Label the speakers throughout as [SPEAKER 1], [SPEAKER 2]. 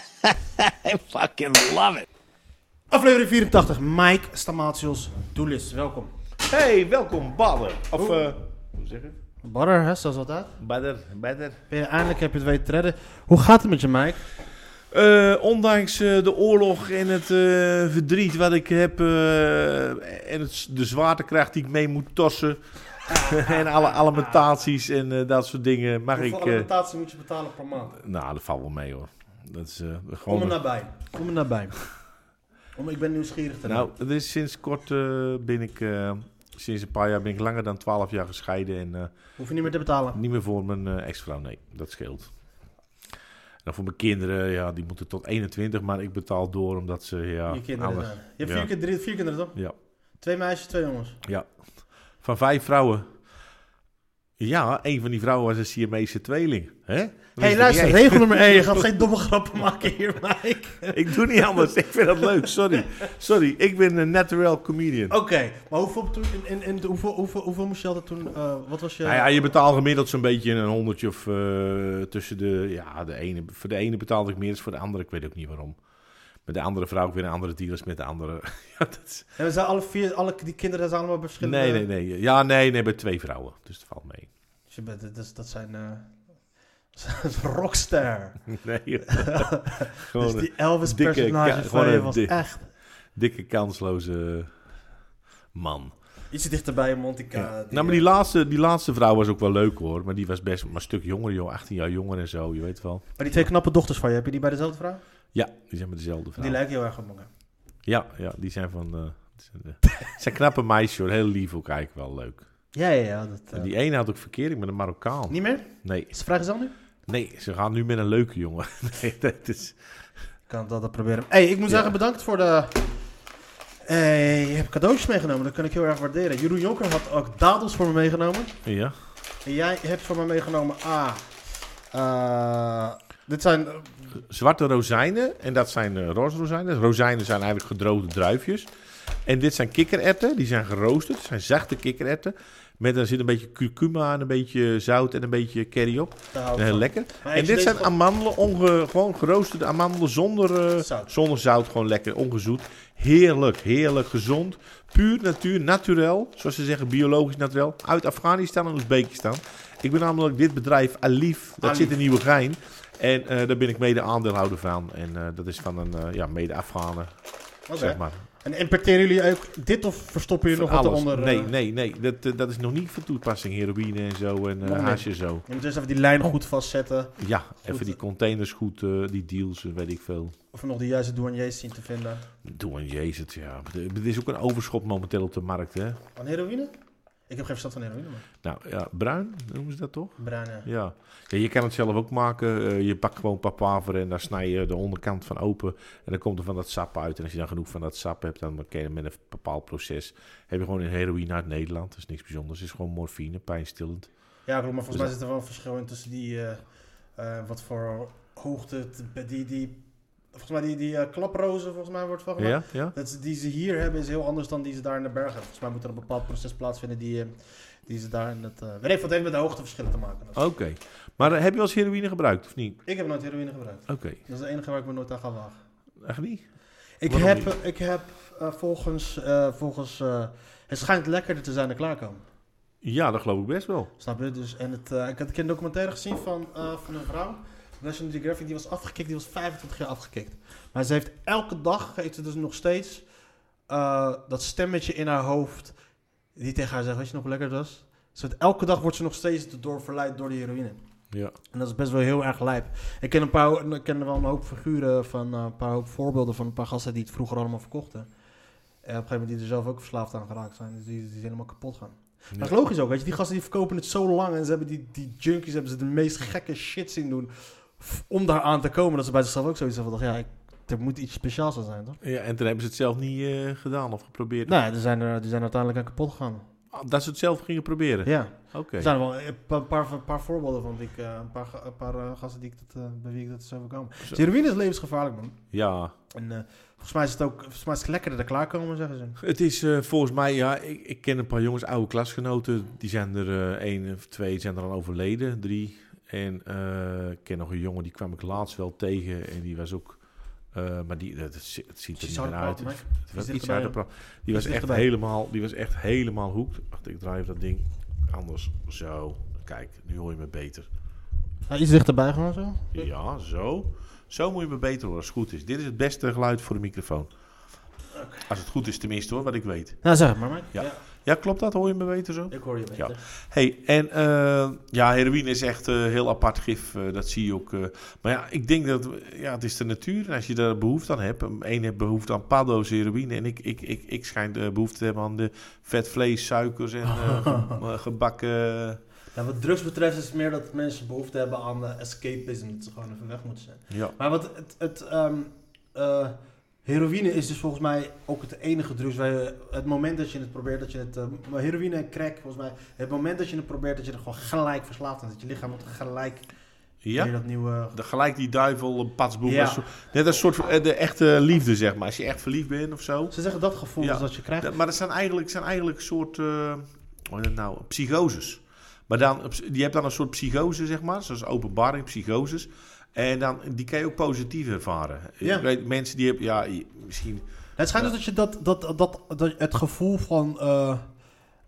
[SPEAKER 1] I fucking love it.
[SPEAKER 2] Aflevering 84, Mike Stamatios Doelis. Welkom.
[SPEAKER 3] Hey, welkom Badder. Of, eh hoe zeg je?
[SPEAKER 2] Barrer, hè, zoals altijd.
[SPEAKER 3] Badder, Badder.
[SPEAKER 2] Ben je- Eindelijk heb je het weten te redden. Hoe gaat het met je, Mike?
[SPEAKER 3] Eh, ondanks eh, de oorlog en het eh, verdriet wat ik heb eh, en het, s- de zwaartekracht die ik mee moet tossen en alle alimentaties en eh, dat soort dingen mag ik... eh,
[SPEAKER 2] alimentatie moet je betalen per maand?
[SPEAKER 3] nou, dat valt wel mee hoor. Dat is eh,
[SPEAKER 2] Kom er
[SPEAKER 3] gewoon...
[SPEAKER 2] nabij. Kom er nabij. Om, ik ben nieuwsgierig te
[SPEAKER 3] nou, het is sinds kort eh, ben ik... eh, sinds een paar jaar ben ik langer dan 12 jaar gescheiden en... eh,
[SPEAKER 2] Hoef je niet meer te betalen.
[SPEAKER 3] Niet meer voor mijn eh, ex-vrouw, nee. Dat scheelt. En dan voor mijn kinderen, ja, die moeten tot 21, maar ik betaal door omdat ze, ja...
[SPEAKER 2] je kinderen.
[SPEAKER 3] alles-
[SPEAKER 2] daar. Je hebt vier,
[SPEAKER 3] Nou, Ja.
[SPEAKER 2] kind- drie, vier kinderen, toch?
[SPEAKER 3] Ja,
[SPEAKER 2] Twee meisjes, twee jongens.
[SPEAKER 3] ja. Van vijf vrouwen. Ja, een van die vrouwen was een Siamese tweeling. Hè? Wist
[SPEAKER 2] Hé, hey,
[SPEAKER 3] ik
[SPEAKER 2] luister,
[SPEAKER 3] niet.
[SPEAKER 2] regel nummer 1. Je gaat geen domme grappen maken hier, Mike.
[SPEAKER 3] Ik doe niet anders. Ik vind dat leuk. Sorry. Sorry. Ik ben een natural comedian.
[SPEAKER 2] Oké, maar hoeveel, toen- en, en, en hoeveel, hoeveel, hoeveel moest je altijd toen... eh, wat was je...
[SPEAKER 3] Nou ja, je betaalt gemiddeld zo'n beetje een honderdje of eh, tussen de... Ja, de ene, voor de ene betaalde ik meer dan voor de andere. Ik weet ook niet waarom. Met de andere vrouw ik weer een andere deal als met de andere. ja, dat is-
[SPEAKER 2] En we zijn alle vier, alle, die kinderen zijn allemaal verschillende...
[SPEAKER 3] Nee, nee, nee. Ja, nee, nee, bij twee vrouwen. Dus dat valt mee.
[SPEAKER 2] Dus je bent, dat, is- dat zijn... eh, dat is een rockster.
[SPEAKER 3] Nee,
[SPEAKER 2] Dus
[SPEAKER 3] gewoon een
[SPEAKER 2] die Elvis
[SPEAKER 3] dikke
[SPEAKER 2] personage van
[SPEAKER 3] ka- gewoon
[SPEAKER 2] je
[SPEAKER 3] een
[SPEAKER 2] was
[SPEAKER 3] dik-
[SPEAKER 2] echt
[SPEAKER 3] dikke, kansloze man.
[SPEAKER 2] iets dichterbij een Monte
[SPEAKER 3] Ja.
[SPEAKER 2] Carlo.
[SPEAKER 3] nou, maar die laatste, die laatste vrouw was ook wel leuk hoor. Maar die was best maar een stuk jonger, joh. 18 jaar jonger en zo, je weet wel.
[SPEAKER 2] Maar die twee knappe dochters van je, heb je die bij dezelfde vrouw?
[SPEAKER 3] Ja, die zijn met dezelfde vrouw.
[SPEAKER 2] Die lijken heel erg op elkaar.
[SPEAKER 3] ja, ja, die zijn van... eh, die zijn, eh, het zijn knappe meisjes hoor. Heel lief ook eigenlijk wel leuk.
[SPEAKER 2] Ja, ja, ja. Dat, eh,
[SPEAKER 3] En die ene had ook verkering met een Marokkaan.
[SPEAKER 2] Niet meer?
[SPEAKER 3] Nee,
[SPEAKER 2] Is de vraag is al nu?
[SPEAKER 3] nee, ze gaan nu met een leuke jongen. nee, dat is...
[SPEAKER 2] Ik kan het altijd proberen. hey, ik moet
[SPEAKER 3] Ja.
[SPEAKER 2] zeggen bedankt voor de... Hey, je hebt cadeautjes meegenomen, dat kan ik heel erg waarderen. Jeroen Jonker had ook dadels voor me meegenomen.
[SPEAKER 3] Ja.
[SPEAKER 2] En jij hebt voor me meegenomen A. eh, dit zijn eh,
[SPEAKER 3] zwarte rozijnen. En dat zijn eh, roze rozijnen. Rozijnen zijn eigenlijk gedroogde druifjes. En dit zijn kikkererwten. Die zijn geroosterd. Het zijn zachte kikkererwten. Met er zit een beetje curcuma en een beetje zout en een beetje curry op.
[SPEAKER 2] daar hou ik
[SPEAKER 3] Heel
[SPEAKER 2] van.
[SPEAKER 3] lekker.
[SPEAKER 2] Maar
[SPEAKER 3] En
[SPEAKER 2] eet je
[SPEAKER 3] dit
[SPEAKER 2] deze
[SPEAKER 3] zijn
[SPEAKER 2] gewoon-
[SPEAKER 3] amandelen, onge, gewoon geroosterde amandelen zonder, eh,
[SPEAKER 2] Zout.
[SPEAKER 3] zonder zout. Gewoon lekker, ongezoet. Heerlijk, heerlijk, gezond. Puur natuur, naturel. Zoals ze zeggen, biologisch naturel. Uit Afghanistan en Oezbekistan. Ik ben namelijk dit bedrijf Alif. Dat
[SPEAKER 2] Alif.
[SPEAKER 3] zit in Nieuwegein. En eh, daar ben ik mede aandeelhouder van. En eh, dat is van een eh, ja, mede-Afghanen,
[SPEAKER 2] Oké.
[SPEAKER 3] zeg maar.
[SPEAKER 2] En importeren jullie ook dit of verstoppen jullie
[SPEAKER 3] Van
[SPEAKER 2] nog wat
[SPEAKER 3] alles.
[SPEAKER 2] eronder?
[SPEAKER 3] nee,
[SPEAKER 2] eh?
[SPEAKER 3] nee, nee. Dat, eh, dat is nog niet van toepassing. Heroïne en zo. En
[SPEAKER 2] Nog
[SPEAKER 3] eh
[SPEAKER 2] niet.
[SPEAKER 3] haasje zo.
[SPEAKER 2] Je moet dus even die lijn goed vastzetten.
[SPEAKER 3] Ja, even die containers goed, eh, die deals, eh, weet ik veel.
[SPEAKER 2] Of we nog de juiste douaniers zien te vinden.
[SPEAKER 3] Doen jezus, het, ja. Er is ook een overschot momenteel op de markt, hè?
[SPEAKER 2] Van heroïne? Ik heb geen verstand van heroïne, man.
[SPEAKER 3] Nou, ja, bruin noemen ze dat toch?
[SPEAKER 2] Bruin, ja.
[SPEAKER 3] Ja. ja je kan het zelf ook maken. Eh, je pakt gewoon papaver en daar snij je de onderkant van open. En dan komt er van dat sap uit. En als je dan genoeg van dat sap hebt, dan ken je met een bepaald proces. Heb je gewoon een heroïne uit Nederland. Dat is niks bijzonders. Het is gewoon morfine, pijnstillend.
[SPEAKER 2] Ja, klopt, maar volgens
[SPEAKER 3] Dus
[SPEAKER 2] mij
[SPEAKER 3] dat-
[SPEAKER 2] zit er wel een verschil in tussen die... eh, eh, wat voor hoogte... het- die, die, volgens mij die, die eh, klaprozen, volgens mij wordt van gemaakt.
[SPEAKER 3] Ja, ja.
[SPEAKER 2] Dat ze, die ze hier hebben is heel anders dan die ze daar in de bergen hebben. Volgens mij moet er een bepaald proces plaatsvinden die, eh, die ze daar in het... eh weet ik, wat het heeft met de hoogteverschillen te maken.
[SPEAKER 3] Oké. Maar eh, heb je wel eens heroïne gebruikt, of niet?
[SPEAKER 2] Ik heb nooit heroïne gebruikt.
[SPEAKER 3] Oké.
[SPEAKER 2] Dat is de enige waar ik me nooit aan ga wagen.
[SPEAKER 3] Echt niet?
[SPEAKER 2] Ik
[SPEAKER 3] Waarom
[SPEAKER 2] heb, ik heb eh, volgens, eh, volgens eh, het schijnt lekkerder te zijn dan klaarkomen.
[SPEAKER 3] Ja, dat geloof ik best wel.
[SPEAKER 2] Snap je? Dus, en het, eh, ik had een keer een documentaire gezien van, eh, van een vrouw. National Geographic, die was afgekikt, die was 25 jaar afgekikt. Maar ze heeft elke dag, heeft ze dus nog steeds, eh, dat stemmetje in haar hoofd, die tegen haar zegt, weet je nog hoe lekker dat was? Ze wordt- elke dag wordt ze nog steeds door verleid door de heroïne.
[SPEAKER 3] Ja.
[SPEAKER 2] En dat is best wel heel erg lijp. Ik ken, een paar, ik ken wel een hoop figuren van eh, een paar hoop voorbeelden van een paar gasten die het vroeger allemaal verkochten. En op een gegeven moment die er zelf ook verslaafd aan geraakt zijn. Dus die, die zijn helemaal kapot gaan. Maar Dat is logisch ook, weet je. Die gasten die verkopen het zo lang en ze hebben die, die junkies hebben ze de meest gekke shit zien doen f- om daar aan te komen. Dat ze bij zichzelf ook zoiets hebben van, ja, ik er moet iets speciaals aan zijn, toch?
[SPEAKER 3] Ja, en toen hebben ze het zelf niet eh, gedaan of geprobeerd.
[SPEAKER 2] Nou, die zijn er, die zijn uiteindelijk aan kapot gegaan.
[SPEAKER 3] Ah, Dat ze het zelf gingen proberen.
[SPEAKER 2] Ja.
[SPEAKER 3] Oké.
[SPEAKER 2] Er zijn wel eh, een paar, paar, een paar voorbeelden van die ik, eh, een paar, ga- een paar eh, gasten die ik dat, eh, bij wie ik dat is overkomen. Dus heroïne is levensgevaarlijk, man.
[SPEAKER 3] Ja.
[SPEAKER 2] En eh, volgens mij is het ook volgens mij is het lekkerder er klaarkomen, zeggen ze.
[SPEAKER 3] Het is eh, volgens mij, ja, ik, ik ken een paar jongens, oude klasgenoten. Die zijn er eh, één of twee zijn er aan overleden, drie. En eh, ik ken nog een jongen, die kwam ik laatst wel tegen. En die was ook, eh, maar die, dat, zi- het ziet er
[SPEAKER 2] Iets
[SPEAKER 3] niet meer
[SPEAKER 2] harder
[SPEAKER 3] uit.
[SPEAKER 2] praten, Mike.
[SPEAKER 3] Het
[SPEAKER 2] Iets
[SPEAKER 3] was iets
[SPEAKER 2] dichterbij,
[SPEAKER 3] harder praten. Die was echt
[SPEAKER 2] dichterbij.
[SPEAKER 3] helemaal, die was echt helemaal hoekt. Wacht, ik draai even dat ding anders. Zo, kijk, nu hoor je me beter.
[SPEAKER 2] Nou, iets dichterbij gewoon zo.
[SPEAKER 3] Ja, zo. Zo moet je me beter horen als het goed is. Dit is het beste geluid voor de microfoon. Als het goed is tenminste hoor, wat ik weet.
[SPEAKER 2] Nou, zeg het maar, Mike.
[SPEAKER 3] Ja. Ja, klopt dat? Hoor je me beter zo?
[SPEAKER 2] Ik hoor je beter.
[SPEAKER 3] Ja. Hey, en eh, ja, heroïne is echt een heel apart gif. eh, dat zie je ook. eh. maar ja, ik denk dat ja, het is de natuur. En als je daar behoefte aan hebt. Eén heeft behoefte aan paddo's, heroïne. En ik, ik, ik, ik schijn eh, behoefte te hebben aan de vet vlees, suikers en eh, ge- eh, gebakken.
[SPEAKER 2] Ja, wat drugs betreft is het meer dat mensen behoefte hebben aan eh, escapism. Dat ze gewoon even weg moeten zijn.
[SPEAKER 3] Ja.
[SPEAKER 2] Maar wat het... het ehm, eh, heroïne is dus volgens mij ook het enige drugs waar je... Het moment dat je het probeert, dat je het... eh, maar heroïne en crack, volgens mij... Het moment dat je het probeert, dat je er gewoon gelijk verslaafd aan. Dat je lichaam wordt gelijk
[SPEAKER 3] ja.
[SPEAKER 2] weer dat nieuwe...
[SPEAKER 3] De, gelijk die duivel, een patsboek.
[SPEAKER 2] Ja.
[SPEAKER 3] Als zo- Net als soort van, eh, de echte liefde, zeg maar. Als je echt verliefd bent of zo.
[SPEAKER 2] Ze zeggen dat gevoel
[SPEAKER 3] Ja.
[SPEAKER 2] is dat je krijgt.
[SPEAKER 3] Dat- maar dat zijn eigenlijk, zijn eigenlijk soort, eh, hoe heet het nou, psychoses. Maar dan, een ps- je hebt dan een soort psychose, zeg maar, zoals openbaring, psychoses. En dan, die kan je ook positief ervaren.
[SPEAKER 2] Ja.
[SPEAKER 3] Ik weet, mensen die hebben, ja, je- misschien...
[SPEAKER 2] Het schijnt dus dat je dat, dat, dat, dat het gevoel van eh,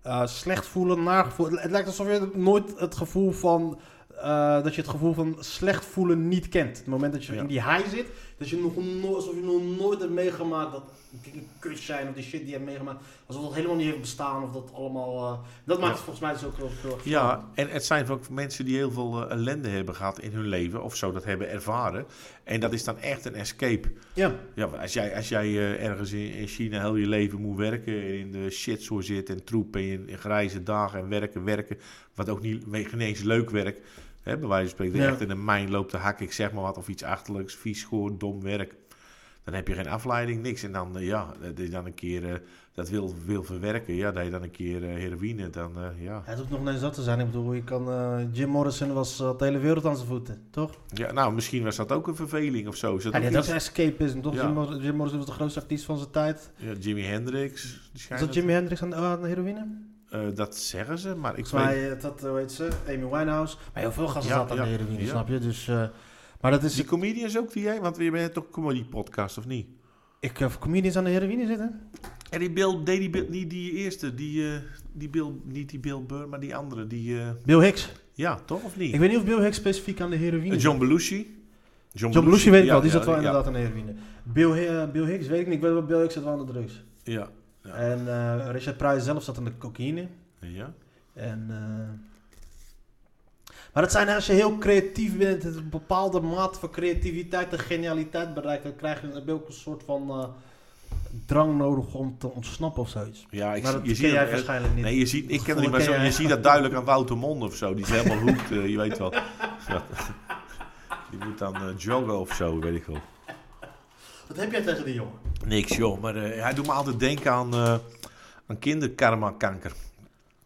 [SPEAKER 2] eh, slecht voelen, naar gevoel. Het lijkt alsof je nooit het gevoel van. eh, dat je het gevoel van slecht voelen niet kent. Het moment dat je
[SPEAKER 3] Ja.
[SPEAKER 2] in die high zit, dat je nog nooit, alsof je nog nooit hebt meegemaakt dat dingen kut zijn of die shit die je hebt meegemaakt, alsof dat helemaal niet heeft bestaan of dat allemaal. eh, dat maakt het volgens mij dus ook heel veel.
[SPEAKER 3] Ja, en het zijn ook mensen die heel veel eh, ellende hebben gehad in hun leven of zo, dat hebben ervaren. En dat is dan echt een escape.
[SPEAKER 2] Ja.
[SPEAKER 3] Ja, maar als jij, als jij eh, ergens in, in China heel je leven moet werken en in de shitshow zit en troep en in, in grijze dagen en werken, werken, wat ook niet, we- geen eens leuk werk, hè, bij wijze van spreken,
[SPEAKER 2] Ja.
[SPEAKER 3] echt in een mijn loopt te hakken, ik zeg maar wat, of iets achterlijks, vies, goor, dom werk. Dan heb je geen afleiding, niks. En dan, eh, ja, dat je dan een keer eh, dat wil, wil verwerken. Ja, dat je dan een keer eh, heroïne, dan, eh, ja.
[SPEAKER 2] Het hoeft nog niet eens dat te zijn. Ik bedoel, je kan, eh, Jim Morrison was eh, de hele wereld aan zijn voeten, toch?
[SPEAKER 3] ja. Nou, misschien was dat ook een verveling of zo. Is dat
[SPEAKER 2] Ja,
[SPEAKER 3] ook
[SPEAKER 2] nee, dat
[SPEAKER 3] iets?
[SPEAKER 2] is escapism, toch?
[SPEAKER 3] Ja.
[SPEAKER 2] Jim, Morrison, Jim Morrison was de grootste artiest van zijn tijd.
[SPEAKER 3] Ja, Jimi Hendrix. die
[SPEAKER 2] Is
[SPEAKER 3] schijnen-
[SPEAKER 2] dat Jimi Hendrix aan, aan de heroïne?
[SPEAKER 3] Eh, dat zeggen ze, maar ik
[SPEAKER 2] Volgens mij, eh, dat, eh, hoe heet ze? Amy Winehouse. Maar heel veel gasten
[SPEAKER 3] Ja,
[SPEAKER 2] zaten aan
[SPEAKER 3] ja,
[SPEAKER 2] de heroïne,
[SPEAKER 3] ja.
[SPEAKER 2] snap je? Dus, eh, maar dat is...
[SPEAKER 3] Die
[SPEAKER 2] Ik,
[SPEAKER 3] comedians ook die jij, want je bent toch een comedy podcast of niet?
[SPEAKER 2] ik heb comedians aan de heroïne zitten.
[SPEAKER 3] En die Bill, deed die Bill- niet die eerste, die, eh, die Bill, niet die Bill Burr, maar die andere, die, eh,
[SPEAKER 2] Bill Hicks.
[SPEAKER 3] ja, toch of niet?
[SPEAKER 2] Ik weet niet of Bill Hicks specifiek aan de heroïne
[SPEAKER 3] Eh,
[SPEAKER 2] zit.
[SPEAKER 3] John Belushi.
[SPEAKER 2] John Belushi weet ik
[SPEAKER 3] ja,
[SPEAKER 2] wel, die
[SPEAKER 3] ja,
[SPEAKER 2] zat wel
[SPEAKER 3] ja,
[SPEAKER 2] inderdaad aan de heroïne. Bill, Hi- eh, Bill Hicks weet ik niet, ik weet wel, Bill Hicks zat wel aan de drugs.
[SPEAKER 3] Ja, Ja.
[SPEAKER 2] En eh, Richard Pryor zelf zat aan de cocaïne.
[SPEAKER 3] ja.
[SPEAKER 2] En, eh, maar dat zijn als je heel creatief bent, een bepaalde mate van creativiteit en genialiteit bereikt, dan krijg je, dan heb je ook een soort van eh, drang nodig om te ontsnappen of zoiets.
[SPEAKER 3] Ja, ik,
[SPEAKER 2] maar dat
[SPEAKER 3] zie- je
[SPEAKER 2] ken
[SPEAKER 3] ziet
[SPEAKER 2] jij
[SPEAKER 3] hem, eh,
[SPEAKER 2] waarschijnlijk niet.
[SPEAKER 3] Nee, je ziet, ik ken
[SPEAKER 2] Gevoel
[SPEAKER 3] het niet, maar
[SPEAKER 2] ken
[SPEAKER 3] zo,
[SPEAKER 2] jij.
[SPEAKER 3] je ziet dat duidelijk aan Wouter Monde of zo. Die is helemaal hoekt, eh, je weet wel. Ja. Die moet dan eh, joggen of zo, weet ik wel.
[SPEAKER 2] Wat heb jij tegen die jongen?
[SPEAKER 3] Niks joh, maar eh, hij doet me altijd denken aan, eh aan kinderkarma-kanker.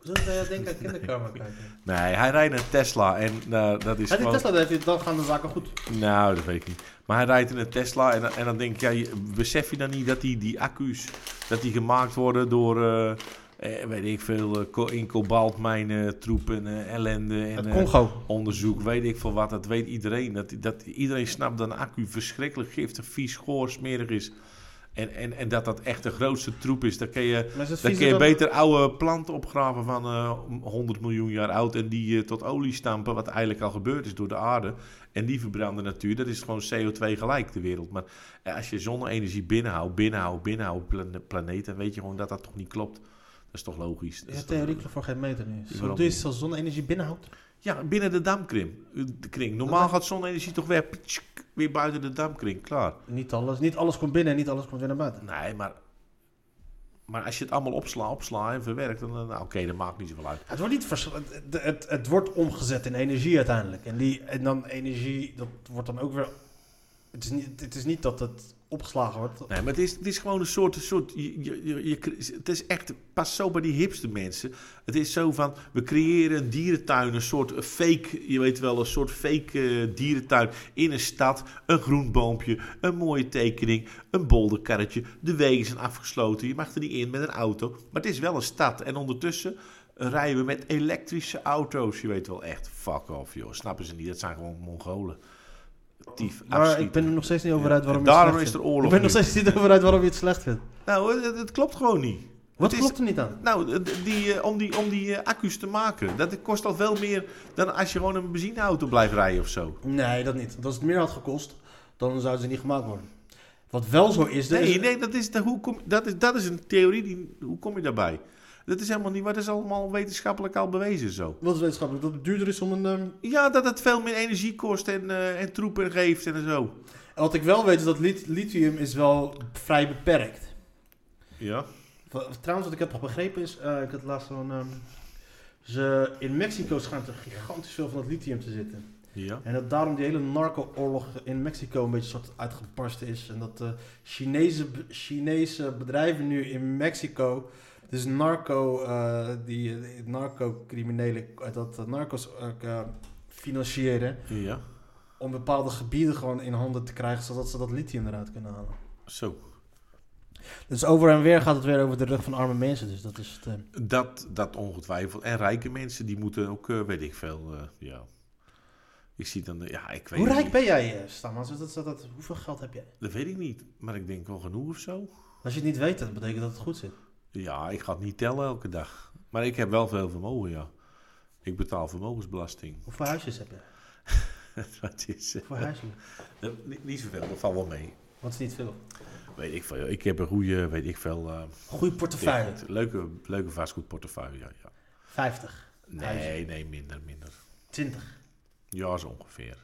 [SPEAKER 2] Zo zou jij denken aan kinderkarma kijken.
[SPEAKER 3] Nee, hij rijdt een Tesla en eh, dat is
[SPEAKER 2] Als die
[SPEAKER 3] gewoon...
[SPEAKER 2] Tesla dat heeft, dan gaan de zaken goed.
[SPEAKER 3] Nou, dat weet ik niet. Maar hij rijdt in een Tesla en, dan- en dan denk ik, ja, je- besef je dan niet dat die, die accu's dat die gemaakt worden door, eh, eh, weet ik veel, eh, ko- in kobaltmijnen, troepen, eh, ellende en
[SPEAKER 2] Het
[SPEAKER 3] eh,
[SPEAKER 2] Congo.
[SPEAKER 3] onderzoek, weet ik veel wat. Dat weet iedereen. Dat, dat iedereen snapt dat een accu verschrikkelijk giftig, vies, goor, smerig is. En, en, en dat dat echt de grootste troep is. Dan kun je,
[SPEAKER 2] Maar is het
[SPEAKER 3] dan kun
[SPEAKER 2] viezer
[SPEAKER 3] je
[SPEAKER 2] dan-
[SPEAKER 3] beter oude planten opgraven van eh, 100 miljoen jaar oud en die eh, tot olie stampen, wat eigenlijk al gebeurd is door de aarde. En die verbranden natuur, dat is gewoon CO2 gelijk de wereld. Maar eh, als je zonne-energie binnenhoudt, binnenhoudt, binnenhoudt, plan planeet, dan weet je gewoon dat dat toch niet klopt. Dat is toch logisch? Dat
[SPEAKER 2] Ja,
[SPEAKER 3] is toch-
[SPEAKER 2] theorie klopt voor geen meter nu. Zo
[SPEAKER 3] waarom
[SPEAKER 2] doe je
[SPEAKER 3] niet?
[SPEAKER 2] als zonne-energie binnenhoudt.
[SPEAKER 3] Ja, binnen de damkring. De kring. Normaal gaat zonne-energie toch weer, ptschk, weer buiten de damkring, klaar.
[SPEAKER 2] Niet alles, niet alles komt binnen en niet alles komt weer naar buiten.
[SPEAKER 3] Nee, maar, maar als je het allemaal opslaat opsla en verwerkt, dan, dan- nou, oké, dat maakt niet zoveel uit.
[SPEAKER 2] Het wordt, niet vers- het, het, het wordt omgezet in energie uiteindelijk. En, die, en dan energie, dat wordt dan ook weer... Het is niet, het is niet dat het opgeslagen wordt.
[SPEAKER 3] Nee, maar het is, het is gewoon een soort... Een soort je, je, je- je cre- het is echt... Pas zo bij die hipste mensen. Het is zo van... We creëren een dierentuin. Een soort fake... Je weet wel, een soort fake eh, dierentuin. In een stad. Een groen boompje. Een mooie tekening. Een bolderkarretje. De wegen zijn afgesloten. Je mag er niet in met een auto. Maar het is wel een stad. En ondertussen... Rijden we met elektrische auto's. Je weet wel echt, fuck off joh. Snappen ze niet, dat zijn gewoon Mongolen. Tief,
[SPEAKER 2] Maar ik ben er nog steeds niet over uit waarom je
[SPEAKER 3] Ja,
[SPEAKER 2] het
[SPEAKER 3] daarom
[SPEAKER 2] slecht
[SPEAKER 3] is er
[SPEAKER 2] vindt.
[SPEAKER 3] oorlog
[SPEAKER 2] Ik ben er
[SPEAKER 3] nu.
[SPEAKER 2] nog steeds niet over uit waarom je het slecht vindt.
[SPEAKER 3] Nou, het, het klopt gewoon niet.
[SPEAKER 2] Wat
[SPEAKER 3] Het is-
[SPEAKER 2] klopt er niet aan?
[SPEAKER 3] Nou, d- die, eh, om die, om die eh, accu's te maken, dat kost al veel meer dan als je gewoon een benzineauto blijft rijden of zo.
[SPEAKER 2] Nee, dat niet. Want als het meer had gekost, dan zouden ze niet gemaakt worden. Wat wel zo is, er is-
[SPEAKER 3] Nee, nee dat, is, dat, hoe kom, dat, is, dat is een theorie, die, hoe kom je daarbij? Dat is helemaal niet, wat is allemaal wetenschappelijk al bewezen zo.
[SPEAKER 2] wat is wetenschappelijk, dat het duurder is om een... ehm,
[SPEAKER 3] Ja, dat het veel meer energie kost en, eh, en troepen geeft en zo.
[SPEAKER 2] En Wat ik wel weet is dat lit- lithium is wel vrij beperkt.
[SPEAKER 3] Ja.
[SPEAKER 2] Wa- Trouwens, wat ik heb begrepen is, eh, ik had laatst zo'n... ehm, ze, in Mexico schijnt er gigantisch veel van dat lithium te zitten.
[SPEAKER 3] Ja.
[SPEAKER 2] En dat daarom die hele narco-oorlog in Mexico een beetje soort uitgebarsten is. En dat eh, Chinese, be- Chinese bedrijven nu in Mexico, dus narco, eh, die, die narco-criminelen, eh, dat eh, narco's ook, eh, financieren.
[SPEAKER 3] Ja.
[SPEAKER 2] Om bepaalde gebieden gewoon in handen te krijgen, zodat ze dat lithium eruit kunnen halen.
[SPEAKER 3] Zo.
[SPEAKER 2] Dus over en weer gaat het weer over de rug van arme mensen. Dus dat is het. eh.
[SPEAKER 3] Dat, dat ongetwijfeld. En rijke mensen, die moeten ook, eh, weet ik veel, eh, ja. Ik zie dan, eh, ja, ik weet
[SPEAKER 2] Hoe
[SPEAKER 3] het
[SPEAKER 2] rijk
[SPEAKER 3] niet.
[SPEAKER 2] ben jij, eh, Stamans? Dat, dat, dat, hoeveel geld heb jij?
[SPEAKER 3] Dat weet ik niet, maar ik denk wel genoeg of zo.
[SPEAKER 2] Als je het niet weet, dat betekent dat het goed zit.
[SPEAKER 3] Ja, ik ga het niet tellen elke dag. Maar ik heb wel veel vermogen, ja. Ik betaal vermogensbelasting.
[SPEAKER 2] Hoeveel huisjes heb je?
[SPEAKER 3] dat is eh,
[SPEAKER 2] Hoeveel huisjes?
[SPEAKER 3] eh, niet, niet zoveel, dat valt wel mee.
[SPEAKER 2] Wat is niet veel?
[SPEAKER 3] Weet ik veel. Ik heb een goede, weet ik veel. eh,
[SPEAKER 2] Goeie portefeuille.
[SPEAKER 3] leuke, leuke vastgoedportefeuille, ja. ja.
[SPEAKER 2] 50.
[SPEAKER 3] Nee,
[SPEAKER 2] Huizen.
[SPEAKER 3] nee, minder, minder.
[SPEAKER 2] 20.
[SPEAKER 3] Ja, zo ongeveer.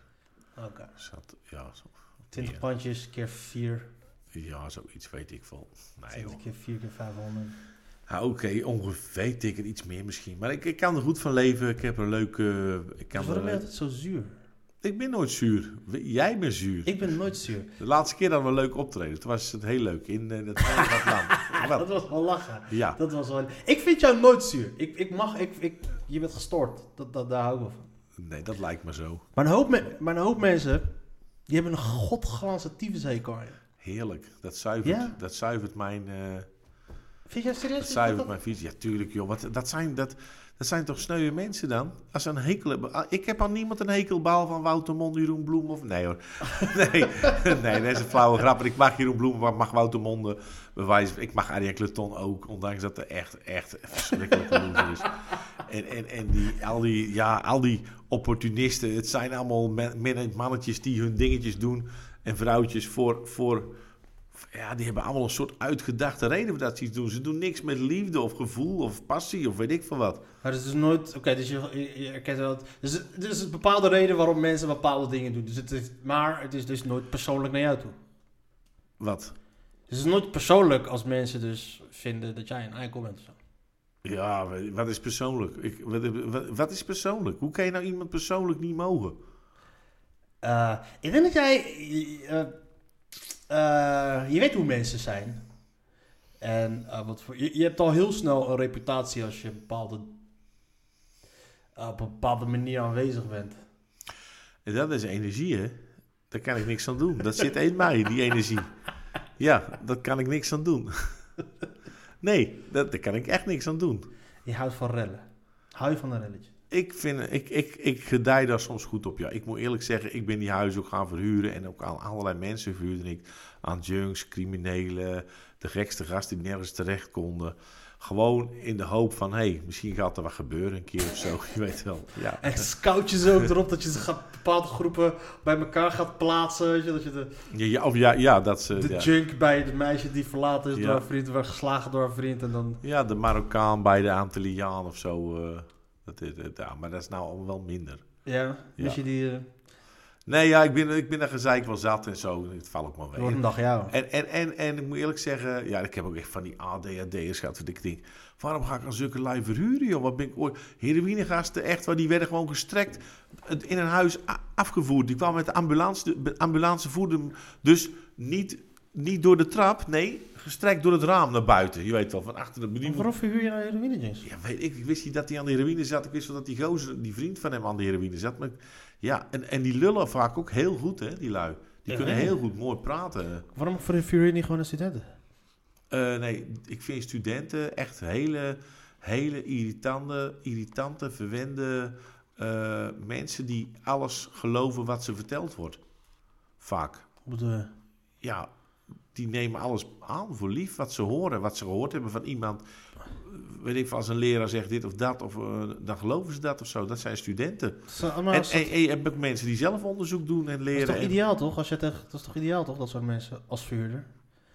[SPEAKER 2] Oké.
[SPEAKER 3] Zat, ja, zo,
[SPEAKER 2] 20
[SPEAKER 3] Ja.
[SPEAKER 2] pandjes keer 4.
[SPEAKER 3] ja, zoiets weet ik veel. Nee,
[SPEAKER 2] 20
[SPEAKER 3] joh.
[SPEAKER 2] keer 4 keer 500.
[SPEAKER 3] Ja, Oké, ongeveer tikken, iets meer misschien. Maar ik, ik kan er goed van leven. Ik heb een leuke... Ik, kan
[SPEAKER 2] Dus waarom
[SPEAKER 3] er-
[SPEAKER 2] ben je altijd zo zuur?
[SPEAKER 3] ik ben nooit zuur. Jij bent zuur.
[SPEAKER 2] Ik ben nooit zuur.
[SPEAKER 3] De laatste keer dat we leuk optreden, toen was het heel leuk in eh, het Heilige Land.
[SPEAKER 2] Dat
[SPEAKER 3] Wel,
[SPEAKER 2] was wel lachen.
[SPEAKER 3] Ja.
[SPEAKER 2] Dat was wel... Ik vind jou nooit zuur. Ik, ik mag... Ik, ik, je bent gestoord. Dat, dat, daar hou ik wel van.
[SPEAKER 3] nee, dat lijkt me zo.
[SPEAKER 2] Maar een hoop, me- maar een hoop mensen... Die hebben een godglanse tyfushekel aan je.
[SPEAKER 3] Heerlijk. Dat zuivert,
[SPEAKER 2] Ja.
[SPEAKER 3] dat zuivert mijn, eh
[SPEAKER 2] Vind jij
[SPEAKER 3] dat
[SPEAKER 2] serieus? dat
[SPEAKER 3] zuivert
[SPEAKER 2] dat-
[SPEAKER 3] mijn visie. Ja, tuurlijk joh. Wat, dat, zijn, dat, dat zijn toch sneuwe mensen dan? Als ze een hekel hebben. Ah, Ik heb aan niemand een hekelbaal van Wouter Mond, Jeroen Bloem of... Nee hoor. Nee, nee dat is een flauwe grap. En Ik mag Jeroen Bloem, maar ik mag Wouter Monde. Bewijs, ik mag Arie Kleton ook. Ondanks dat er echt, echt verschrikkelijk loser is. En, en, en die, al, die, ja, al die opportunisten. Het zijn allemaal men- men- mannetjes die hun dingetjes doen. En vrouwtjes voor... voor ja, die hebben allemaal een soort uitgedachte reden voor dat ze iets doen. Ze doen niks met liefde of gevoel of passie of weet ik veel wat.
[SPEAKER 2] Maar het is nooit... Oké, dus je, je, je herkent wel... dat- Dus het- er is een bepaalde reden waarom mensen bepaalde dingen doen. Dus het is, maar het is dus nooit persoonlijk naar jou toe.
[SPEAKER 3] Wat?
[SPEAKER 2] Dus het is nooit persoonlijk als mensen dus vinden dat jij een eikel bent. of zo.
[SPEAKER 3] Ja, wat is persoonlijk? Ik, wat, wat, wat is persoonlijk? Hoe kan je nou iemand persoonlijk niet mogen?
[SPEAKER 2] Eh, ik denk dat jij... eh, eh, je weet hoe mensen zijn. En eh, wat voor, je, je hebt al heel snel een reputatie als je bepaalde, eh, op een bepaalde manier aanwezig bent.
[SPEAKER 3] En dat is energie, hè? Daar kan ik niks aan doen. Dat zit in mij, die energie. Ja, daar kan ik niks aan doen. Nee, dat, daar kan ik echt niks aan doen.
[SPEAKER 2] Je houdt van rellen. Hou je van een relletje?
[SPEAKER 3] Ik, vind, ik, ik, ik gedij daar soms goed op, ja. Ik moet eerlijk zeggen, ik ben die huizen ook gaan verhuren... en ook aan allerlei mensen verhuurde ik. Aan junks, criminelen, de gekste gasten die nergens terecht konden. Gewoon in de hoop van, hé, hey, misschien gaat er wat gebeuren een keer of zo. Je weet wel, ja.
[SPEAKER 2] En scout je ze ook erop dat je ze gaat, bepaalde groepen bij elkaar gaat plaatsen. Weet je, dat je de,
[SPEAKER 3] Ja, ja, of ja, ja dat ze...
[SPEAKER 2] de
[SPEAKER 3] ja.
[SPEAKER 2] junk bij het meisje die verlaten is
[SPEAKER 3] Ja.
[SPEAKER 2] door haar vriend, werd geslagen door haar vriend. En dan
[SPEAKER 3] Ja, de Marokkaan bij de Antilliaan of zo. eh, dat is, dat- ja, maar dat is nou al wel minder.
[SPEAKER 2] Ja, mis je die... eh,
[SPEAKER 3] Nee, ja, ik ben, ik ben er gezeik wel zat en zo. Het valt ook maar
[SPEAKER 2] wordt een
[SPEAKER 3] weer.
[SPEAKER 2] dag jou.
[SPEAKER 3] En, en, en, en ik moet eerlijk zeggen, ja, ik heb ook echt van die ADHD'ers gehad. Dat ik denk, waarom ga ik aan zulke lui verhuren, joh? Wat ben ik ooit... Heroïnegasten, echt, waar die werden gewoon gestrekt het- in een huis a- afgevoerd. Die kwam met de ambulance, de ambulance voerde hem dus niet Niet door de trap, nee, gestrekt door het raam naar buiten. Je weet wel, van achter de bediening.
[SPEAKER 2] Waarom verhuur je nou heroïne, James?
[SPEAKER 3] Ja, weet ik. Ik wist niet dat hij aan de heroïne zat. Ik wist wel dat die gozer, die vriend van hem aan de heroïne zat. Maar ja, en, en die lullen vaak ook heel goed, hè, die lui. Die
[SPEAKER 2] Ja.
[SPEAKER 3] kunnen heel goed mooi praten.
[SPEAKER 2] Waarom verhuur je niet gewoon aan studenten?
[SPEAKER 3] Eh, nee, ik vind studenten echt hele, hele irritante, irritante verwende eh, mensen die alles geloven wat ze verteld wordt. Vaak.
[SPEAKER 2] Op de...
[SPEAKER 3] ja, die nemen alles aan voor lief wat ze horen, wat ze gehoord hebben van iemand. Eh, Weet ik, veel, als een leraar zegt dit of dat, of, eh, dan geloven ze dat of zo. Dat zijn studenten.
[SPEAKER 2] Maar
[SPEAKER 3] en,
[SPEAKER 2] dat is
[SPEAKER 3] en, en je hebt ook mensen die zelf onderzoek doen en leren.
[SPEAKER 2] toch
[SPEAKER 3] en-
[SPEAKER 2] ideaal, toch? Als je tegen, dat is toch ideaal, toch? Dat soort mensen als verhuurder.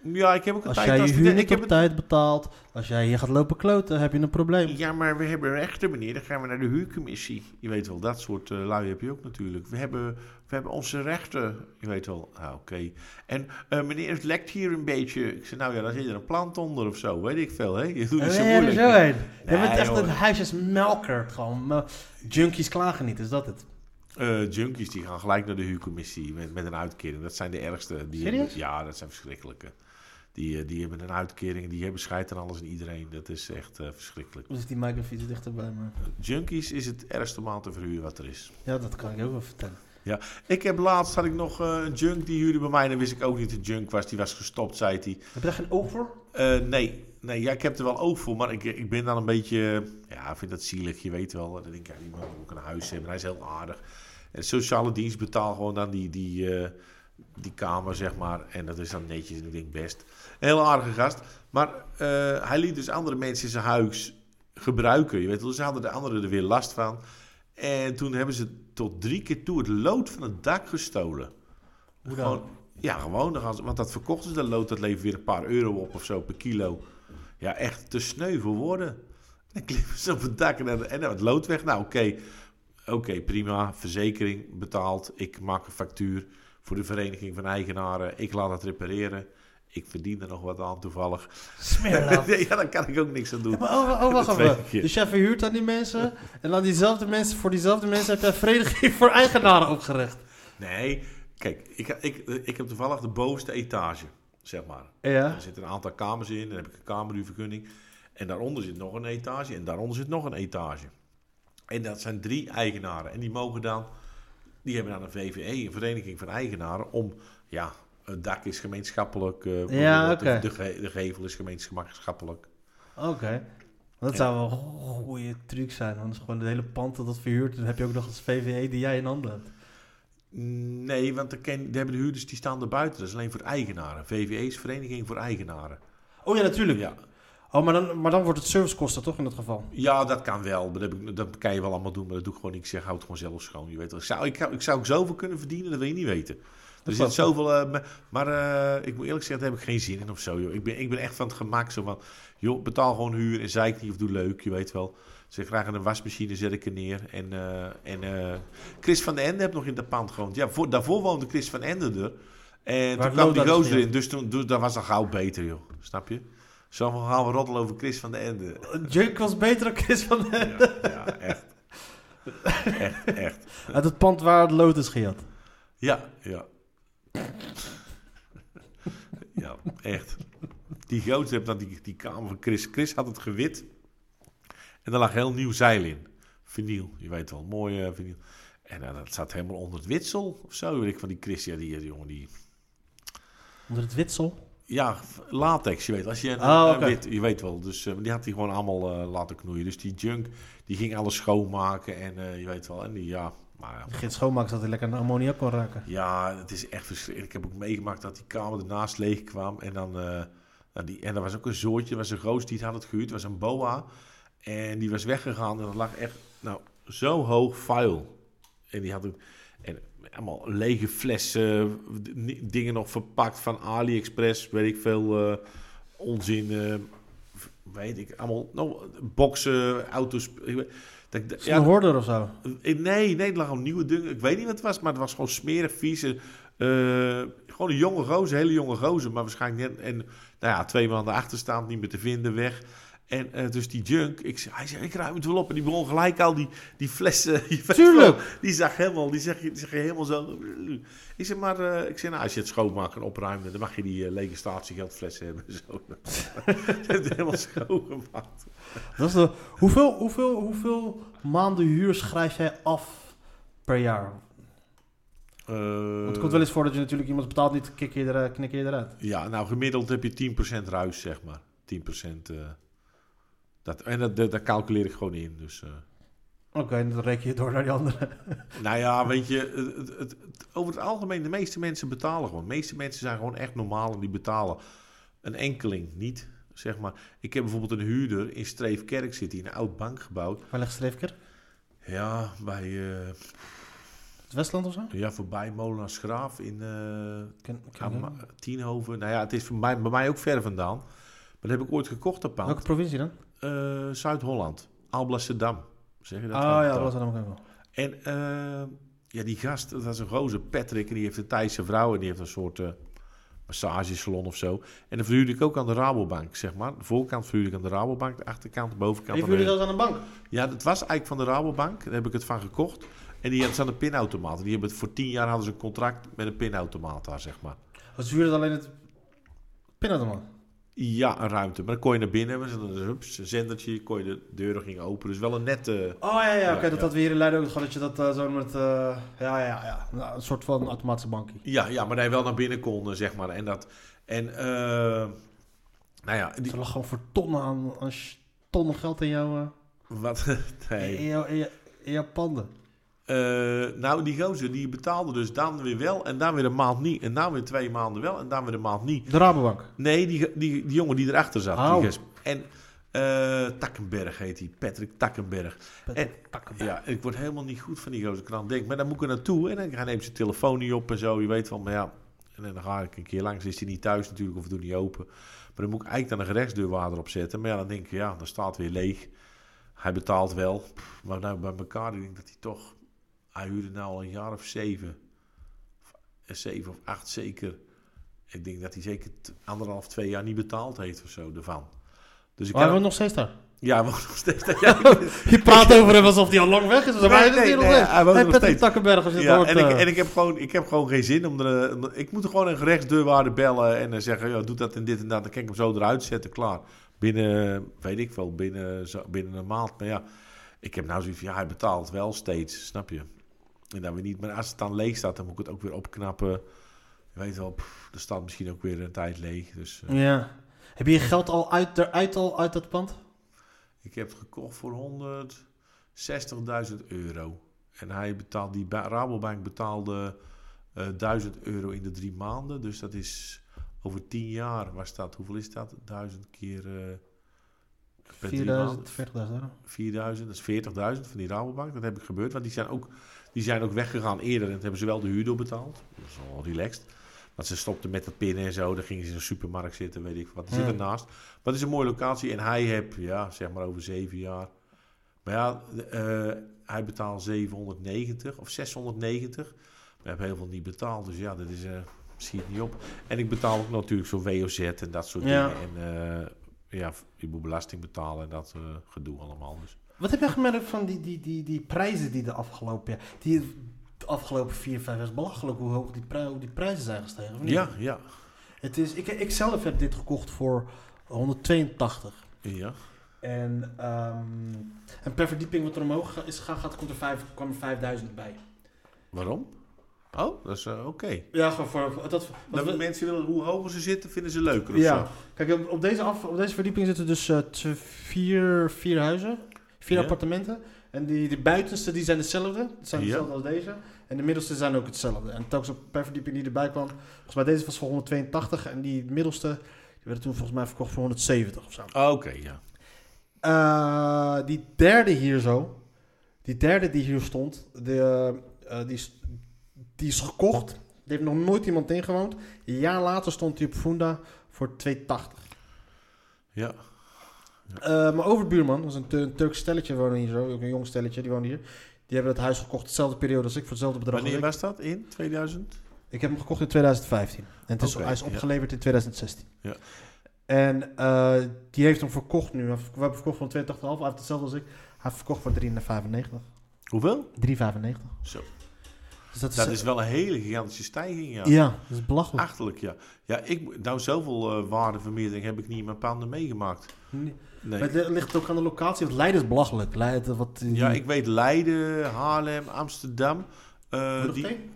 [SPEAKER 3] ja, ik heb ook een
[SPEAKER 2] Als
[SPEAKER 3] tijd
[SPEAKER 2] jij je
[SPEAKER 3] als
[SPEAKER 2] huur
[SPEAKER 3] student.
[SPEAKER 2] niet
[SPEAKER 3] Ik
[SPEAKER 2] op
[SPEAKER 3] heb een-
[SPEAKER 2] tijd betaalt, als jij hier gaat lopen kloten, heb je een probleem.
[SPEAKER 3] Ja, maar we hebben rechten, meneer. Dan gaan we naar de huurcommissie. Je weet wel, dat soort eh lui heb je ook natuurlijk. We hebben, we hebben onze rechten. Je weet wel, ah, oké. En eh, meneer, het lekt hier een beetje. Ik zei, nou ja, dan zit er een plant onder of zo. Weet ik veel, hè? Je doet
[SPEAKER 2] Ja,
[SPEAKER 3] het zo
[SPEAKER 2] ja, er
[SPEAKER 3] moeilijk.
[SPEAKER 2] zo heen.
[SPEAKER 3] Nee,
[SPEAKER 2] je bent echt
[SPEAKER 3] joh.
[SPEAKER 2] een huisjesmelker. Gewoon eh, junkies klagen niet, is dat het?
[SPEAKER 3] Eh, junkies die gaan gelijk naar de huurcommissie met, met een uitkering. Dat zijn de ergste. Die
[SPEAKER 2] Serieus?
[SPEAKER 3] hebben- ja, dat zijn verschrikkelijke. Die, eh, die hebben een uitkering, die hebben scheid aan alles en iedereen. Dat is echt eh, verschrikkelijk.
[SPEAKER 2] Hoe zit die microfiets dichterbij me?
[SPEAKER 3] Junkies is het ergste maand te verhuren wat er is.
[SPEAKER 2] Ja, dat kan ik ook wel vertellen.
[SPEAKER 3] Ja. Ik heb laatst had ik nog eh, een junk die huurde bij mij. Dan wist ik ook niet dat het junk was. Die was gestopt, zei hij.
[SPEAKER 2] Heb je daar geen oog voor?
[SPEAKER 3] Eh, nee, nee ja, ik heb er wel oog voor, maar ik, ik ben dan een beetje... Ja, ik vind dat zielig, je weet wel. Dan denk ik, ja, die man moet ook een huis hebben. Hij is heel aardig. En sociale dienst betaalt gewoon dan die, die, eh, die kamer, zeg maar. En dat is dan netjes en ik denk best. Een heel aardige gast. Maar eh, hij liet dus andere mensen zijn huis gebruiken. Je weet wel, dus hadden de anderen er weer last van. En toen hebben ze tot drie keer toe het lood van het dak gestolen.
[SPEAKER 2] Hoe dan?
[SPEAKER 3] Gewoon, ja, gewoon. Dan gaan ze, want dat verkochten ze, dat lood, dat levert weer een paar euro op of zo per kilo. Ja, echt te sneu voor woorden. Dan klimmen ze op het dak en, dan- en dan het lood weg. Nou, oké, oké, prima. Verzekering betaald. Ik maak een factuur voor de vereniging van eigenaren. Ik laat het repareren. Ik verdien er nog wat aan toevallig.
[SPEAKER 2] Smeerlap.
[SPEAKER 3] Nee, ja, daar kan ik ook niks aan doen.
[SPEAKER 2] Maar oh, oh, wacht
[SPEAKER 3] Dat
[SPEAKER 2] even.
[SPEAKER 3] weet ik, ja.
[SPEAKER 2] Dus jij verhuurt aan die mensen. En aan diezelfde mensen, voor diezelfde mensen heb jij vereniging voor eigenaren opgericht.
[SPEAKER 3] Nee, kijk, ik, ik, ik heb toevallig de bovenste etage, zeg maar.
[SPEAKER 2] Ja.
[SPEAKER 3] Er zitten een aantal kamers in, dan heb ik een kamerhuurvergunning. En daaronder zit nog een etage en daaronder zit nog een etage. En dat zijn drie eigenaren. En die mogen dan, die hebben dan een VVE, een vereniging van eigenaren, om, ja, het dak is gemeenschappelijk. eh, bijvoorbeeld,
[SPEAKER 2] oké.
[SPEAKER 3] de, de, ge- de gevel is gemeenschappelijk.
[SPEAKER 2] Oké. Dat zou wel een goede truc zijn. Anders gewoon het hele pand dat dat verhuurt. Dan heb je ook nog eens VVE E die jij in handen hebt.
[SPEAKER 3] Nee, want de, ken, de hebben de huurders die staan er buiten. Dat is alleen voor eigenaren. VVE is vereniging voor eigenaren.
[SPEAKER 2] Oh ja, natuurlijk.
[SPEAKER 3] Ja.
[SPEAKER 2] Oh, maar dan, maar dan wordt het servicekosten toch in dat geval?
[SPEAKER 3] Ja, dat kan wel. Maar Dat, heb ik, dat kan je wel allemaal doen, maar dat doe ik gewoon niet. Ik zeg, houd het gewoon zelf schoon. Je weet wel. Ik zou, ik, zou- ik zou ook zoveel kunnen verdienen, dat wil je niet weten. Er zit
[SPEAKER 2] klopt.
[SPEAKER 3] zoveel... eh, me- maar eh, ik moet eerlijk zeggen, daar heb ik geen zin in of zo. Joh. Ik, ben, ik ben echt van het gemak. Zo van, joh, betaal gewoon huur en zeik niet of doe leuk, je weet wel. Zeg, graag in een wasmachine zet ik er neer. En, eh, en eh, Chris van den Ende heeft nog in dat pand gewoond. Ja, voor, daarvoor woonde Chris van Ende er. En
[SPEAKER 2] Waar
[SPEAKER 3] toen kwam
[SPEAKER 2] Lola
[SPEAKER 3] die
[SPEAKER 2] dus
[SPEAKER 3] gozer
[SPEAKER 2] neer.
[SPEAKER 3] in, dus, toen, dus dat was al gauw beter, joh. Snap je? Zo van, gaan we roddelen over Chris van den Ende.
[SPEAKER 2] Junk was beter dan Chris van den Ende.
[SPEAKER 3] Ja, echt. echt, echt.
[SPEAKER 2] Uit het pand waar het lood is gejat.
[SPEAKER 3] Ja, ja. Ja, echt. Die gozer heeft dan die, die kamer van Chris. Chris had het gewit. En daar lag heel nieuw zeil in. Vinyl, je weet wel. Mooi eh, vinyl. En eh, dat zat helemaal onder het witsel of zo. Weet ik van die Chris. Ja, die, die jongen die...
[SPEAKER 2] Onder het witsel.
[SPEAKER 3] Ja, latex, je weet. Als je, een-
[SPEAKER 2] Oh,
[SPEAKER 3] een
[SPEAKER 2] oké.
[SPEAKER 3] wit, je weet wel. Dus eh, die had hij gewoon allemaal eh, laten knoeien. Dus die junk, die ging alles schoonmaken. En eh, je weet wel. En die, ja... Maar ja,
[SPEAKER 2] Geen schoonmaak zodat hij lekker een ammoniak kon raken.
[SPEAKER 3] Ja, het is echt verschrikkelijk. Ik heb ook meegemaakt dat die kamer ernaast leeg kwam. En dan eh, nou, die, en er was ook een zoortje, er was een roos die het had het gehuurd, er was een boa. En die was weggegaan en dat lag echt nou, zo hoog vuil. En die had ook en, allemaal lege flessen, d- ni- dingen nog verpakt van AliExpress, weet ik veel eh, onzin. eh, v- weet ik, allemaal nou, boksen, auto's. ik weet- dat ik-
[SPEAKER 2] Is het
[SPEAKER 3] ja,
[SPEAKER 2] een hoorder of zo?
[SPEAKER 3] eh, Nee, nee, er lag een nieuwe ding. Ik weet niet wat het was, maar het was gewoon smerig, vies. eh, eh, gewoon een jonge gozer, hele jonge gozer. Maar waarschijnlijk net... En nou ja, twee maanden achterstaand, niet meer te vinden, weg. En eh, dus die junk, ik, zei- hij zei, ik ruim het wel op. En die begon gelijk al die, die flessen. Die flessen-
[SPEAKER 2] Tuurlijk.
[SPEAKER 3] Die zag helemaal, die zag, die zag helemaal zo. Ik zeg maar, eh, ik zei, nou, als je het schoonmaakt en opruimt, dan mag je die eh, lege statiegeldflessen hebben. Zo. Ze hebben het helemaal schoongemaakt.
[SPEAKER 2] Dat is de, hoeveel, hoeveel, hoeveel maanden huur schrijf jij af per jaar? Want het komt wel eens voor dat je natuurlijk iemand betaalt niet, knik je, er, eh, knik je eruit.
[SPEAKER 3] Ja, nou gemiddeld heb je 10% ruis, zeg maar. 10%. eh dat, en dat, dat, dat calculeer ik gewoon in. Dus, eh.
[SPEAKER 2] Oké, en dan reken je door naar die andere.
[SPEAKER 3] Nou ja, weet je, het, het, het- het- over het algemeen, de meeste mensen betalen gewoon. De meeste mensen zijn gewoon echt normaal en die betalen. Een enkeling niet, zeg maar. Ik heb bijvoorbeeld een huurder in Streefkerk zitten, in een oud bankgebouw.
[SPEAKER 2] Waar ligt Streefker?
[SPEAKER 3] Ja, bij, eh,
[SPEAKER 2] Het Westland of zo?
[SPEAKER 3] ja voorbij Molenaars Graaf in eh,
[SPEAKER 2] Ken, ken
[SPEAKER 3] aan Ma- Tienhoven. Nou ja, het is voor mij, bij mij ook ver vandaan. Maar dat heb ik ooit gekocht, dat pand.
[SPEAKER 2] Welke provincie dan?
[SPEAKER 3] Eh, Zuid-Holland, Alblasserdam. Zeg je dat?
[SPEAKER 2] Ah
[SPEAKER 3] dan?
[SPEAKER 2] ja, Rotterdam ook wel.
[SPEAKER 3] En eh, ja, die gast, dat is een gozer, Patrick, en die heeft een Thaise vrouw en die heeft een soort eh, massagesalon of zo. En dan verhuurde ik ook aan de Rabobank, zeg maar. De voorkant verhuurde ik aan de Rabobank, de achterkant, de bovenkant.
[SPEAKER 2] Even
[SPEAKER 3] aan de-
[SPEAKER 2] jullie dat aan de bank?
[SPEAKER 3] Ja, dat was eigenlijk van de Rabobank, daar heb ik het van gekocht. En die hadden ze aan de pinautomaat. En Die hebben het, voor tien jaar hadden ze een contract met een pinautomaat daar, zeg maar.
[SPEAKER 2] Wat is jullie alleen het pinautomaat?
[SPEAKER 3] Ja, een ruimte. Maar dan kon je naar binnen, was een, hups, een zendertje, kon je de deuren gingen open. Dus wel een nette...
[SPEAKER 2] Oh ja, ja, oké,
[SPEAKER 3] Ja,
[SPEAKER 2] dat
[SPEAKER 3] ja.
[SPEAKER 2] hadden we hier in Leiden ook gehad, dat je dat eh, zo met, eh, ja, ja, ja, nou, een soort van automatische bankie.
[SPEAKER 3] Ja, ja, maar dat je wel naar binnen kon, eh, zeg maar. En dat... En, eh, nou ja, die,
[SPEAKER 2] Ze lag gewoon voor tonnen aan, aan sh- tonnen geld in jouw, eh,
[SPEAKER 3] Wat? Nee.
[SPEAKER 2] in jouw, in jouw, in jouw panden.
[SPEAKER 3] Eh, nou, die gozer die betaalde dus dan weer wel en dan weer een maand niet. En dan weer twee maanden wel en dan weer een maand niet.
[SPEAKER 2] De Rabobank.
[SPEAKER 3] Nee, die, die, die jongen die erachter zat.
[SPEAKER 2] Oh.
[SPEAKER 3] Die gast. en eh Takkenberg heet hij, Patrick Takkenberg. en, Ja, ik word helemaal niet goed van die gozer krant. Denk, maar dan moet ik er naartoe en dan hij neemt zijn telefoon niet op en zo. Je weet van, maar ja. En dan ga ik een keer langs. Is hij niet thuis natuurlijk of doet niet open. Maar dan moet ik eigenlijk dan een gerechtsdeurwaarder opzetten. Maar ja, dan denk ik, ja, dan staat het weer leeg. Hij betaalt wel. Pff, Maar nou, bij elkaar, ik denk dat hij toch... Hij huurde nou al een jaar of zeven. Of, eh, Zeven of acht zeker. Ik denk dat hij zeker t- anderhalf, twee jaar niet betaald heeft of zo ervan. Dus ik
[SPEAKER 2] Maar hij
[SPEAKER 3] kan-
[SPEAKER 2] woont nog steeds daar.
[SPEAKER 3] Ja, hij woont nog steeds...
[SPEAKER 2] Je praat over hem alsof hij al lang weg is. maar hij is
[SPEAKER 3] nee,
[SPEAKER 2] hier nog
[SPEAKER 3] nee,
[SPEAKER 2] steeds.
[SPEAKER 3] hij woont
[SPEAKER 2] Hey,
[SPEAKER 3] nog
[SPEAKER 2] Patrick
[SPEAKER 3] steeds.
[SPEAKER 2] Takkenberg, als je het
[SPEAKER 3] Ja,
[SPEAKER 2] hoort.
[SPEAKER 3] en, ik,
[SPEAKER 2] eh,
[SPEAKER 3] en ik, heb gewoon, ik heb gewoon geen zin om er. eh, om- Ik moet er gewoon een gerechtsdeurwaarde bellen en eh, zeggen: ja, doe dat en dit en dat. Dan kan ik hem zo eruit zetten, klaar. Binnen, eh, weet ik wel, binnen, zo- binnen een maand. Maar ja, ik heb nou zoiets van: ja, hij betaalt wel steeds, snap je? En dan weer niet. Maar als het dan leeg staat, dan moet ik het ook weer opknappen. Je weet wel, pff, er staat misschien ook weer een tijd leeg. Dus eh,
[SPEAKER 2] Ja. Heb je je geld al uit, eruit al uit dat pand?
[SPEAKER 3] ik heb het gekocht voor 160.000 euro. En hij betaalt, die ba- Rabobank betaalde eh 1000 euro in de drie maanden. Dus dat is over 10 jaar. Waar staat, hoeveel is dat? 1000 keer. eh, per drie
[SPEAKER 2] 4000,
[SPEAKER 3] maanden.
[SPEAKER 2] 40.000 euro.
[SPEAKER 3] 4000, dat is 40.000 van die Rabobank. Dat heb ik gebeurd, want die zijn ook, die zijn ook weggegaan eerder. En dat hebben ze wel de huur doorbetaald. Dat is al relaxed. Want ze stopten met dat pinnen en zo. Dan gingen ze in een supermarkt zitten, weet ik wat. Die
[SPEAKER 2] Ja.
[SPEAKER 3] zitten ernaast. Maar het is een mooie locatie. En hij heb, ja, zeg maar over zeven jaar. Maar ja, eh, hij betaalt 790 of 690. We hebben heel veel niet betaald. Dus ja, dat is, eh schiet niet op. En ik betaal ook natuurlijk zo'n WOZ en dat soort
[SPEAKER 2] Ja.
[SPEAKER 3] dingen. En eh, ja, je moet belasting betalen en dat eh, gedoe allemaal. Dus.
[SPEAKER 2] Wat heb jij gemerkt van die, die, die, die prijzen die de afgelopen, die de afgelopen 4, 5 jaar is belachelijk hoe hoog die, pri- hoe die prijzen zijn gestegen? of niet?
[SPEAKER 3] Ja, ja.
[SPEAKER 2] Het is, ik, ik zelf heb dit gekocht voor 182.
[SPEAKER 3] Ja,
[SPEAKER 2] En, ehm, en per verdieping wat er omhoog ga- is gegaan, gaat, komt er vijf, kwam er 5000 bij.
[SPEAKER 3] waarom? Oh, dat is eh, oké.
[SPEAKER 2] Ja, gewoon voor... Dat, dat,
[SPEAKER 3] Dat mensen willen, hoe hoger ze zitten, vinden ze leuker of
[SPEAKER 2] ja,
[SPEAKER 3] zo.
[SPEAKER 2] kijk, op, op deze af, op deze verdieping zitten dus eh, t- vier, vier huizen, vier
[SPEAKER 3] Ja.
[SPEAKER 2] appartementen. En die, die buitenste die zijn hetzelfde, die zijn
[SPEAKER 3] Ja.
[SPEAKER 2] hetzelfde als deze. En de middelste zijn ook hetzelfde. En telkens op per verdieping die erbij kwam, volgens mij deze was voor 182 en die middelste, die werden toen volgens mij verkocht voor 170 of zo.
[SPEAKER 3] Ah, Oké, ja.
[SPEAKER 2] Eh, die derde hier zo. Die derde die hier stond. De, eh, die, is, die is gekocht. Er heeft nog nooit iemand ingewoond. Een jaar later stond hij op Funda voor 280.
[SPEAKER 3] Ja,
[SPEAKER 2] Eh, mijn overbuurman was een, Tur- een Turks stelletje woonde hier zo. Ook een jong stelletje, die woonde hier. Die hebben dat huis gekocht dezelfde periode als ik, voor hetzelfde bedrag als
[SPEAKER 3] wanneer
[SPEAKER 2] ik.
[SPEAKER 3] was dat? In 2000?
[SPEAKER 2] Ik heb hem gekocht in 2015. En het is,
[SPEAKER 3] Oké,
[SPEAKER 2] hij is
[SPEAKER 3] ja.
[SPEAKER 2] opgeleverd in 2016.
[SPEAKER 3] Ja.
[SPEAKER 2] En eh, die heeft hem verkocht nu. Hij heeft- We hebben verkocht voor 2,80,5. Hij heeft hetzelfde als ik. Hij heeft verkocht voor 3,95. 3,95.
[SPEAKER 3] Hoeveel? Zo.
[SPEAKER 2] Dus dat is... eh,
[SPEAKER 3] Dat is wel een hele gigantische stijging, ja.
[SPEAKER 2] Ja, dat is belachelijk.
[SPEAKER 3] Achterlijk, ja. Ja, ik, moet- nou, zoveel eh, waardevermeerdering heb ik niet in mijn panden meegemaakt.
[SPEAKER 2] Nee.
[SPEAKER 3] Nee.
[SPEAKER 2] Maar het ligt ook aan de locatie. Want Leiden is belachelijk. Leiden, wat, eh,
[SPEAKER 3] Ja, ik weet Leiden, Haarlem, Amsterdam. eh,
[SPEAKER 2] Nog
[SPEAKER 3] die-
[SPEAKER 2] thee?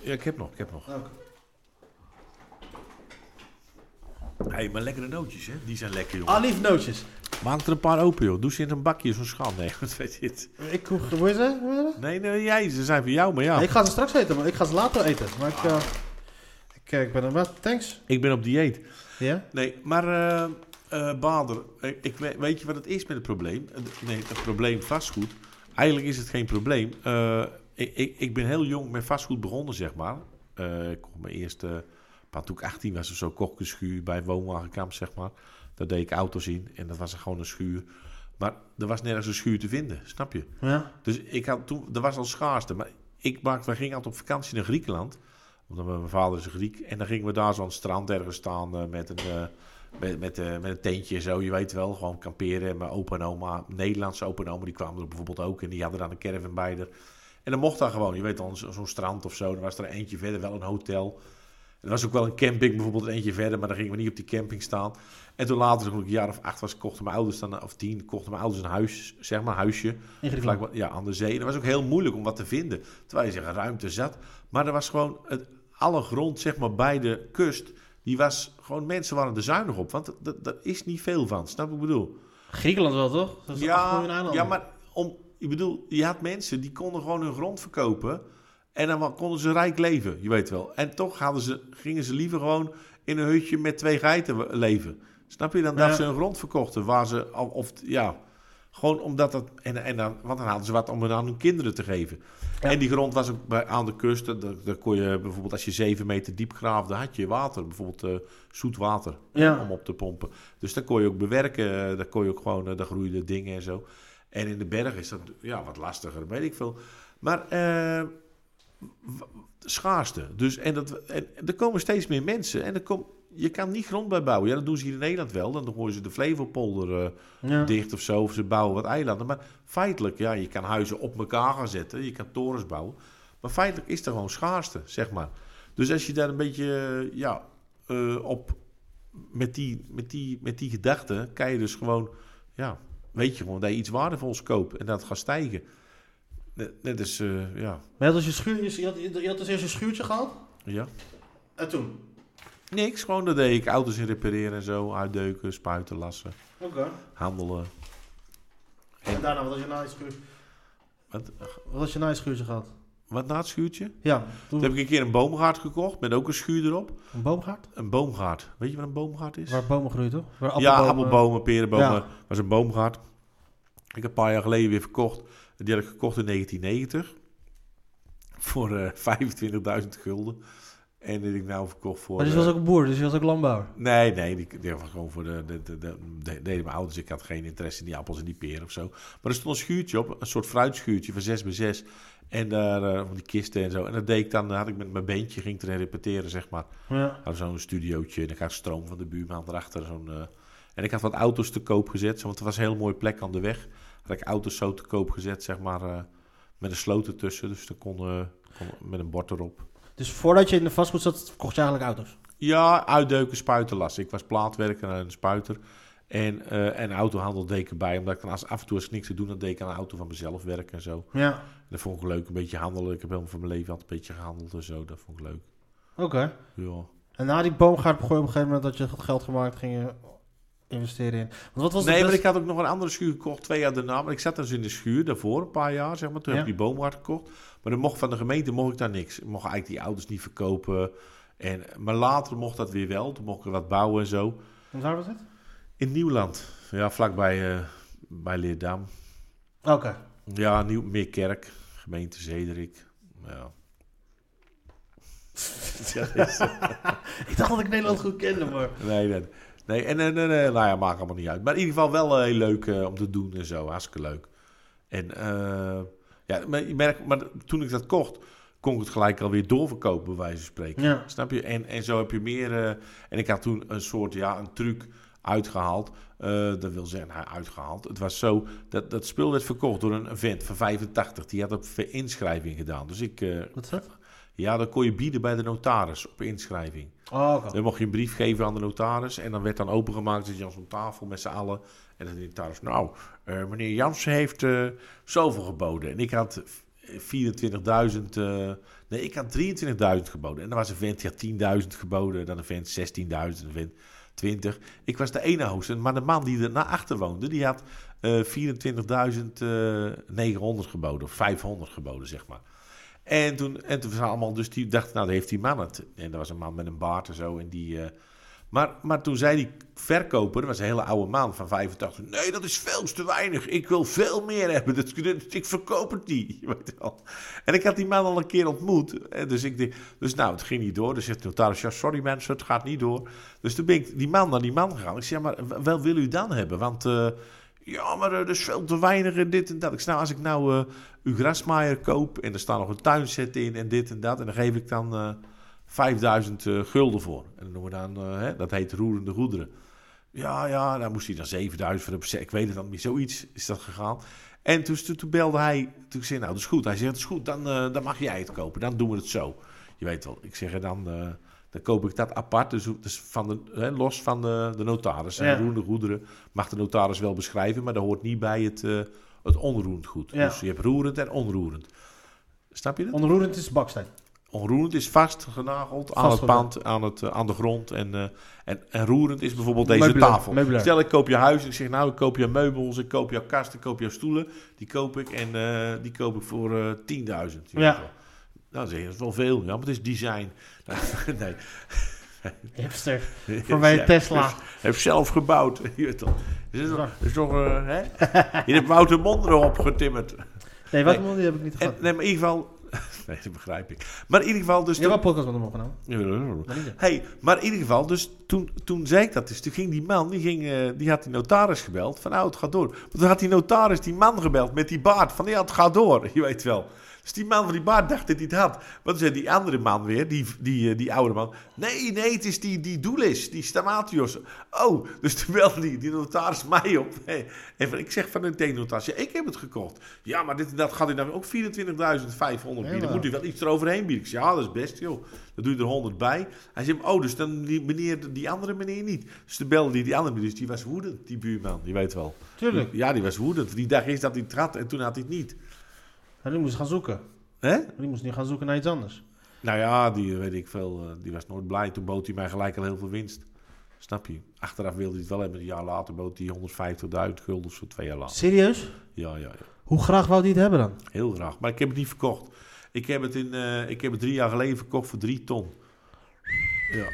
[SPEAKER 3] Ja, ik heb nog, ik heb nog.
[SPEAKER 2] Ah, oké.
[SPEAKER 3] hey, maar lekkere nootjes, hè? Die zijn lekker, jongen.
[SPEAKER 2] Ah, lief nootjes.
[SPEAKER 3] Maak er een paar open, joh. Doe ze in een bakje, zo'n schaal. Nee, wat weet je het?
[SPEAKER 2] Ik, hoe, hoe is het? Hoe is het?
[SPEAKER 3] Nee, nee, jij, ze zijn voor jou, maar ja.
[SPEAKER 2] Ik ga ze straks eten, maar ik ga ze later eten. Maar ik, eh, ik, eh, ik ben er wel. Thanks.
[SPEAKER 3] Ik ben op dieet.
[SPEAKER 2] Ja?
[SPEAKER 3] Nee, maar eh, eh, Bader, ik, ik we- weet je wat het is met het probleem? Eh, Nee, het probleem vastgoed. Eigenlijk is het geen probleem. Eh, ik, ik, ik ben heel jong met vastgoed begonnen, zeg maar. Eh, ik kocht mijn eerste pand toen ik 18 was of zo, kocht ik een schuur bij woonwagenkamp, zeg maar. Daar deed ik auto's in en dat was gewoon een schuur. Maar er was nergens een schuur te vinden, snap je?
[SPEAKER 2] Ja.
[SPEAKER 3] Dus ik had toen, er was al schaarste. Maar ik maakte, we gingen altijd op vakantie naar Griekenland. Omdat mijn vader is Griek. En dan gingen we daar zo aan het strand ergens staan eh, met een, eh, met, met, eh, met een tentje en zo. Je weet wel, gewoon kamperen. En mijn opa en oma, Nederlandse opa en oma, die kwamen er bijvoorbeeld ook. En die hadden dan een caravan bij er. En dan mocht daar gewoon, je weet dan, zo- zo'n strand of zo. Dan was er eentje verder wel een hotel. Er was ook wel een camping bijvoorbeeld eentje verder, maar dan gingen we niet op die camping staan. En toen later, toen ik een jaar of acht was, kochten mijn ouders dan, of tien, kochten mijn ouders een huis, zeg maar, een huisje.
[SPEAKER 2] Griekenland.
[SPEAKER 3] Vlakbij- Ja, aan de zee. En dat was ook heel moeilijk om wat te vinden, terwijl je zegt, ruimte zat. Maar er was gewoon, het, alle grond, zeg maar, bij de kust, die was gewoon, mensen waren er zuinig op. Want dat- dat- daar is niet veel van, snap wat ik bedoel?
[SPEAKER 2] Griekenland wel, toch? Dat is acht miljoen
[SPEAKER 3] Ja,
[SPEAKER 2] eilanden.
[SPEAKER 3] ja, maar om, ik bedoel, je had mensen die konden gewoon hun grond verkopen. En dan konden ze rijk leven, je weet wel. En toch hadden ze, gingen ze liever gewoon in een hutje met twee geiten we- leven. Snap je? Dan
[SPEAKER 2] Ja.
[SPEAKER 3] dat ze hun grond verkochten. Waar ze, al- of, ja, gewoon omdat dat... En, en dan, want dan hadden ze wat om aan hun kinderen te geven. En die grond was ook bij, aan de kust. Daar, daar kon je bijvoorbeeld, als je zeven meter diep graafde, had je water. Bijvoorbeeld eh, zoet water
[SPEAKER 2] Ja.
[SPEAKER 3] om op te pompen. Dus daar kon je ook bewerken. eh, Daar kon je ook gewoon, eh, daar groeiden dingen en zo. En in de berg is dat ja, wat lastiger, weet ik veel. Maar eh, w- schaarste. Dus, en, dat, en er komen steeds meer mensen. En er kom, je kan niet grond bij bouwen. Ja, dat doen ze hier in Nederland wel. Dan gooien ze de Flevopolder eh,
[SPEAKER 2] Ja.
[SPEAKER 3] dicht of zo. Of ze bouwen wat eilanden. Maar feitelijk, ja, je kan huizen op elkaar gaan zetten. Je kan torens bouwen. Maar feitelijk is er gewoon schaarste, zeg maar. Dus als je daar een beetje eh, ja, eh, op... Met die, met, die, met die gedachte kan je dus gewoon... Ja, weet je gewoon dat je iets waardevols koopt. En dat gaat stijgen. Net, net als... eh, ja,
[SPEAKER 2] Maar je had, dus je, schuur, je, had, je had dus eerst een schuurtje gehad.
[SPEAKER 3] ja.
[SPEAKER 2] En toen?
[SPEAKER 3] Niks, gewoon dat deed ik. Auto's in repareren en zo. Uitdeuken, spuiten, lassen,
[SPEAKER 2] Oké.
[SPEAKER 3] handelen.
[SPEAKER 2] En daarna, wat had je na je schuur?
[SPEAKER 3] Wat,
[SPEAKER 2] Wat had je na je schuurtje gehad?
[SPEAKER 3] wat na het schuurtje?
[SPEAKER 2] Ja,
[SPEAKER 3] Toen
[SPEAKER 2] toen
[SPEAKER 3] heb ik een keer een boomgaard gekocht met ook een schuur erop.
[SPEAKER 2] een boomgaard.
[SPEAKER 3] Een boomgaard. Weet je wat een boomgaard is?
[SPEAKER 2] Waar bomen groeien, toch? Waar
[SPEAKER 3] ja, appelbomen, perenbomen.
[SPEAKER 2] Ja.
[SPEAKER 3] was een boomgaard. Ik heb een paar jaar geleden weer verkocht. Die had ik gekocht in 1990. Voor eh 25.000 gulden. En die heb ik nou verkocht voor...
[SPEAKER 2] Maar dus
[SPEAKER 3] eh,
[SPEAKER 2] was ook een boer, dus je was ook landbouwer.
[SPEAKER 3] Nee, nee, die, die was gewoon voor de, de, de, de- de- deden mijn ouders. Ik had geen interesse in die appels en die peren of zo. Maar er stond een schuurtje op, een soort fruitschuurtje van 6 bij 6 En daar, eh, van die kisten en zo. En dat deed ik dan, dan had ik met mijn beentje, ging ik erin repeteren, zeg maar.
[SPEAKER 2] Ja.
[SPEAKER 3] Hadden zo'n studiootje en ik had stroom van de buurman erachter. Zo'n, eh, en ik had wat auto's te koop gezet, zo, want het was een hele mooie plek aan de weg. Had ik auto's zo te koop gezet, zeg maar, eh, met een sloot ertussen. Dus dan kon, eh, kon met een bord erop.
[SPEAKER 2] Dus voordat je in de vastgoed zat, kocht je eigenlijk auto's.
[SPEAKER 3] Ja, uitdeuken, spuiten las. Ik was plaatwerker en een spuiter. En, eh, en autohandel deed ik erbij. Omdat ik dan als, af en toe als ik niks te doen had, deed ik aan een auto van mezelf werken en zo.
[SPEAKER 2] Ja.
[SPEAKER 3] En dat vond ik leuk, een beetje handelen. Ik heb helemaal van mijn leven altijd een beetje gehandeld en zo. Dat vond ik leuk.
[SPEAKER 2] Oké.
[SPEAKER 3] Ja.
[SPEAKER 2] En na die boomgaard begon je op een gegeven moment dat je geld gemaakt ging je investeren in. Want wat was
[SPEAKER 3] Nee,
[SPEAKER 2] de
[SPEAKER 3] maar
[SPEAKER 2] best-
[SPEAKER 3] ik had ook nog een andere schuur gekocht twee jaar daarna. Maar ik zat dus in de schuur daarvoor, een paar jaar zeg maar. Toen heb
[SPEAKER 2] Ja.
[SPEAKER 3] ik die boomhard gekocht. Maar dan mocht van de gemeente mocht ik daar niks. Ik mocht eigenlijk die auto's niet verkopen. En, maar later mocht dat weer wel. Toen mocht ik er wat bouwen en zo.
[SPEAKER 2] En Waar was het?
[SPEAKER 3] In Nieuwland. Ja, vlakbij eh bij Leerdam.
[SPEAKER 2] Oké.
[SPEAKER 3] Ja, Nieuw Meerkerk, gemeente Zederik. Ja.
[SPEAKER 2] Ik dacht dat ik Nederland goed kende, maar...
[SPEAKER 3] Nee, nee, nee. En, en, en, eh, nou ja, maakt allemaal niet uit. Maar in ieder geval wel eh, heel leuk eh, om te doen en zo. Hartstikke leuk. En eh, ja, maar je merkt, maar toen ik dat kocht, kon ik het gelijk alweer doorverkopen, bij wijze van spreken.
[SPEAKER 2] Ja.
[SPEAKER 3] Snap je? En, en zo heb je meer... eh, en ik had toen een soort, ja, een truc uitgehaald. Eh, dat wil zeggen, nou, uitgehaald. Het was zo, dat, dat spul werd verkocht door een vent van 85. Die had op inschrijving gedaan. Dus ik... eh,
[SPEAKER 2] Wat is dat?
[SPEAKER 3] ja, dan kon je bieden bij de notaris op inschrijving.
[SPEAKER 2] Oh, oké.
[SPEAKER 3] Dan mocht je een brief geven aan de notaris. En dan werd dan opengemaakt. Zit je aan zo'n tafel met z'n allen. En dan de notaris. Nou, eh, meneer Jansen heeft eh, zoveel geboden. En ik had 24.000. eh, nee, ik had 23.000 geboden. En dan was een vent die had 10.000 geboden. Dan een vent 16.000. Een vent 20. Ik was de ene hoogste. Maar de man die erna achter woonde, die had eh 24.900 geboden. Of 500 geboden, zeg maar. En toen, en toen waren allemaal, dus die dachten, nou, daar heeft die man het. En er was een man met een baard en zo. En die, eh, maar, maar toen zei die verkoper, dat was een hele oude man van 85, nee, dat is veel te weinig. Ik wil veel meer hebben. Dat, dat- ik verkoop het niet. Je weet wel. En ik had die man al een keer ontmoet. En Dus, ik, dacht- dus nou, het ging niet door. Dus zegt de notaris, ja, sorry mensen, het gaat niet door. Dus toen ben ik die man naar die man gegaan. Ik zeg, maar w- wel wil u dan hebben? Want... eh, ja, maar eh, er is veel te weinig en dit en dat. Ik zeg, nou, als ik nou eh uw grasmaaier koop en er staan nog een tuinset in en dit en dat... en dan geef ik dan eh, 5000 eh, gulden voor. En dan noemen we dan, eh, hè, dat heet roerende goederen. Ja, ja, daar moest hij dan 7000 voor hebben. Ik weet het dan niet, zoiets is dat gegaan. En toen, toen, toen belde hij, toen ik zei, nou, dat is goed. Hij zegt, dat is goed, dan, eh, dan mag jij het kopen, dan doen we het zo. Je weet wel, ik zeg, eh, dan, eh, dan koop ik dat apart, dus, dus van de, hè, los van de, de notaris. En
[SPEAKER 2] Ja.
[SPEAKER 3] roerende goederen mag de notaris wel beschrijven, maar dat hoort niet bij het, eh, het onroerend goed.
[SPEAKER 2] Ja.
[SPEAKER 3] Dus je hebt roerend en onroerend. Snap je dat?
[SPEAKER 2] Onroerend is baksteen.
[SPEAKER 3] Onroerend is vastgenageld aan het
[SPEAKER 2] Vastgenageld.
[SPEAKER 3] pand, aan, het, eh, aan de grond. En, eh, en, en roerend is bijvoorbeeld deze
[SPEAKER 2] Meubilair,
[SPEAKER 3] tafel.
[SPEAKER 2] meubilair.
[SPEAKER 3] Stel, ik koop je huis en ik zeg nou, ik koop je meubels, ik koop jouw kast, ik koop jouw stoelen. Die koop ik en eh, die koop ik voor eh, 10.000. je weet
[SPEAKER 2] Ja.
[SPEAKER 3] wel. Nou, dan zeg je, dat is wel veel. Ja, maar het is design. nee.
[SPEAKER 2] Hipster. Vanwege
[SPEAKER 3] Ja,
[SPEAKER 2] Tesla.
[SPEAKER 3] dus Heb zelf gebouwd. Je weet toch. Dus dat is toch, dat is toch eh, hè? Je hebt Wouter Mondro opgetimmerd.
[SPEAKER 2] Nee, wat
[SPEAKER 3] Nee.
[SPEAKER 2] man, die heb ik niet
[SPEAKER 3] En,
[SPEAKER 2] gehad.
[SPEAKER 3] nee, maar in ieder geval... Nee, dat begrijp ik. Maar in ieder geval dus...
[SPEAKER 2] Je hebt wel een podcast met hem opgenomen.
[SPEAKER 3] Hey, maar in ieder geval, dus toen, toen zei ik dat dus. Toen ging die man, die, ging, eh, die had die notaris gebeld. Van nou, het gaat door. Maar toen had die notaris die man gebeld met die baard. Van ja, het gaat door. Je weet wel. Dus die man van die baard dacht dat hij het had. Maar toen zei die andere man weer, die, die, eh, die oude man. Nee, nee, het is die, die Doelis, die Stamatios. Oh, dus toen belde die, die notaris mij op. Hey, en van- ik zeg van een notaris, ja, ik heb het gekocht. Ja, maar dit en dat gaat hij dan ook 24.500 bieden.
[SPEAKER 2] Ja.
[SPEAKER 3] Moet hij wel iets eroverheen bieden? Ik zeg, ja, dat is best, joh. Dan doe je er 100 bij. Hij zei, oh, dus dan die, meneer, die andere meneer niet. Dus toen belde die, die andere meneer, dus die was woedend, die buurman, je weet wel.
[SPEAKER 2] Tuurlijk.
[SPEAKER 3] Ja, die was woedend. Die dag is dat hij het had en toen had hij het niet.
[SPEAKER 2] En die moest gaan zoeken.
[SPEAKER 3] Hè?
[SPEAKER 2] Die moest nu gaan zoeken naar iets anders.
[SPEAKER 3] Nou ja, die eh, weet ik veel, eh, die was nooit blij. Toen bood hij mij gelijk al heel veel winst. Snap je? Achteraf wilde hij het wel hebben. Een jaar later bood hij 150.000 gulden voor twee jaar later.
[SPEAKER 2] Serieus?
[SPEAKER 3] Ja, ja, ja.
[SPEAKER 2] Hoe graag wou die het hebben dan?
[SPEAKER 3] Heel graag. Maar ik heb het niet verkocht. Ik heb het, in, eh, ik heb het drie jaar geleden verkocht voor drie ton. Ja.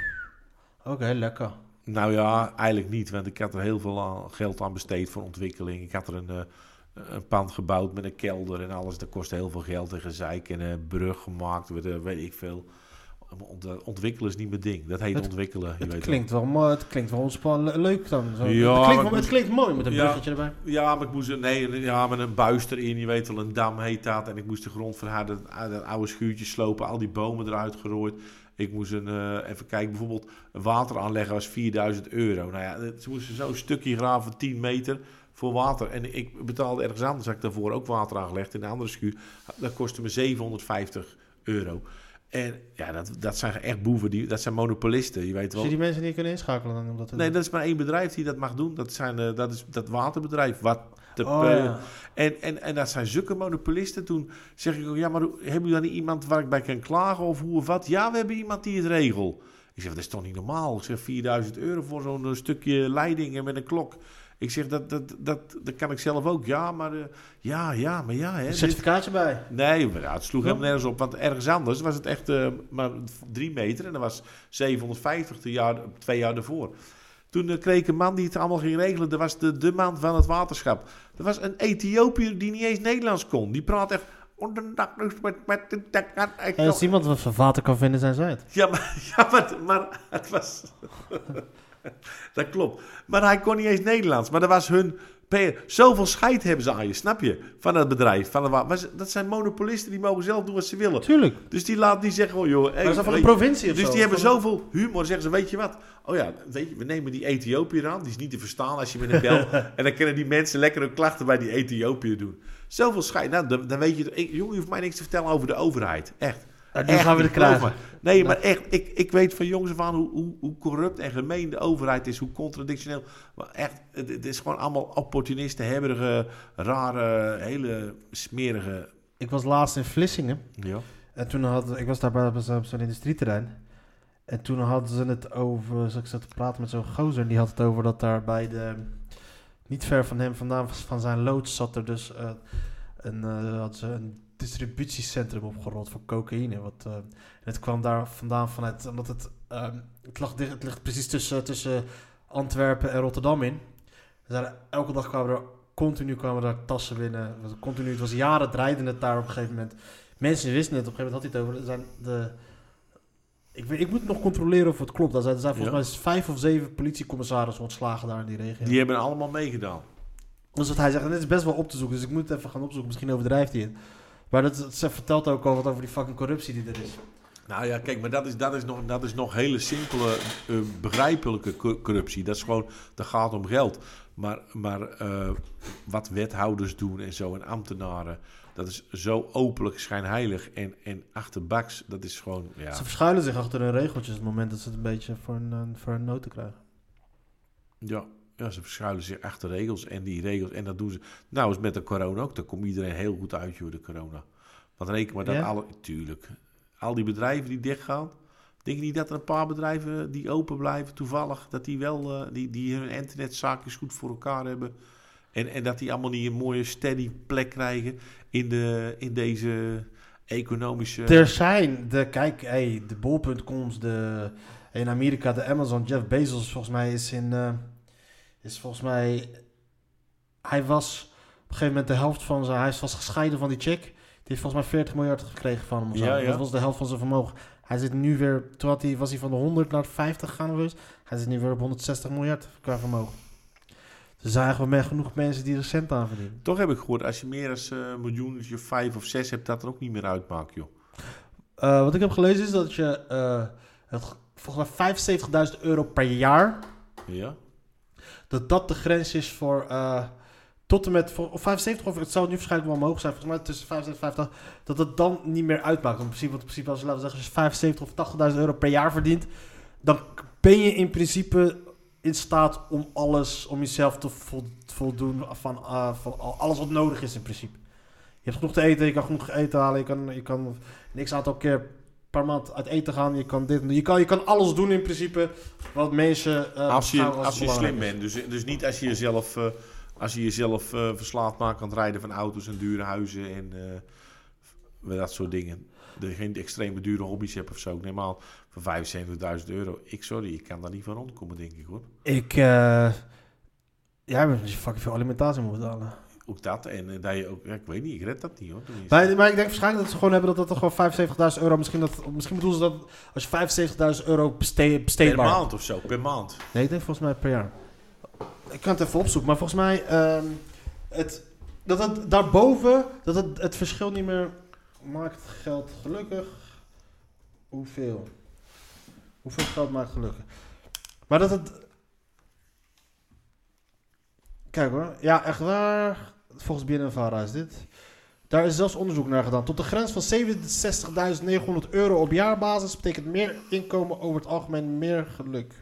[SPEAKER 2] Oké, lekker.
[SPEAKER 3] Nou ja, eigenlijk niet. Want ik had er heel veel aan- geld aan besteed voor ontwikkeling. Ik had er een, eh, een pand gebouwd met een kelder en alles. Dat kostte heel veel geld en gezeik. En een brug gemaakt, weet, eh, weet ik veel. Ont- Ontwikkelen is niet mijn ding. Dat heet
[SPEAKER 2] Het-
[SPEAKER 3] ontwikkelen. Je
[SPEAKER 2] Het
[SPEAKER 3] weet wel.
[SPEAKER 2] klinkt wel, mooi- het klinkt wel ontspannen, le- leuk dan. Zo.
[SPEAKER 3] Ja,
[SPEAKER 2] het, klinkt,
[SPEAKER 3] maar-
[SPEAKER 2] wel- het klinkt mooi met een
[SPEAKER 3] Ja.
[SPEAKER 2] bruggetje erbij.
[SPEAKER 3] Ja, maar ik moest... er- Nee, ja, met een buis erin. Je weet wel, een dam heet dat. En ik moest de grond verharden. Dat oude schuurtje slopen. Al die bomen eruit gerooid. Ik moest een... eh, even kijken. Bijvoorbeeld water aanleggen was 4000 euro. Nou ja, dat- ze moesten zo'n stukje graven van 10 meter voor water. En ik betaalde ergens anders. Had ik daarvoor ook water aangelegd in een andere schuur. Dat kostte me 750 euro. En ja, dat, dat zijn echt boeven. Die, dat zijn monopolisten. Je weet wel.
[SPEAKER 2] Zie je die mensen niet kunnen inschakelen dan? Om dat te
[SPEAKER 3] Nee,
[SPEAKER 2] doen?
[SPEAKER 3] dat is maar één bedrijf die dat mag doen. Dat, zijn, eh, dat is dat waterbedrijf. Wat de
[SPEAKER 2] Oh,
[SPEAKER 3] pe-
[SPEAKER 2] ja.
[SPEAKER 3] en, en, en dat zijn zulke monopolisten. Toen zeg ik ook, ja, maar hoe- hebben jullie dan niet iemand waar ik bij kan klagen of hoe of wat? Ja, we hebben iemand die het regelt. Ik zeg, dat is toch niet normaal? Ik zeg, 4000 euro voor zo'n eh, stukje leiding en met een klok. Ik zeg, dat, dat, dat, dat kan ik zelf ook. Ja, maar, eh, ja, ja, maar ja. Hè,
[SPEAKER 2] Een
[SPEAKER 3] dit-
[SPEAKER 2] certificaatje bij.
[SPEAKER 3] Nee, maar ja, het sloeg helemaal nergens op. Want ergens anders was het echt eh, maar drie meter. En dat was 750 de jaar, twee jaar daarvoor. Toen eh, kreeg ik een man die het allemaal ging regelen. Dat was de, de man van het waterschap. Dat was een Ethiopiër die niet eens Nederlands kon. Die praat echt... dus
[SPEAKER 2] En als iemand wat van water kan vinden, zijn zij het.
[SPEAKER 3] Ja, maar, ja, maar, maar het was... dat klopt. Maar hij kon niet eens Nederlands. Maar dat was hun Per- Zoveel scheid hebben ze aan je, snap je? Van dat bedrijf. Van de, wa- maar ze- dat zijn monopolisten die mogen zelf doen wat ze willen.
[SPEAKER 2] Tuurlijk.
[SPEAKER 3] Dus die laat niet zeggen, oh joh... hey,
[SPEAKER 2] Maar is dat van een
[SPEAKER 3] hey.
[SPEAKER 2] provincie of
[SPEAKER 3] Dus
[SPEAKER 2] zo?
[SPEAKER 3] die hebben
[SPEAKER 2] Van-
[SPEAKER 3] zoveel humor, zeggen ze, weet je wat? Oh ja, weet je, we nemen die Ethiopiër aan, die is niet te verstaan als je met hem belt. en dan kunnen die mensen lekker hun klachten bij die Ethiopiër doen. Zoveel schijn. Nou, dan, dan weet je, ik, jongen, je hoeft mij niks te vertellen over de overheid. Echt.
[SPEAKER 2] Nou, nu
[SPEAKER 3] Echt,
[SPEAKER 2] gaan we Nou.
[SPEAKER 3] ik
[SPEAKER 2] er klagen.
[SPEAKER 3] geloof me. Nee, maar echt, ik, ik weet van jongens af aan hoe, hoe, hoe corrupt en gemeen de overheid is, hoe contradictioneel. Maar echt, het, het is gewoon allemaal opportunisten, hebberige, rare, hele smerige.
[SPEAKER 2] Ik was laatst in Vlissingen.
[SPEAKER 3] Ja.
[SPEAKER 2] En toen had ik was daar bij bij zo'n zo'n industrieterrein. En toen hadden ze het over, zo ik zat te praten met zo'n gozer, en die had het over dat daar bij de, niet ver van hem vandaan, van zijn loods zat er dus eh, een, eh, had ze een distributiecentrum opgerold voor cocaïne. Wat, eh, en het kwam daar vandaan vanuit, omdat het, ehm, het, lag, dicht- het ligt precies tussen, eh, tussen Antwerpen en Rotterdam in. Dus daar, elke dag kwamen er, continu kwamen daar tassen binnen. Het was Continu, het was jaren draaide het daar op een gegeven moment. Mensen wisten het, op een gegeven moment had hij het over. er Zijn de, ik, weet, ik moet nog controleren of het klopt. Er zijn, er zijn volgens
[SPEAKER 3] Ja.
[SPEAKER 2] mij vijf of zeven politiecommissarissen ontslagen daar in die regio.
[SPEAKER 3] Die hebben allemaal meegedaan.
[SPEAKER 2] Dat is wat hij zegt. En dit is best wel op te zoeken, dus ik moet het even gaan opzoeken. Misschien overdrijft hij het. Maar dat, dat- ze vertelt ook al wat over die fucking corruptie die er is.
[SPEAKER 3] Nou ja, kijk, maar dat is, dat is, nog, dat is nog hele simpele, eh, begrijpelijke co- corruptie. Dat is gewoon, dat gaat om geld. Maar, maar eh, wat wethouders doen en zo en ambtenaren, dat is zo openlijk schijnheilig en, en achterbaks. Dat is gewoon, ja.
[SPEAKER 2] Ze verschuilen zich achter hun regeltjes op het moment dat ze het een beetje voor hun, voor hun noten krijgen.
[SPEAKER 3] Ja, ja, ze verschuilen zich achter regels en die regels. En dat doen ze. Nou, is met de corona ook. Daar komt iedereen heel goed uit, joh, de corona. Want reken maar dat
[SPEAKER 2] Ja?
[SPEAKER 3] alle. Tuurlijk. Al die bedrijven die dichtgaan. Denk je niet dat er een paar bedrijven die open blijven, toevallig, dat die wel eh, die, die hun internetzaakjes goed voor elkaar hebben. En, en dat die allemaal niet een mooie steady plek krijgen in, de, in deze economische.
[SPEAKER 2] Er zijn, de, kijk, hey, de bol.coms, de, in Amerika de Amazon, Jeff Bezos volgens mij is in, eh, is volgens mij, hij was op een gegeven moment de helft van zijn, hij is vast gescheiden van die chick. Die heeft volgens mij 40 miljard gekregen van hem. of zo.
[SPEAKER 3] Ja, ja.
[SPEAKER 2] Dat was de helft van zijn vermogen. Hij zit nu weer, toen had hij, was hij van de 100 naar 50 gaan geweest. Hij zit nu weer op 160 miljard qua vermogen. Dus er zijn eigenlijk wel meer genoeg mensen die er cent aan verdienen.
[SPEAKER 3] Toch heb ik gehoord, als je meer dan een miljoen, als je vijf of zes hebt, dat er ook niet meer uitmaakt, joh.
[SPEAKER 2] Eh, wat ik heb gelezen is dat je eh, het, volgens mij 75.000 euro per jaar,
[SPEAKER 3] Ja?
[SPEAKER 2] dat dat de grens is voor eh, tot en met, voor, of 75 of het zou nu waarschijnlijk wel omhoog zijn, volgens mij tussen 75 en 50, dat dat dan niet meer uitmaakt. Want in principe, want in principe als, je, laten we zeggen, als je 75 of 80.000 euro per jaar verdient, dan k- ben je in principe in staat om alles, om jezelf te vol- voldoen van, eh, van al- alles wat nodig is in principe. Je hebt genoeg te eten, je kan genoeg eten halen, je kan, je kan niks aantal keer per maand uit eten gaan, je kan dit, en dat. je kan, je kan alles doen in principe wat mensen eh,
[SPEAKER 3] als je,
[SPEAKER 2] beschouwen
[SPEAKER 3] als je
[SPEAKER 2] belangrijk
[SPEAKER 3] slim
[SPEAKER 2] is.
[SPEAKER 3] bent. Dus, dus niet als je jezelf, eh, als je jezelf eh, verslaafd maakt aan het rijden van auto's en dure huizen en eh, dat soort dingen. De, geen extreme dure hobby's hebt of zo. Ik neem aan, voor 75.000 euro. Ik, sorry, ik kan daar niet van rondkomen, denk ik hoor.
[SPEAKER 2] Ik, eh jij bent je fucking veel alimentatie moet betalen.
[SPEAKER 3] Ook dat. En eh, dat je ook, ja, ik weet niet, ik red dat niet hoor. Tenminste.
[SPEAKER 2] Maar, maar ik denk waarschijnlijk dat ze gewoon hebben dat dat er gewoon 75.000 euro, misschien, dat, misschien bedoelen ze dat als je 75.000 euro besteed,
[SPEAKER 3] per
[SPEAKER 2] besteedbaar.
[SPEAKER 3] maand of zo, per maand.
[SPEAKER 2] Nee, ik denk volgens mij per jaar. Ik kan het even opzoeken, maar volgens mij ehm, het, dat het daarboven, dat het, het verschil niet meer maakt geld gelukkig. Hoeveel? Hoeveel geld maakt gelukkig? Maar dat het... Kijk hoor, ja echt waar, volgens BNNVARA is dit. Daar is zelfs onderzoek naar gedaan. Tot de grens van 67.900 euro op jaarbasis betekent meer inkomen over het algemeen meer geluk.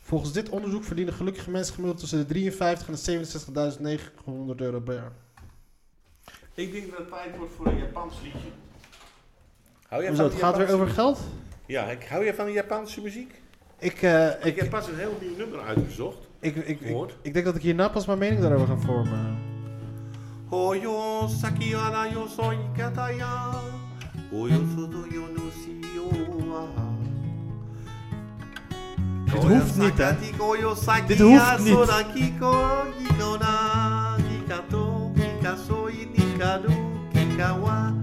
[SPEAKER 2] Volgens dit onderzoek verdienen gelukkige mensen gemiddeld tussen de 53 en de 67.900 euro per jaar.
[SPEAKER 3] Ik denk dat het tijd wordt voor een Japans liedje. Hou jij
[SPEAKER 2] Hoezo,
[SPEAKER 3] van
[SPEAKER 2] het
[SPEAKER 3] die
[SPEAKER 2] gaat weer
[SPEAKER 3] Japanse-
[SPEAKER 2] over geld?
[SPEAKER 3] Ja, ik, hou jij van de Japanse muziek?
[SPEAKER 2] Ik, eh,
[SPEAKER 3] Ik
[SPEAKER 2] ik,
[SPEAKER 3] heb pas een heel nieuw nummer uitgezocht.
[SPEAKER 2] ik, ik, ik,
[SPEAKER 3] Gehoord.
[SPEAKER 2] ik denk dat ik hierna pas mijn mening daarover ga vormen.
[SPEAKER 3] Hoyo saki ara yo soy kataya. Hoyo soto yo no shio wa.
[SPEAKER 2] Dit hoeft niet, hè?
[SPEAKER 3] Sakati koyo saki
[SPEAKER 2] Dit hoeft niet.
[SPEAKER 3] asoraki kogi no na. Kikato, kikasoi, nikadu, kikawa.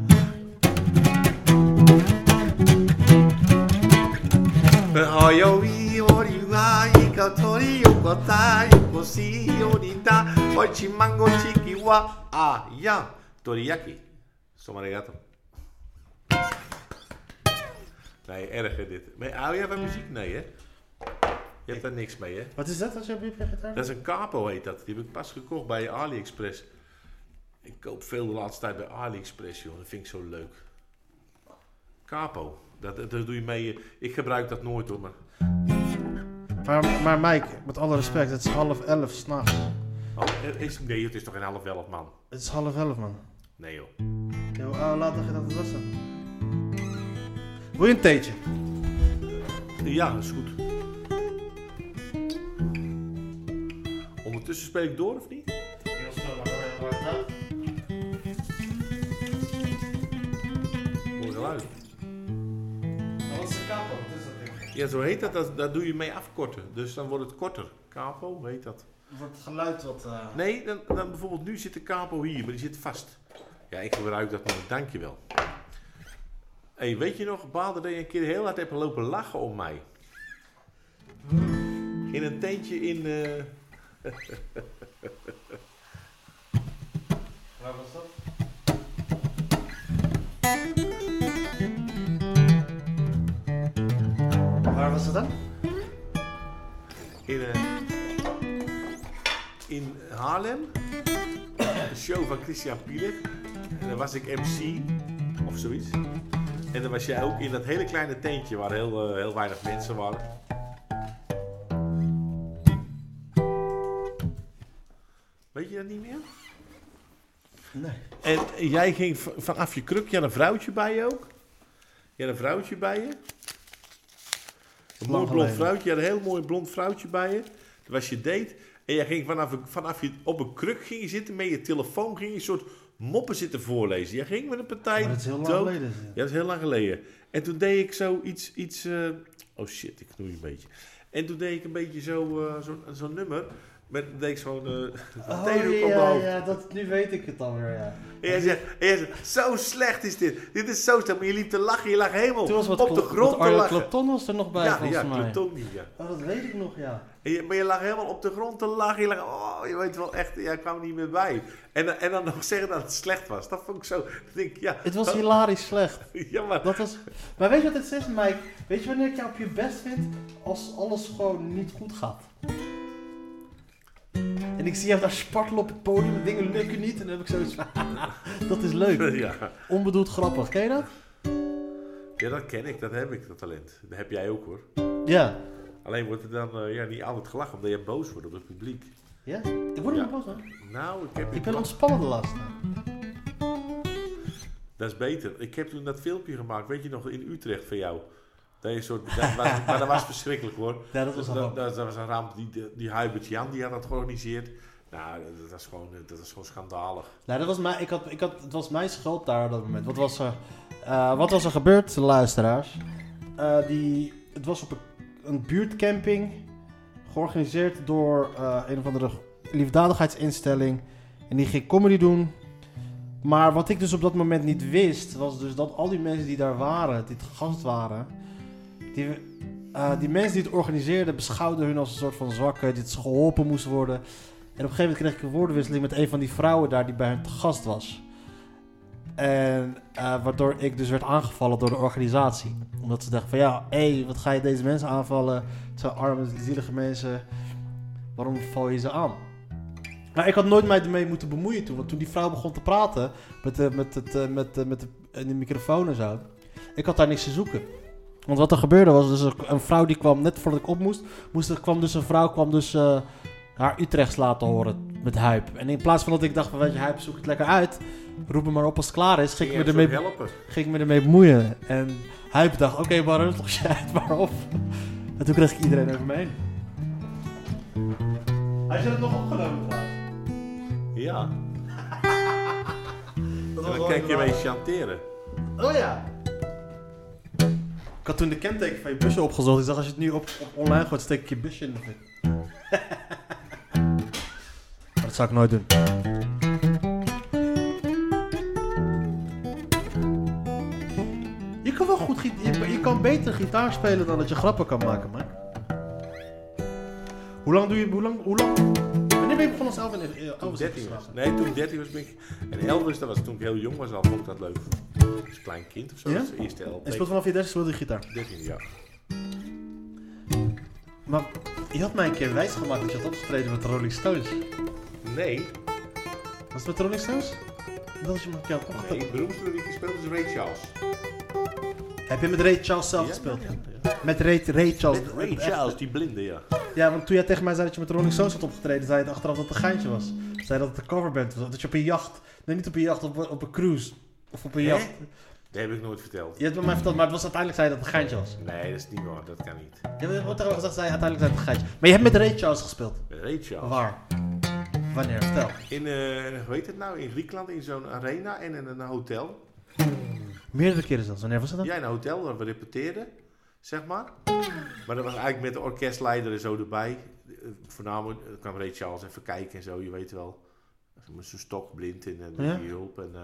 [SPEAKER 3] Hoyo i ori wa
[SPEAKER 4] cautori yokotai yokoshi
[SPEAKER 3] tá.
[SPEAKER 4] yonita oichi mango chiki wa
[SPEAKER 3] Ah,
[SPEAKER 4] ayam toriyaki. Zomaar regato. Nee, erg hè, dit. Maar hou jij van muziek? Nee hè? Je hebt daar niks mee hè?
[SPEAKER 2] Wat is dat als je op je gitaar?
[SPEAKER 3] Dat is een capo heet dat. Die heb ik pas gekocht bij AliExpress. Ik koop veel de laatste tijd bij AliExpress, joh. Dat vind ik zo leuk. Capo. Dat, dat doe je mee. eh, Ik gebruik dat nooit hoor, maar...
[SPEAKER 2] Maar, maar Mike, met alle respect, het is half elf s'nachts.
[SPEAKER 3] Oh, er is, nee, het is toch een half elf man?
[SPEAKER 2] Het is half elf, man.
[SPEAKER 3] Nee joh.
[SPEAKER 2] Ja, hoe hoe laat dacht je dat het was dan? Wil je een theetje?
[SPEAKER 3] Ja, dat is goed. Ondertussen speel ik door, of niet? Mooi geluid.
[SPEAKER 2] Oh, Wat is de kapo? Wat is dat ding?
[SPEAKER 3] Ja, zo heet dat. dat. Daar doe je mee afkorten. Dus dan wordt het korter. Capo, hoe heet dat?
[SPEAKER 2] Wordt het geluid wat... eh,
[SPEAKER 3] Nee, dan, dan bijvoorbeeld nu zit de capo hier, maar die zit vast. Ja, ik gebruik dat nog. Dankjewel. hey, weet je nog, Bader, dat je een keer heel hard hebt lopen lachen om mij? In een tentje in... eh,
[SPEAKER 2] Waar was dat? Waar was dat dan?
[SPEAKER 3] in, eh, in Haarlem. Een show van Christian Pielek. En daar was ik MC of zoiets. En dan was jij ook in dat hele kleine tentje waar heel, eh, heel weinig mensen waren. Weet je dat niet meer?
[SPEAKER 2] Nee.
[SPEAKER 3] En jij ging v- vanaf je kruk, je had een vrouwtje bij je ook. Je had een vrouwtje bij je. Een mooi blond
[SPEAKER 2] geleden.
[SPEAKER 3] vrouwtje, je had een heel mooi blond vrouwtje bij je. Dat was je date. En jij ging vanaf, vanaf je op een kruk ging je zitten, met je telefoon ging je een soort moppen zitten voorlezen. Jij ging met een partij
[SPEAKER 2] Maar dat is heel lang
[SPEAKER 3] dood.
[SPEAKER 2] geleden, zeg.
[SPEAKER 3] Ja, dat is heel lang geleden. En toen deed ik zo iets, iets eh, oh shit, ik knoei een beetje. En toen deed ik een beetje zo, eh, zo'n zo'n nummer. Met, deed ik zo'n eh
[SPEAKER 2] Oh
[SPEAKER 3] theedoek op mijn
[SPEAKER 2] ja,
[SPEAKER 3] hoofd.
[SPEAKER 2] ja, dat, nu weet ik het alweer, ja.
[SPEAKER 3] En jij zegt, en jij zegt, zo slecht is dit. Dit is zo slecht. Maar je liep te lachen. Je lag helemaal
[SPEAKER 2] Toen was wat
[SPEAKER 3] op de grond te
[SPEAKER 2] Arjen
[SPEAKER 3] lachen.
[SPEAKER 2] Clapton was er nog bij,
[SPEAKER 3] ja,
[SPEAKER 2] volgens
[SPEAKER 3] ja,
[SPEAKER 2] mij.
[SPEAKER 3] Clapton niet, ja.
[SPEAKER 2] Oh, dat weet ik nog, ja.
[SPEAKER 3] En je- maar je lag helemaal op de grond te lachen. Je lag, oh, je weet wel echt, jij kwam er niet meer bij. En, dan- en dan nog zeggen dat het slecht was. Dat vond ik zo. Dan denk ik, ja,
[SPEAKER 2] Het was
[SPEAKER 3] dat-
[SPEAKER 2] hilarisch slecht.
[SPEAKER 3] Ja, maar
[SPEAKER 2] Dat was... Maar weet je wat het is, Mike? Weet je wanneer ik jou op je best vind? Als alles gewoon niet goed gaat. En ik zie jou daar spartelen op het podium, de dingen lukken niet. En dan heb ik zoiets van, dat is leuk.
[SPEAKER 3] ja.
[SPEAKER 2] Onbedoeld grappig, ken je dat?
[SPEAKER 3] ja, dat ken ik. Dat heb ik, dat talent. Dat heb jij ook hoor.
[SPEAKER 2] Ja.
[SPEAKER 3] Alleen wordt er dan eh, ja, niet altijd gelachen omdat je boos wordt op het publiek.
[SPEAKER 2] Ja? Ik word er
[SPEAKER 3] Ja.
[SPEAKER 2] niet boos aan.
[SPEAKER 3] Nou, ik heb
[SPEAKER 2] Ik ben ontspannen de laatste tijd.
[SPEAKER 3] Dat is beter. Ik heb toen dat filmpje gemaakt, weet je nog, in Utrecht van jou. Dat je een soort, dat was, maar dat was verschrikkelijk hoor.
[SPEAKER 2] Ja, dat was een ramp.
[SPEAKER 3] Dat, dat was een ramp. Die, die- die Hubert Jan die had dat georganiseerd. Nou, dat, dat is gewoon, dat is gewoon schandalig.
[SPEAKER 2] Nou, dat was mijn, ik had, ik had, het was mijn schuld daar op dat moment. Wat was er, eh, wat was er gebeurd, luisteraars? Eh, die, het was op een, een buurtcamping georganiseerd door eh, een of andere liefdadigheidsinstelling. En die ging comedy doen. Maar wat ik dus op dat moment niet wist, was dus dat al die mensen die daar waren, die te gast waren, die, eh, die mensen die het organiseerden beschouwden hun als een soort van zwakken, die het geholpen moest worden. En op een gegeven moment kreeg ik een woordenwisseling met een van die vrouwen daar die bij hen te gast was. En eh, waardoor ik dus werd aangevallen door de organisatie. Omdat ze dachten van ja, hé, wat ga je deze mensen aanvallen? Het zijn arme, zielige mensen. Waarom val je ze aan? Maar ik had nooit mij ermee moeten bemoeien toen. Want toen die vrouw begon te praten met de, met het, eh, met de, met de, in de microfoon en zo. Ik had daar niks te zoeken. Want wat er gebeurde was dus een- een vrouw die kwam net voordat ik op moest. moest er, kwam dus een vrouw kwam dus... eh, haar Utrechts laten horen met Huip. En in plaats van dat ik dacht van weet je, Huip zoek het lekker uit. Roep hem maar op als het klaar is. Ging ik
[SPEAKER 3] Ging
[SPEAKER 2] me
[SPEAKER 3] je hem
[SPEAKER 2] ermee,
[SPEAKER 3] zo helpen.
[SPEAKER 2] ging ik me ermee bemoeien. En Huip dacht, oké Baron, los je uit maar op. En toen kreeg ik iedereen over me heen. Had je dat nog opgenomen trouwens?
[SPEAKER 3] Ja. En dan kijk je mee chanteren.
[SPEAKER 2] Oh ja. Ik had toen de kenteken van je busje opgezocht. Ik dacht, als je het nu op, op online gooit, steek ik je busje in de fik. maar dat zou ik nooit doen. Je kan wel goed gitaar... Je, je kan beter gitaar spelen dan dat je grappen kan maken, man. Hoe lang doe je, hoe lang, hoe lang? Wanneer ben je begonnen als Elvin? in- eh,
[SPEAKER 3] Toen ik
[SPEAKER 2] Elvis
[SPEAKER 3] 13
[SPEAKER 2] geslaagd?
[SPEAKER 3] was. Nee, toen ik 13 was ben ik... En Elvis, dat was toen ik heel jong was al, vond ik dat leuk. Als klein kind of zo,
[SPEAKER 2] Ja?
[SPEAKER 3] dat is de eerste LP.
[SPEAKER 2] En speelt vanaf je 30 speelde je gitaar.
[SPEAKER 3] 13 jaar.
[SPEAKER 2] Maar je had mij een keer wijsgemaakt dat je had opgetreden met de Rolling Stones.
[SPEAKER 3] Nee,
[SPEAKER 2] Was het met de Rolling Stones? Dat is je een keer had opgetreden.
[SPEAKER 3] nee, het beroemdste dat ik speelde is Ray Charles.
[SPEAKER 2] Heb je met Ray Charles zelf
[SPEAKER 3] Ja,
[SPEAKER 2] gespeeld? Met Ray, Ray Charles.
[SPEAKER 3] Met Ray Charles, die blinde, ja.
[SPEAKER 2] Ja, want toen jij tegen mij zei dat je met de Rolling Stones had opgetreden, zei je achteraf dat het een geintje was. Zei dat het een coverband was. Dat je op een jacht, nee niet op een jacht, op, een- op een cruise. Of op een
[SPEAKER 3] Hè?
[SPEAKER 2] jacht.
[SPEAKER 3] Dat heb ik nooit verteld.
[SPEAKER 2] Je hebt me mij verteld, maar het was uiteindelijk zei je dat het een geintje was.
[SPEAKER 3] Nee, dat is niet waar, dat kan niet.
[SPEAKER 2] Je hebt me tegen gezegd, zei je uiteindelijk zei het een geintje. Maar je hebt met Ray Charles gespeeld.
[SPEAKER 3] Met Ray Charles.
[SPEAKER 2] Waar? Wanneer? Vertel.
[SPEAKER 3] In, eh, hoe heet het nou, in Griekenland, in zo'n arena en in een hotel.
[SPEAKER 2] Meerdere keren zelfs. Wanneer was dat dan?
[SPEAKER 3] Ja, in een hotel waar we repeteerden, zeg maar. Maar dat was eigenlijk met de orkestleider en zo erbij. Eh, Voornamelijk eh, kwam Ray Charles even kijken en zo, je weet wel. Met zo'n stok blind en eh, met
[SPEAKER 2] Ja.
[SPEAKER 3] die hulp. En, eh,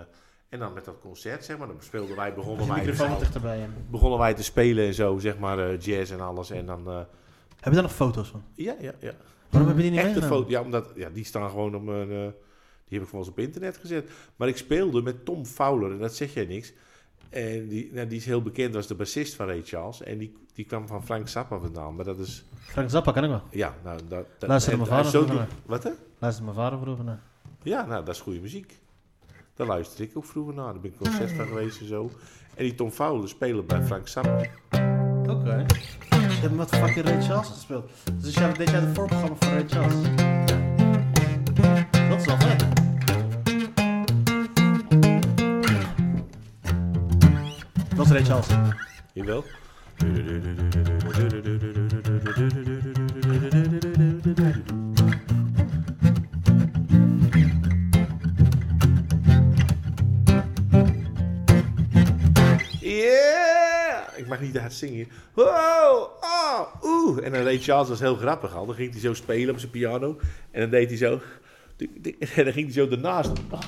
[SPEAKER 3] en dan met dat concert, zeg maar, dan speelden wij, begonnen
[SPEAKER 2] Je
[SPEAKER 3] wij, dus
[SPEAKER 2] microfoon wat
[SPEAKER 3] al-
[SPEAKER 2] dichterbij. hè.
[SPEAKER 3] begonnen wij te spelen en zo, zeg maar, eh, jazz en alles. En dan, eh,
[SPEAKER 2] Heb je daar nog foto's van?
[SPEAKER 3] ja, ja, ja.
[SPEAKER 2] Waarom heb je die niet
[SPEAKER 3] Echte
[SPEAKER 2] meegenomen?
[SPEAKER 3] foto, ja, omdat ja, die staan gewoon op mijn. eh, die heb ik voor ons op internet gezet. Maar ik speelde met Tom Fowler, en dat zeg jij niks. En die, nou, die is heel bekend als de bassist van Ray Charles. En die, die kwam van Frank Zappa vandaan. Maar dat is.
[SPEAKER 2] Frank Zappa kan ik wel.
[SPEAKER 3] Ja, nou, dat. dat
[SPEAKER 2] Luister
[SPEAKER 3] en-
[SPEAKER 2] naar mijn
[SPEAKER 3] en
[SPEAKER 2] vader
[SPEAKER 3] zo
[SPEAKER 2] vroeger.
[SPEAKER 3] doet- Wat hè?
[SPEAKER 2] Luister mijn vader vroeger naar.
[SPEAKER 3] Ja, nou, dat is goede muziek. Daar luister ik ook vroeger naar. Daar ben ik concert van geweest en zo. En die Tom Fowler speelde bij Frank Zappa.
[SPEAKER 2] Oké. Je hebt met fucking Ray Charles gespeeld. Dus jij deed jij het voorprogramma van Ray Charles. Dat is wel vet. Dat is Ray Charles.
[SPEAKER 3] Jawel. Yeah! Ik mag niet te hard zingen. Wow! Oh! Oeh! En dan deed Charles dat was heel grappig al. Dan ging hij zo spelen op zijn piano. En dan deed hij zo. En dan ging hij zo ernaast. Ah.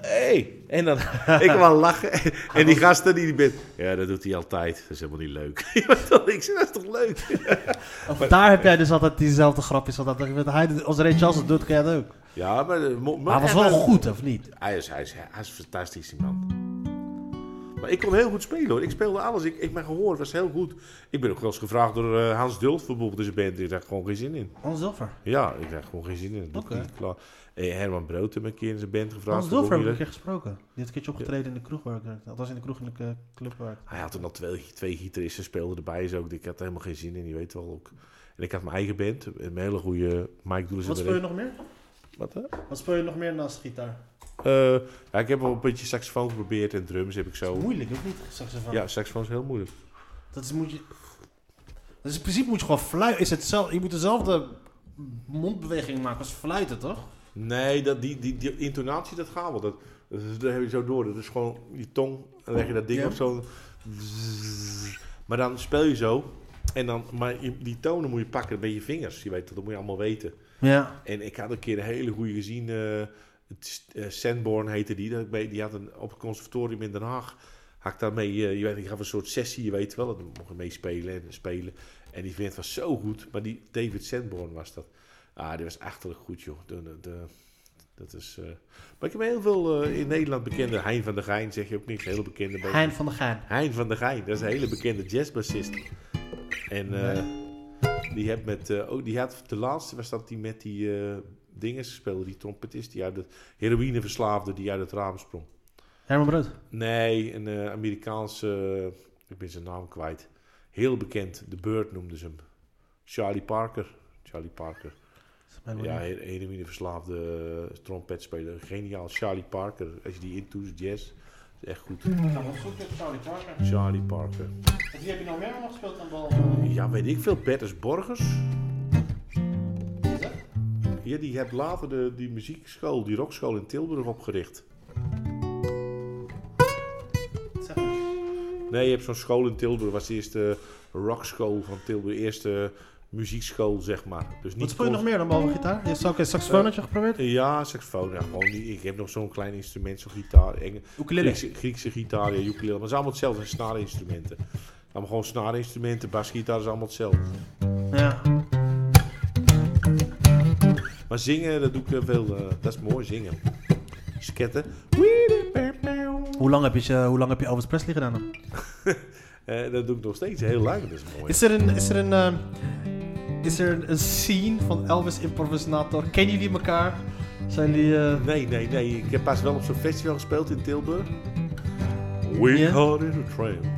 [SPEAKER 3] Hey. En dan, ik kwam al lachen. En die gasten die die bent. Ja, dat doet hij altijd. Dat is helemaal niet leuk. Je weet wel, ik zeg, dat is toch leuk?
[SPEAKER 2] Daar heb jij dus altijd diezelfde grapjes. Want dat- dat hij- als Ray Charles het doet, kan jij dat ook.
[SPEAKER 3] Ja, maar... de mo-
[SPEAKER 2] Maar hij was wel goed, of niet?
[SPEAKER 3] Hij is, hij is, hij is fantastisch, die man. Maar ik kon heel goed spelen, hoor. Ik speelde alles. Ik, ik, mijn gehoor was heel goed. Ik ben ook wel eens gevraagd door eh, Hans Dult, bijvoorbeeld, in zijn band. Ik dacht gewoon geen zin in.
[SPEAKER 2] Hans Dulfer.
[SPEAKER 3] Ja, ik dacht gewoon geen zin in. Dat doe ik
[SPEAKER 2] Oké.
[SPEAKER 3] niet klaar. Eh, Herman Brood heb ik een keer in zijn band gevraagd.
[SPEAKER 2] Hans
[SPEAKER 3] Dat vond ik
[SPEAKER 2] Dulfer heb ik een
[SPEAKER 3] niet
[SPEAKER 2] keer gesproken. Die heeft een keertje opgetreden in de kroeg waar ik werkte. Althans in de kroeg in de eh, club waar ik
[SPEAKER 3] leuk. Hij had toen al twee, twee gitaristen speelden erbij. Dus ook, ik had er helemaal geen zin in, je weet wel ook. En ik had mijn eigen band, een hele goede Mike Doelers.
[SPEAKER 2] Wat
[SPEAKER 3] en
[SPEAKER 2] speel je
[SPEAKER 3] Ray-
[SPEAKER 2] nog meer?
[SPEAKER 3] Wat, hè?
[SPEAKER 2] Wat speel je nog meer naast gitaar?
[SPEAKER 3] Eh, ja, ik heb wel een beetje saxofoon geprobeerd en drums heb ik zo.
[SPEAKER 2] Moeilijk, ook niet? Saxofoon.
[SPEAKER 3] Ja, saxofoon is heel moeilijk.
[SPEAKER 2] Dat is, moet je... Dus in principe moet je gewoon fluiten. Is hetzelfde, je moet dezelfde mondbeweging maken als fluiten, toch?
[SPEAKER 3] Nee, dat, die, die, die intonatie, dat gaat wel. Dat, dat, is- dat heb je zo door. Dat is gewoon je tong, dan leg je dat ding
[SPEAKER 2] Ja.
[SPEAKER 3] op zo. Maar dan speel je zo. En dan, maar je- die tonen moet je pakken met je vingers. Je weet dat, dat moet je allemaal weten.
[SPEAKER 2] Ja.
[SPEAKER 3] En ik had een keer een hele goede gezien. eh, het is- eh, Sanborn heette die. Dat ik bij- Die had een, op het conservatorium in Den Haag. Had ik daarmee, eh, je weet, ik gaf een soort sessie, je weet wel. Dat mocht ik meespelen en spelen. En die vent was zo goed. Maar die David Sanborn was dat. Ah, die was achterlijk goed, joh. De, de, de- dat is, eh, Maar ik heb heel veel eh, in Nederland bekende. Hein van der Geijn zeg je ook niks. Hele bekende. bij-
[SPEAKER 2] Hein van der Gein.
[SPEAKER 3] Hein van der Geijn, dat is een hele bekende jazzbassist. En eh, die, heb met, eh, oh, die had de laatste was dat die met die eh dingen speelde, die trompetist die uit het heroïne verslaafde, die uit het raam sprong.
[SPEAKER 2] Herman Brood.
[SPEAKER 3] Nee, een eh, Amerikaanse, eh, ik ben zijn naam kwijt. Heel bekend, The Bird noemden ze hem. Charlie Parker. Charlie Parker.
[SPEAKER 2] Oh,
[SPEAKER 3] Ja, he- heroïne verslaafde eh, trompetspeler. Geniaal. Charlie Parker. Als je die intoest, jazz. Is echt goed.
[SPEAKER 2] Charlie Parker.
[SPEAKER 3] Charlie Parker.
[SPEAKER 2] Wie heb je nou meer nog gespeeld aan bal?
[SPEAKER 3] Ja, weet ik veel. Bertus Borgers. Ja, die heeft later de, die muziekschool, die rockschool in Tilburg opgericht.
[SPEAKER 2] Zeg maar.
[SPEAKER 3] Nee, je hebt zo'n school in Tilburg. was de eerste rockschool van Tilburg. Eerste muziekschool, zeg maar. Dus niet
[SPEAKER 2] Wat speel je nog
[SPEAKER 3] cons-
[SPEAKER 2] meer dan behalve gitaar? Je hebt ook een saxofoonnetje geprobeerd?
[SPEAKER 3] Ja, saxofoon. Ja, gewoon die, ik heb nog zo'n klein instrument, zo'n gitaar. Eng,
[SPEAKER 2] Ukulele.
[SPEAKER 3] Griekse, Griekse gitaar, ja, ukulele. Maar het is allemaal hetzelfde, snaarinstrumenten. Allemaal gewoon snaarinstrumenten, basgitaar is allemaal hetzelfde.
[SPEAKER 2] Ja.
[SPEAKER 3] Maar zingen, dat doe ik eh, veel. eh, dat is mooi, zingen. Sketten.
[SPEAKER 2] Hoe lang heb je, eh, hoe lang heb je Elvis Presley gedaan? dan?
[SPEAKER 3] Eh, dat doe ik nog steeds heel lang. Dat is mooi.
[SPEAKER 2] Is er een, is er een, eh, is er een- een scene van Elvis improvisator? Kennen jullie elkaar? Zijn die... eh,
[SPEAKER 3] Nee, nee, nee. Ik heb pas wel op zo'n festival gespeeld in Tilburg. We
[SPEAKER 2] Ja?
[SPEAKER 3] caught in a train.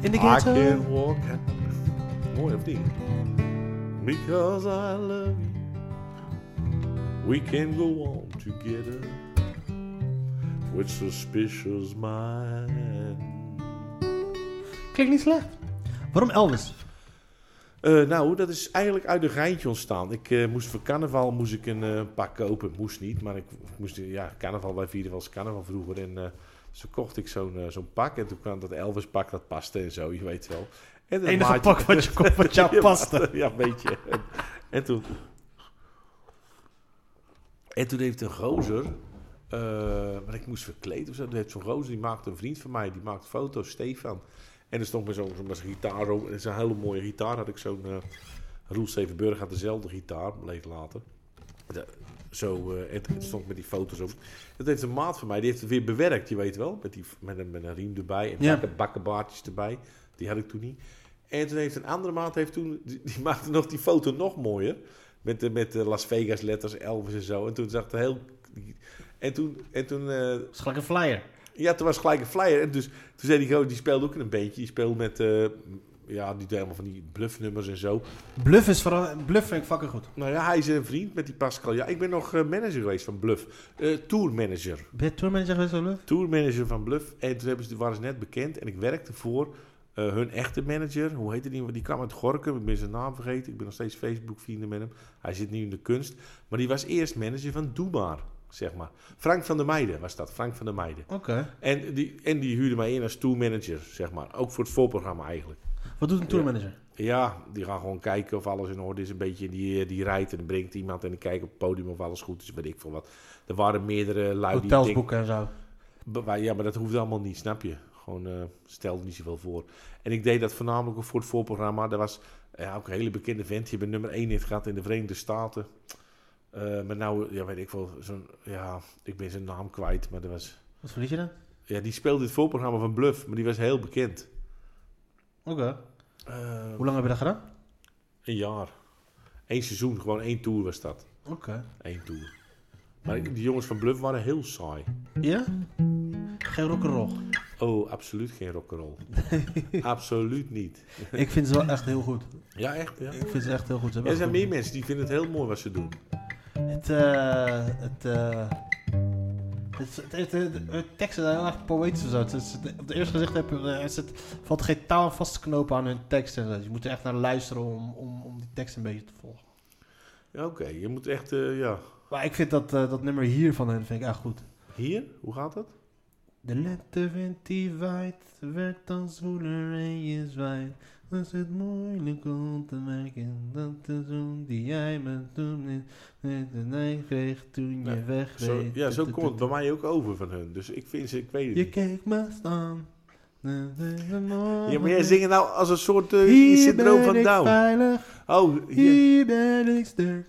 [SPEAKER 2] in de
[SPEAKER 3] I
[SPEAKER 2] ghetto?
[SPEAKER 3] can walk. Mooi of niet? Because I love you. We can go on together. With suspicious mind.
[SPEAKER 2] Klinkt niet slecht. Waarom Elvis?
[SPEAKER 3] Eh, nou, dat is eigenlijk uit een geintje ontstaan. Ik eh, moest voor carnaval moest ik een eh, pak kopen. Moest niet, maar ik moest... eh, Ja, carnaval, wij vierden wel eens carnaval vroeger. En eh, zo kocht ik zo'n eh, zo'n pak. En toen kwam dat Elvis pak, dat paste en zo, je weet wel. En dat
[SPEAKER 2] Enige
[SPEAKER 3] maatje-
[SPEAKER 2] pak wat je komt wat jou
[SPEAKER 3] Ja,
[SPEAKER 2] paste.
[SPEAKER 3] Ja, een beetje. En, en toen... En toen heeft een gozer... eh, maar ik moest verkleed of zo. Toen heeft zo'n gozer, die maakte een vriend van mij, die maakt foto's, Stefan. En er stond met zo'n zo gitaar op. En zo'n hele mooie gitaar had ik zo'n... eh, Roel Stevenburg had dezelfde gitaar, bleef later. De- zo, eh, het, het stond met die foto's op. Dat heeft een maat van mij, die heeft het weer bewerkt, je weet wel. Met, die, met, een, met een riem erbij en
[SPEAKER 2] Ja.
[SPEAKER 3] bakken, bakkenbaardjes erbij. Die had ik toen niet. En toen heeft een andere maat, heeft toen, die, die maakte nog die foto nog mooier. Met de, met de Las Vegas letters, Elvis en zo. En toen zag het heel... En toen, en toen eh,
[SPEAKER 2] Dat is gelijk een flyer.
[SPEAKER 3] ja, toen was gelijk een flyer. En dus, toen zei die gozer, die speelde ook in een bandje. Die speelde met, eh, ja, die deed allemaal van die bluffnummers en zo.
[SPEAKER 2] Bluff is vooral... Bluff vind ik fucking goed.
[SPEAKER 3] Nou ja, hij is een vriend met die Pascal. Ja, ik ben nog eh, manager geweest van Bluff. Eh tourmanager.
[SPEAKER 2] Ben je tourmanager geweest van Bluff?
[SPEAKER 3] Tourmanager van Bluff. En toen hebben ze, waren ze net bekend. En ik werkte voor eh, hun echte manager. Hoe heette die? Die kwam uit Gorkum. Ik ben zijn naam vergeten. Ik ben nog steeds Facebook vrienden met hem. Hij zit nu in de kunst. Maar die was eerst manager van Doe Maar, zeg maar. Frank van der Meijden was dat. Frank van der Meijden.
[SPEAKER 2] Oké.
[SPEAKER 3] En die, en die huurde mij in als tourmanager, zeg maar. Ook voor het voorprogramma eigenlijk.
[SPEAKER 2] Wat doet een tourmanager?
[SPEAKER 3] Ja, die gaan gewoon kijken of alles in orde is. Een beetje die, die rijdt en dan brengt iemand en dan kijkt op het podium of alles goed is, weet ik veel wat. Er waren meerdere lui die
[SPEAKER 2] Hotels
[SPEAKER 3] dik-
[SPEAKER 2] boeken en zo.
[SPEAKER 3] Be- maar Ja, maar dat hoeft allemaal niet, snap je? Gewoon eh stel niet zoveel voor. En ik deed dat voornamelijk ook voor het voorprogramma. Er was ja, ook een hele bekende vent. Je bent nummer 1 hit gehad in de Verenigde Staten. Eh, maar nou, ja, weet ik wel, zo'n, ja, ik ben zijn naam kwijt, maar dat was...
[SPEAKER 2] Wat verlies je dan?
[SPEAKER 3] Ja, die speelde het voorprogramma van Bluff, maar die was heel bekend.
[SPEAKER 2] Oké.
[SPEAKER 3] Eh,
[SPEAKER 2] Hoe lang heb je dat gedaan?
[SPEAKER 3] een jaar. Eén seizoen, gewoon één tour was dat.
[SPEAKER 2] Oké.
[SPEAKER 3] Eén toer. Maar ik- die jongens van Bluff waren heel saai.
[SPEAKER 2] Ja? Geen rock'n'roll.
[SPEAKER 3] Oh, absoluut geen rock'n'roll. absoluut niet.
[SPEAKER 2] ik vind ze wel echt heel goed.
[SPEAKER 3] Ja, echt. Ja.
[SPEAKER 2] Ik vind ze echt heel goed. Ze hebben echt
[SPEAKER 3] Er zijn
[SPEAKER 2] goed-
[SPEAKER 3] meer mensen die vinden het heel mooi wat ze doen.
[SPEAKER 2] Het, eh. het, eh. Het, het, het, het, het teksten zijn heel erg poëtisch of zo. Het, is- het- op het eerste gezicht heb je, eh, er zit, valt geen taal vast te knopen aan hun teksten. en zo. Dus je moet er echt naar luisteren om, om, om die tekst een beetje te volgen.
[SPEAKER 3] Ja, Oké, je moet echt, eh, ja.
[SPEAKER 2] Maar ik vind dat, eh, dat nummer hier van hen vind ik echt goed.
[SPEAKER 3] Hier, hoe gaat dat?
[SPEAKER 2] De lente wind die waait, werd dan zwoeler en je zwaait. Was het moeilijk om te merken dat de zon die jij me toen in de neig kreeg toen je
[SPEAKER 3] Ja,
[SPEAKER 2] weg
[SPEAKER 3] Zo,
[SPEAKER 2] reed.
[SPEAKER 3] ja, zo komt het bij mij ook over van hun. Dus ik vind ze, ik weet het
[SPEAKER 2] Je
[SPEAKER 3] niet.
[SPEAKER 2] keek me staan.
[SPEAKER 3] Ja,
[SPEAKER 2] Ja,
[SPEAKER 3] maar jij zingt nou als een soort eh,
[SPEAKER 2] Hier
[SPEAKER 3] syndroom
[SPEAKER 2] ben
[SPEAKER 3] van
[SPEAKER 2] ik
[SPEAKER 3] Down.
[SPEAKER 2] veilig,
[SPEAKER 3] Oh, hier.
[SPEAKER 2] hier ben ik sterk,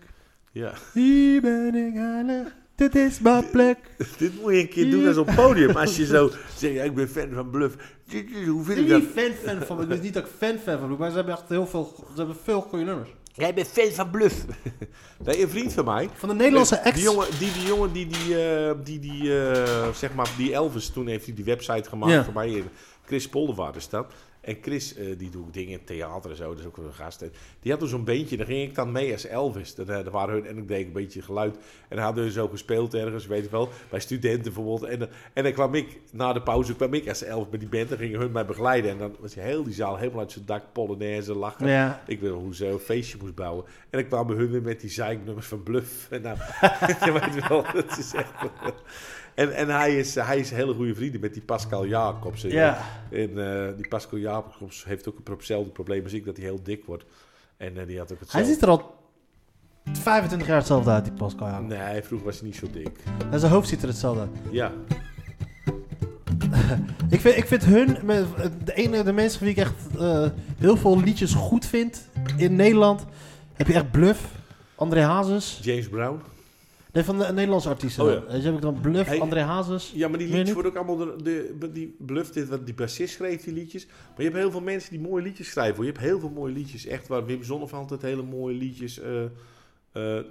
[SPEAKER 3] Ja.
[SPEAKER 2] hier ben ik heilig, dit is mijn plek.
[SPEAKER 3] Dit moet je een keer doen als op het podium. Als je zo zegt, ja, ik ben fan van Bluff. Dit is- Hoe vind ik dat?
[SPEAKER 2] fan-fan van me, ik wist niet dat ik fan-fan van me, maar ze hebben echt heel veel, ze hebben veel goede nummers.
[SPEAKER 3] Jij bent fan van Bluff. nee, een vriend van mij.
[SPEAKER 2] Van de Nederlandse
[SPEAKER 3] Die
[SPEAKER 2] ex.
[SPEAKER 3] jongen die die, jongen die, die, eh, die, die eh, zeg maar, die Elvis, toen heeft hij die website gemaakt
[SPEAKER 2] Ja.
[SPEAKER 3] voor mij. in Chris Poldervaart is dat. En Chris, eh, die doet ook dingen in theater en zo, dat is ook een gast. En die had dus zo'n beentje, daar ging ik dan mee als Elvis. Dat, eh, daar waren hun, en ik deed een beetje geluid. En hadden hun zo gespeeld ergens, weet ik wel, bij studenten bijvoorbeeld. En, dan- en dan kwam ik, na de pauze kwam ik als Elvis bij die band. Dan gingen hun mij begeleiden. En dan was heel die zaal helemaal uit zijn dak, polonaise, lachen.
[SPEAKER 2] Ja.
[SPEAKER 3] Ik weet nog hoe ze een feestje moest bouwen. En dan kwamen hun weer met die zeiknummers van Bluff. En nou, je weet wel, dat is echt... En, en hij, is, hij is hele goede vrienden met die Pascal Jacobs.
[SPEAKER 2] Ja.
[SPEAKER 3] En eh, die Pascal Jacobs heeft ook een pro- hetzelfde probleem als ik, dat hij heel dik wordt. En eh, die had ook
[SPEAKER 2] Hij
[SPEAKER 3] hetzelfde...
[SPEAKER 2] ziet er al 25 jaar hetzelfde uit, die Pascal. Jacob.
[SPEAKER 3] Nee, vroeger was hij niet zo dik.
[SPEAKER 2] En zijn hoofd ziet er hetzelfde uit.
[SPEAKER 3] Ja,
[SPEAKER 2] Ik vind, ik vind hun, me- de ene, de mensen van wie ik echt eh, heel veel liedjes goed vind in Nederland, heb je echt Bluff. André Hazes.
[SPEAKER 3] James Brown.
[SPEAKER 2] Nee, van de Nederlandse artiesten.
[SPEAKER 3] Oh,
[SPEAKER 2] dan.
[SPEAKER 3] ja.
[SPEAKER 2] Eh, Dus heb ik dan Bluff,
[SPEAKER 3] Hey.
[SPEAKER 2] André Hazes.
[SPEAKER 3] Ja, maar die
[SPEAKER 2] Meer
[SPEAKER 3] liedjes
[SPEAKER 2] niet?
[SPEAKER 3] worden ook allemaal... De, de, die bluff dit, wat die bassist schreef die liedjes. Maar je hebt heel veel mensen die mooie liedjes schrijven. Hoor. Je hebt heel veel mooie liedjes. Echt waar Wim Zonneveld het hele mooie liedjes... eh eh, eh,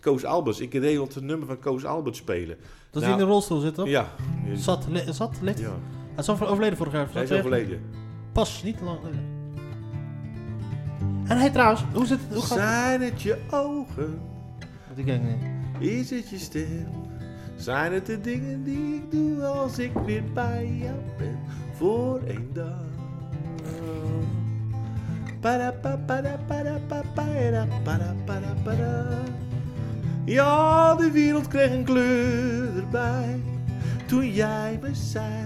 [SPEAKER 3] Koos Alberts. Ik deed altijd het nummer van Koos Alberts spelen.
[SPEAKER 2] Dat
[SPEAKER 3] Nou,
[SPEAKER 2] hij in de rolstoel zit, toch?
[SPEAKER 3] Ja.
[SPEAKER 2] Zat, li- zat, lid.
[SPEAKER 3] ja.
[SPEAKER 2] Hij is over- overleden vorig jaar.
[SPEAKER 3] Hij is
[SPEAKER 2] Zat-
[SPEAKER 3] overleden.
[SPEAKER 2] Pas, niet te lang geleden. En hey, trouwens, hoe zit het? Hoe gaat het?
[SPEAKER 3] Zijn het je ogen?
[SPEAKER 2] Want Ik denk niet.
[SPEAKER 3] Is het je stem? Zijn het de dingen die ik doe als ik weer bij jou ben voor één dag? Para, pa, para, para, pa, para, para, para, para. Ja, de wereld kreeg een kleur erbij toen jij me zei.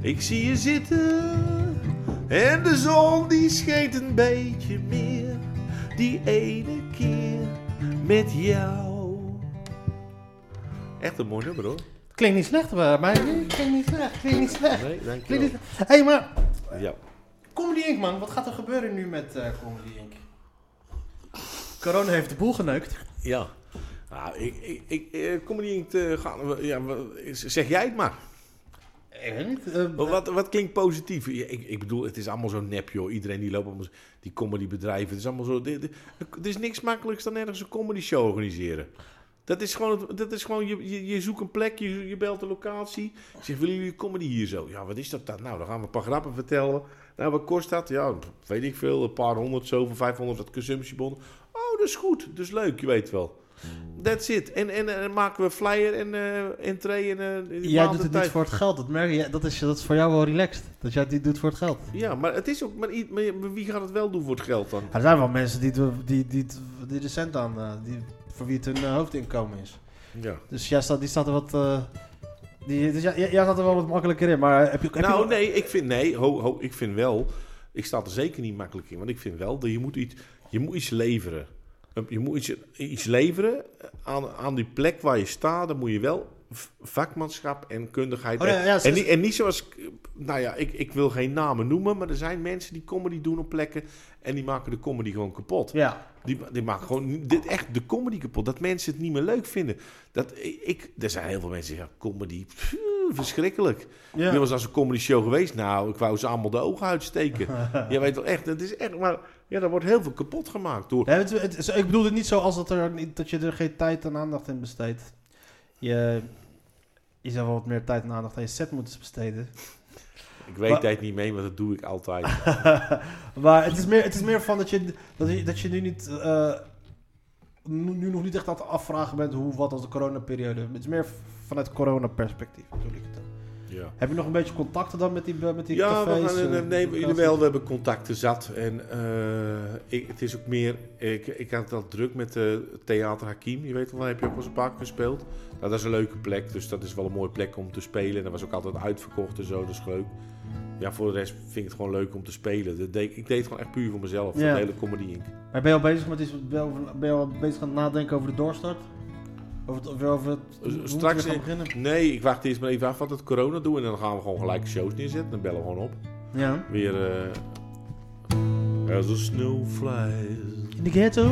[SPEAKER 3] Ik zie je zitten en de zon die schijnt een beetje meer die ene keer met jou. Echt een mooi nummer hoor.
[SPEAKER 2] Klinkt niet slecht bij mij. Nee, Klinkt niet slecht, klinkt niet slecht.
[SPEAKER 3] Nee, dank
[SPEAKER 2] Klinkt niet slecht. Hé, hey, maar
[SPEAKER 3] Ja.
[SPEAKER 2] Comedy Inc, man. Wat gaat er gebeuren nu met eh, Comedy Inc? Corona heeft de boel geneukt.
[SPEAKER 3] Ja. Nou, ik, ik, ik eh, kom er niet in te gaan. we- Ja, we- zeg jij het maar.
[SPEAKER 2] Ik weet niet. eh,
[SPEAKER 3] Wat, wat, wat klinkt positief? Ja, Ik, ik bedoel, het is allemaal zo nep, joh. Iedereen die loopt allemaal zo- die comedybedrijven. Het is allemaal zo. dit- dit- Er is niks makkelijks dan ergens een comedy show organiseren. Dat is gewoon, het- dat is gewoon je, je, je zoekt een plek, je, je belt de locatie. Je zegt, willen jullie comedy hier zo? Ja, wat is dat dan? Nou, dan gaan we een paar grappen vertellen. Nou, wat kost dat? Ja, pff, weet ik veel. Een paar honderd, zoveel, vijfhonderd, dat consumptiebon. Oh, dat is goed. Dat is leuk, je weet wel.
[SPEAKER 2] Hmm.
[SPEAKER 3] That's it. En, en, en maken we flyer en eh entree en eh, die
[SPEAKER 2] jij
[SPEAKER 3] maand
[SPEAKER 2] doet
[SPEAKER 3] en
[SPEAKER 2] het
[SPEAKER 3] tijd.
[SPEAKER 2] niet voor het geld. Dat merk je. Dat is, dat is voor jou wel relaxed. Dat jij dit doet voor het geld.
[SPEAKER 3] Ja, maar het is ook. Maar, i- maar wie gaat het wel doen voor het geld dan?
[SPEAKER 2] Er zijn wel mensen die, het- die, die, het- die de cent aan... eh, die, voor wie het hun eh, hoofdinkomen is.
[SPEAKER 3] Ja.
[SPEAKER 2] Dus jij staat, die staat er wat... eh, die, dus jij, jij jij staat er wel wat makkelijker in. Maar heb je, heb
[SPEAKER 3] Nou,
[SPEAKER 2] je,
[SPEAKER 3] nee, ik vind nee, ho, ho, ik vind wel. Ik sta er zeker niet makkelijk in, want ik vind wel dat je moet iets, je moet iets leveren. Ehm, Je moet iets, iets leveren aan, aan die plek waar je staat. Dan moet je wel v- vakmanschap en kundigheid.
[SPEAKER 2] Oh, ja, ja, ze-
[SPEAKER 3] en, niet, en niet zoals. Nou ja, ik, ik wil geen namen noemen, maar er zijn mensen die comedy doen op plekken en die maken de comedy gewoon kapot.
[SPEAKER 2] Ja.
[SPEAKER 3] Die, die maken gewoon dit echt de comedy kapot. Dat mensen het niet meer leuk vinden. Dat, ik, er zijn heel veel mensen die zeggen, comedy, pff, verschrikkelijk.
[SPEAKER 2] Ja.
[SPEAKER 3] Ik was als een comedy show geweest. Nou, ik wou ze allemaal de ogen uitsteken. Je weet wel echt, het is echt, maar ja, er wordt heel veel kapot gemaakt door.
[SPEAKER 2] Nee, het, het is- ik bedoel het niet zo als dat, er, niet- dat je er geen tijd en aandacht in besteedt. Je, je zou wel wat meer tijd en aandacht aan je set moeten besteden.
[SPEAKER 3] Ik weet
[SPEAKER 2] Maar-
[SPEAKER 3] tijd niet mee, maar dat doe ik altijd.
[SPEAKER 2] maar het is, meer, het is meer van dat je, dat je, dat je nu niet... eh, nu, nu nog niet echt aan het afvragen bent hoe wat als de coronaperiode. Het is meer v- vanuit corona-perspectief bedoel ik het dan.
[SPEAKER 3] Ja.
[SPEAKER 2] Heb je nog een beetje contacten dan met die, be- met die
[SPEAKER 3] Ja,
[SPEAKER 2] cafés?
[SPEAKER 3] we gaan,
[SPEAKER 2] eh,
[SPEAKER 3] eh, nee, we,
[SPEAKER 2] locaties?
[SPEAKER 3] jawel, we hebben contacten zat. En eh, ik, het is ook meer... Ik, ik had het al druk met eh, Theater Hakim. Je weet wel, daar heb je ook wel eens een paar keer gespeeld. Nou, dat is een leuke plek. Dus dat is wel een mooie plek om te spelen. En dat was ook altijd uitverkocht en zo. Dat is leuk. Ja, voor de rest vind ik het gewoon leuk om te spelen. Dat deed, ik deed het gewoon echt puur voor mezelf.
[SPEAKER 2] Ja.
[SPEAKER 3] Voor de hele Comedy Inc.
[SPEAKER 2] Maar ben je al bezig, met iets, ben je al- ben je al bezig aan het nadenken over de doorstart? Over het, over het, hoe moeten we
[SPEAKER 3] Eh, straks
[SPEAKER 2] gaan
[SPEAKER 3] in-
[SPEAKER 2] beginnen?
[SPEAKER 3] Nee, ik wacht eerst maar even af wat het corona doet. En dan gaan we gewoon gelijk shows neerzetten. Dan bellen we gewoon op.
[SPEAKER 2] Ja.
[SPEAKER 3] Weer... eh As a snow flies
[SPEAKER 2] In de ghetto.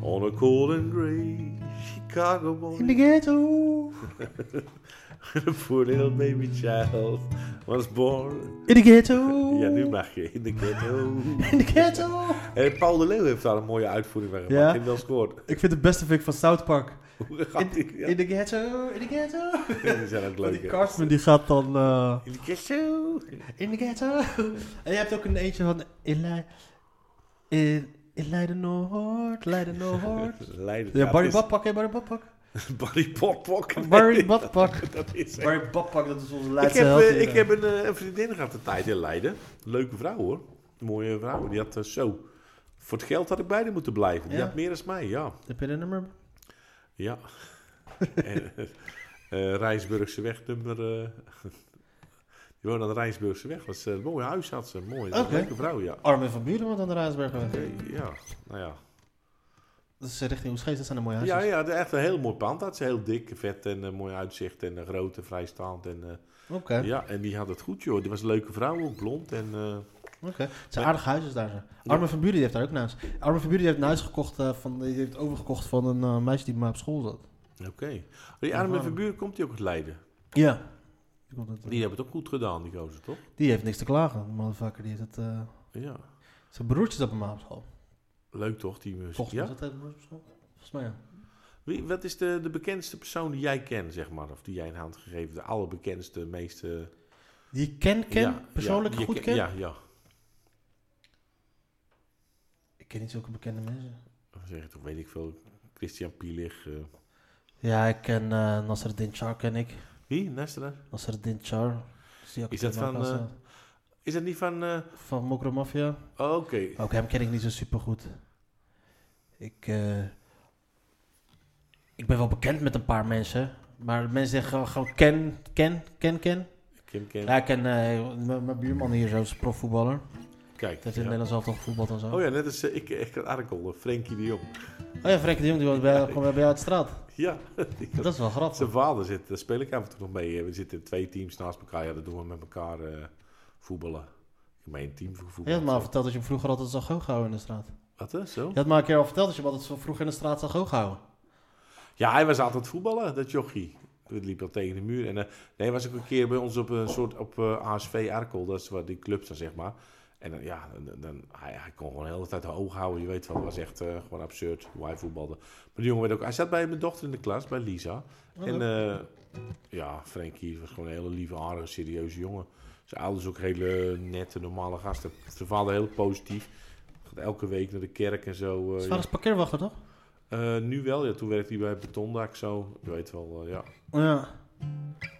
[SPEAKER 3] On a cold and grey Chicago
[SPEAKER 2] In de
[SPEAKER 3] morning,
[SPEAKER 2] ghetto.
[SPEAKER 3] a poor little baby child was born.
[SPEAKER 2] In de ghetto.
[SPEAKER 3] Ja, nu mag je in de ghetto.
[SPEAKER 2] In de ghetto.
[SPEAKER 3] En Paul de Leeuw heeft daar een mooie uitvoering van gemaakt.
[SPEAKER 2] Ja.
[SPEAKER 3] Ik heb hem wel scoort.
[SPEAKER 2] Ik vind het beste vind ik van South Park.
[SPEAKER 3] Hoe
[SPEAKER 2] In,
[SPEAKER 3] gaat die? Ja,
[SPEAKER 2] in de ghetto. In de ghetto.
[SPEAKER 3] die zijn ook leuk.
[SPEAKER 2] Die
[SPEAKER 3] hè.
[SPEAKER 2] Cartman die gaat dan... eh,
[SPEAKER 3] In de ghetto.
[SPEAKER 2] in de ghetto. En je hebt ook een eentje van... In, Lei- in, in Leiden-Noord. Leiden-Noord.
[SPEAKER 3] Leiden.
[SPEAKER 2] Ja, Barry
[SPEAKER 3] dat
[SPEAKER 2] Badpak, hè? Barry Badpak.
[SPEAKER 3] is- Barry Popok.
[SPEAKER 2] Barry Badpak.
[SPEAKER 3] Dat is echt-
[SPEAKER 2] Barry Badpak, dat is onze
[SPEAKER 3] Ik
[SPEAKER 2] laatste
[SPEAKER 3] heb,
[SPEAKER 2] held
[SPEAKER 3] eh,
[SPEAKER 2] hier,
[SPEAKER 3] ik
[SPEAKER 2] eh.
[SPEAKER 3] heb een, eh, een vriendin gehad de tijd in Leiden. Leuke vrouw hoor. Mooie vrouw. Die had eh, zo. Voor het geld had ik bij haar moeten blijven. Die
[SPEAKER 2] Ja?
[SPEAKER 3] had meer dan mij, ja.
[SPEAKER 2] Heb je een nummer?
[SPEAKER 3] Ja. en, eh, Rijnsburgse weg nummer... eh, die woonde aan de Rijnsburgse weg. Dat is eh, een mooi huis had ze. Mooi. Dat is
[SPEAKER 2] Oké.
[SPEAKER 3] Een leuke vrouw, ja.
[SPEAKER 2] Armin van Buren, want aan de Rijsbergweg.
[SPEAKER 3] Eh, Ja, nou ja.
[SPEAKER 2] Dat is eh, richting Oesgeest, dat zijn de mooie huizen.
[SPEAKER 3] Ja, ja, de- echt een heel mooi pand. Had ze heel dik, vet en eh, mooi uitzicht en eh, groot en vrijstaand. En, eh,
[SPEAKER 2] Oké.
[SPEAKER 3] ja, en die had het goed, joh. Die was een leuke vrouw, ook blond. En eh,
[SPEAKER 2] Oké. Het zijn aardige huizen daar. zo. Armin van Buren die heeft daar ook een huis. Armin van Buren die heeft een huis gekocht, eh, van, die heeft overgekocht van een eh, meisje die bij mij op school zat.
[SPEAKER 3] Oké. Die arme verbuur komt die ook uit Leiden.
[SPEAKER 2] Ja. Die, komt uit-
[SPEAKER 3] Die hebben het ook goed gedaan, die gozer, toch?
[SPEAKER 2] die heeft niks te klagen, die motherfucker. Die heeft het, eh,
[SPEAKER 3] Ja.
[SPEAKER 2] zijn broertje zat bij mij op school.
[SPEAKER 3] Leuk toch, die muziek?
[SPEAKER 2] Volgens
[SPEAKER 3] ja?
[SPEAKER 2] mij zat hij bij mij op school. Volgens mij ja.
[SPEAKER 3] Wie, wat is de, de bekendste persoon die jij kent, zeg maar? Of die jij een hand gegeven? De allerbekendste, meeste...
[SPEAKER 2] Die ik ken, ken,
[SPEAKER 3] Ja,
[SPEAKER 2] persoonlijk
[SPEAKER 3] ja, je
[SPEAKER 2] goed
[SPEAKER 3] ken-
[SPEAKER 2] ken.
[SPEAKER 3] Ja, ja.
[SPEAKER 2] Ik ken niet zulke bekende mensen.
[SPEAKER 3] Wat Zeg ik toch, weet ik veel. Christian Pielig. eh.
[SPEAKER 2] Ja, ik ken eh Nasreddin Char, ken ik.
[SPEAKER 3] Wie? Nestra?
[SPEAKER 2] Nasreddin Char. die ook
[SPEAKER 3] Is dat
[SPEAKER 2] in mijn
[SPEAKER 3] van,
[SPEAKER 2] klas,
[SPEAKER 3] eh,
[SPEAKER 2] eh,
[SPEAKER 3] Is dat niet van... eh,
[SPEAKER 2] van Mokro Mafia.
[SPEAKER 3] oh, Oké.
[SPEAKER 2] Ook hem ken ik niet zo super goed. Ik, eh, ik ben wel bekend met een paar mensen. Maar mensen zeggen gewoon- gewoon ken, ken, ken, ken.
[SPEAKER 3] Kim Ken.
[SPEAKER 2] Ja, ik ken eh, m- mijn buurman hier zo, is profvoetballer. Die
[SPEAKER 3] Kijk.
[SPEAKER 2] heeft in
[SPEAKER 3] ja.
[SPEAKER 2] het Nederlands elftal gevoetbald en zo.
[SPEAKER 3] Oh ja, net als eh, ik, ik had Arkel, eh, Frenkie de Jong.
[SPEAKER 2] Oh ja, Frenkie de Jong, die woont bij, gewoon bij jou uit de straat.
[SPEAKER 3] Ja,
[SPEAKER 2] Dat is wel grappig.
[SPEAKER 3] zijn vader zit, daar speel ik af en toe nog mee. eh, We zitten twee teams naast elkaar. Ja, dat doen we met elkaar eh, voetballen. Gemeen team voor
[SPEAKER 2] Je
[SPEAKER 3] voetbal.
[SPEAKER 2] had me al verteld dat je hem vroeger altijd zag hooghouden in de straat.
[SPEAKER 3] Wat, hè? Zo?
[SPEAKER 2] Je had me al een keer al verteld dat je hem altijd zo vroeg in de straat zag
[SPEAKER 3] Oh
[SPEAKER 2] hooghouden.
[SPEAKER 3] Ja, hij was altijd voetballen, dat jochie. Het liep al tegen de muur. En, eh, nee, was ook een keer bij ons op een soort op eh, ASV Arkel. Dat is waar die club dan, zeg maar. En dan, ja, dan, dan- hij, hij kon gewoon de hele tijd hoog houden. Je weet wel, het was echt eh, gewoon absurd hoe hij voetbalde. Maar die jongen werd ook... Hij zat bij mijn dochter in de klas, bij Lisa. en eh, ja, Frenkie was gewoon een hele lieve, aardige, serieuze jongen. Zijn ouders ook hele nette, normale gasten. Zijn vader heel positief. Gaat elke week naar de kerk en zo. eh,
[SPEAKER 2] Zwaar
[SPEAKER 3] ja.
[SPEAKER 2] als parkeerwachter, toch?
[SPEAKER 3] Eh, nu wel, ja. Toen werkte hij bij Betondak zo. Je weet wel, eh, ja.
[SPEAKER 2] Ja.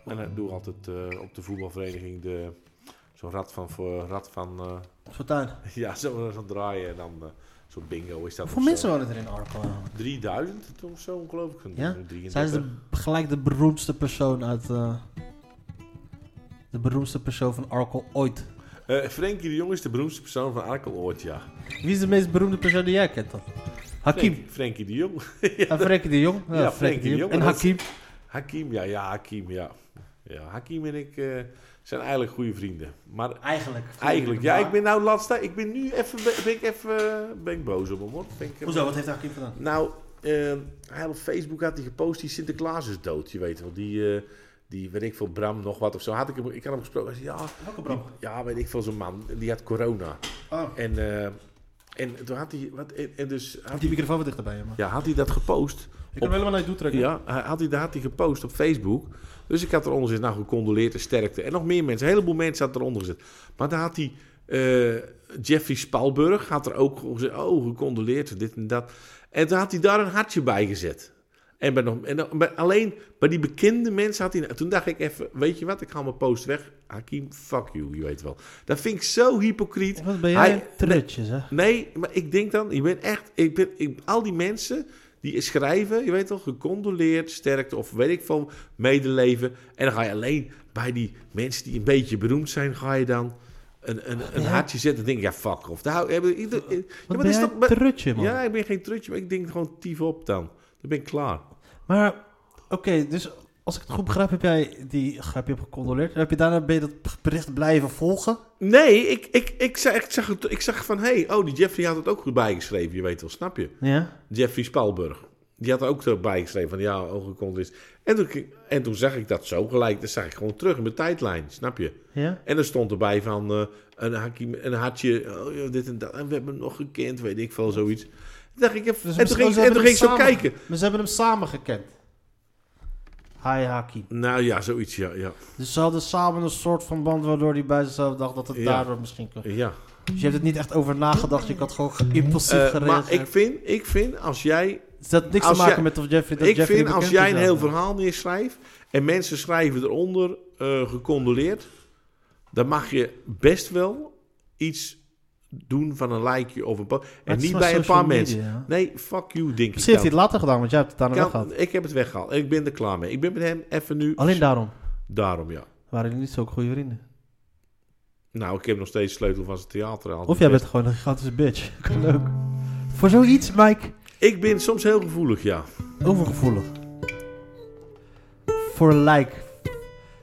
[SPEAKER 3] En hij doet altijd eh, op de voetbalvereniging de, zo'n rad van... Voor, rad van eh,
[SPEAKER 2] Fortuin.
[SPEAKER 3] ja, zo, zo draaien en dan eh, zo'n bingo is dat.
[SPEAKER 2] Hoeveel
[SPEAKER 3] of
[SPEAKER 2] mensen
[SPEAKER 3] zo.
[SPEAKER 2] wonen er in Arkel?
[SPEAKER 3] 3000 toen of zo, geloof ik. Een-
[SPEAKER 2] Ja?
[SPEAKER 3] een 33.
[SPEAKER 2] Zij is de, gelijk de beroemdste persoon uit... eh, de beroemdste persoon van Arkel ooit.
[SPEAKER 3] Eh, Frenkie de Jong is de beroemdste persoon van Arkel ooit, ja.
[SPEAKER 2] Wie is de meest beroemde persoon die jij kent dan? Hakim.
[SPEAKER 3] Frenkie- Frenkie de Jong.
[SPEAKER 2] En Frenkie de Jong. Ja,
[SPEAKER 3] Ja,
[SPEAKER 2] Frenkie de Jong. En
[SPEAKER 3] maar dat is-
[SPEAKER 2] Hakim.
[SPEAKER 3] Hakim, ja, ja, Hakim, ja. Ja, Hakim en ik eh, zijn eigenlijk goede vrienden. Maar
[SPEAKER 2] Eigenlijk.
[SPEAKER 3] Eigenlijk, ja, ik ben nou laatste. Ik ben nu even, ben ik even eh, ben ik boos op hem hoor. Ben ik, eh,
[SPEAKER 2] Hoezo, wat heeft Hakim gedaan?
[SPEAKER 3] Nou, eh, hij op Facebook had hij gepost, die Sinterklaas is dood, je weet wel. Die, eh, die weet ik veel, Bram nog wat of zo. Had ik, hem, ik had hem gesproken, hij zei, ja,
[SPEAKER 2] Welke bro?
[SPEAKER 3] ja, weet ik veel, zo'n man, die had corona.
[SPEAKER 2] Oh.
[SPEAKER 3] En, eh, en toen had hij, wat, en, en dus, had,
[SPEAKER 2] Die microfoon wat dichterbij, man.
[SPEAKER 3] ja, had hij dat gepost.
[SPEAKER 2] Ik kan
[SPEAKER 3] op-
[SPEAKER 2] hem helemaal naar je toe trekken.
[SPEAKER 3] ja, hij had hij, daar had hij gepost op Facebook. Dus ik had eronder gezet, nou gecondoleerd en sterkte. En nog meer mensen, een heleboel mensen had eronder gezet. Maar daar had hij, eh, Jeffrey Spalburg had er ook gezegd, oh gecondoleerd, dit en dat. En toen had hij daar een hartje bij gezet. En, bij nog, en dan- bij- alleen bij die bekende mensen had hij... nou, Toen dacht ik even, weet je wat, ik haal mijn post weg. Hakim, fuck you, je weet wel. Dat vind ik zo hypocriet.
[SPEAKER 2] Wat ben jij
[SPEAKER 3] Hij-
[SPEAKER 2] een trutje, zeg.
[SPEAKER 3] Nee, maar ik denk dan, je bent echt, ik ben, ik, al die mensen die schrijven, je weet wel, gecondoleerd, sterkte of weet ik veel, medeleven. En dan ga je alleen bij die mensen die een beetje beroemd zijn, ga je dan een, een, een hartje zetten. Dan denk ik, ja, fuck off. Daar, hou- ja, maar ieder- ja,
[SPEAKER 2] Wat ben
[SPEAKER 3] maar dat is
[SPEAKER 2] jij
[SPEAKER 3] toch-
[SPEAKER 2] een
[SPEAKER 3] maar-
[SPEAKER 2] trutje, man.
[SPEAKER 3] Ja, ik ben geen trutje, maar ik denk gewoon tief op dan. Dan ben ik klaar.
[SPEAKER 2] Maar, oké, dus als ik het goed begrijp, heb jij die heb je op gecondoleerd. En Heb je daarna ben je dat bericht blijven volgen?
[SPEAKER 3] Nee, ik, ik, ik, zag, ik, zag, het- ik zag van, hé, hey, oh, die Jeffrey had het ook goed bijgeschreven, je weet wel, snap je?
[SPEAKER 2] Ja.
[SPEAKER 3] Jeffrey Spalburg. Die had er ook zo bij geschreven van ja, ogen is. En toen, k- en toen zag ik dat zo gelijk. Dat zag ik gewoon terug in mijn tijdlijn, snap je?
[SPEAKER 2] Ja.
[SPEAKER 3] En er stond erbij van eh, een, hakie, een hartje, oh, ja, dit en dat. En we hebben hem nog gekend, weet ik veel, zoiets. Toen dacht ik, even-
[SPEAKER 2] Dus
[SPEAKER 3] en toen ging, en toen ging ik zo kijken.
[SPEAKER 2] Maar ze hebben hem samen gekend. Hi Hakim.
[SPEAKER 3] Nou ja, zoiets, ja. ja,
[SPEAKER 2] Dus ze hadden samen een soort van band waardoor hij bij zichzelf dacht dat het
[SPEAKER 3] Ja.
[SPEAKER 2] daardoor misschien kon.
[SPEAKER 3] ja.
[SPEAKER 2] Dus je hebt het niet echt over nagedacht. Je had gewoon ge- impulsief
[SPEAKER 3] Eh, maar
[SPEAKER 2] gereageerd.
[SPEAKER 3] ik vind, ik vind, als jij
[SPEAKER 2] Dus dat had niks
[SPEAKER 3] als
[SPEAKER 2] te maken
[SPEAKER 3] jij-
[SPEAKER 2] met of Jeffrey dat
[SPEAKER 3] ik
[SPEAKER 2] Jeffrey
[SPEAKER 3] vind als
[SPEAKER 2] bekend
[SPEAKER 3] jij
[SPEAKER 2] is
[SPEAKER 3] een
[SPEAKER 2] dan.
[SPEAKER 3] heel verhaal neerschrijft en mensen schrijven eronder eh, gecondoleerd, dan mag je best wel iets doen van een likeje of een po-
[SPEAKER 2] het
[SPEAKER 3] En
[SPEAKER 2] is
[SPEAKER 3] niet
[SPEAKER 2] maar
[SPEAKER 3] bij een
[SPEAKER 2] social
[SPEAKER 3] paar
[SPEAKER 2] media,
[SPEAKER 3] mensen.
[SPEAKER 2] ja.
[SPEAKER 3] Nee, fuck you, denk
[SPEAKER 2] Misschien
[SPEAKER 3] ik.
[SPEAKER 2] heeft hij
[SPEAKER 3] Dan.
[SPEAKER 2] het later gedaan, want jij hebt het daarna wel
[SPEAKER 3] Kan-
[SPEAKER 2] gehad.
[SPEAKER 3] ik heb het weggehaald. Ik ben er klaar mee. Ik ben met hem even nu.
[SPEAKER 2] Alleen daarom
[SPEAKER 3] Daarom ja.
[SPEAKER 2] waren jullie niet zo goede vrienden.
[SPEAKER 3] Nou, ik heb nog steeds sleutel van zijn theater. aan.
[SPEAKER 2] Of jij bent gewoon een gigantische bitch. Kan ook. Voor zoiets, Mike.
[SPEAKER 3] Ik ben soms heel gevoelig, ja.
[SPEAKER 2] Overgevoelig. Voor een like.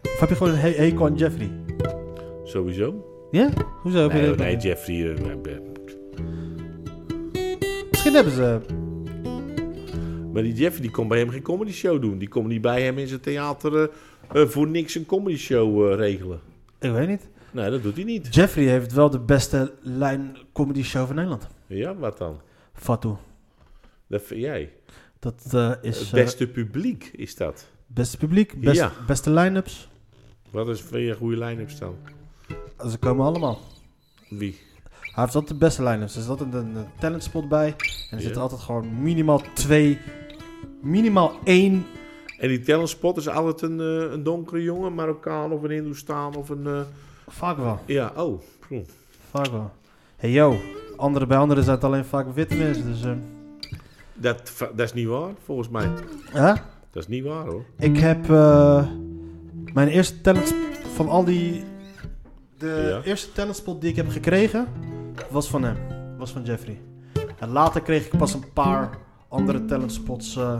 [SPEAKER 2] Of heb je gewoon een he- hekel aan Jeffrey?
[SPEAKER 3] Sowieso.
[SPEAKER 2] Ja? Hoezo heb je
[SPEAKER 3] Nee,
[SPEAKER 2] dat?
[SPEAKER 3] nee, Jeffrey. eh, eh, eh.
[SPEAKER 2] Misschien hebben ze...
[SPEAKER 3] maar die Jeffrey die kon bij hem geen comedy show doen. Die kon niet bij hem in zijn theater eh, eh, voor niks een comedy show eh, regelen.
[SPEAKER 2] Ik weet niet.
[SPEAKER 3] Nee, dat doet hij niet.
[SPEAKER 2] Jeffrey heeft wel de beste lijn comedy show van Nederland.
[SPEAKER 3] Ja, wat dan?
[SPEAKER 2] Fatou.
[SPEAKER 3] Dat vind jij.
[SPEAKER 2] Dat eh, is
[SPEAKER 3] Het
[SPEAKER 2] eh,
[SPEAKER 3] beste publiek is dat.
[SPEAKER 2] beste publiek, best-
[SPEAKER 3] Ja.
[SPEAKER 2] beste line-ups.
[SPEAKER 3] Wat is vind je een goede line-up staan?
[SPEAKER 2] Ze komen allemaal.
[SPEAKER 3] Wie?
[SPEAKER 2] Hij heeft altijd de beste line-ups. Er zit altijd een eh, talentspot bij. En er zitten
[SPEAKER 3] Ja.
[SPEAKER 2] altijd gewoon minimaal twee, minimaal één.
[SPEAKER 3] En die talentspot is altijd een, eh, een donkere jongen, een Marokkaan of een Hindoestaan of een... eh,
[SPEAKER 2] Vaak wel,
[SPEAKER 3] ja, oh. hm.
[SPEAKER 2] vaak wel. Hey yo, anderen bij anderen zijn het alleen vaak witte mensen. Dus, eh,
[SPEAKER 3] Dat, va- dat is niet waar, volgens mij.
[SPEAKER 2] eh, hè?
[SPEAKER 3] Dat is niet waar, hoor.
[SPEAKER 2] Ik heb eh, mijn eerste talent van al die. De
[SPEAKER 3] Ja.
[SPEAKER 2] eerste talentspot die ik heb gekregen was van hem, was van Jeffrey. En later kreeg ik pas een paar andere talentspots. eh,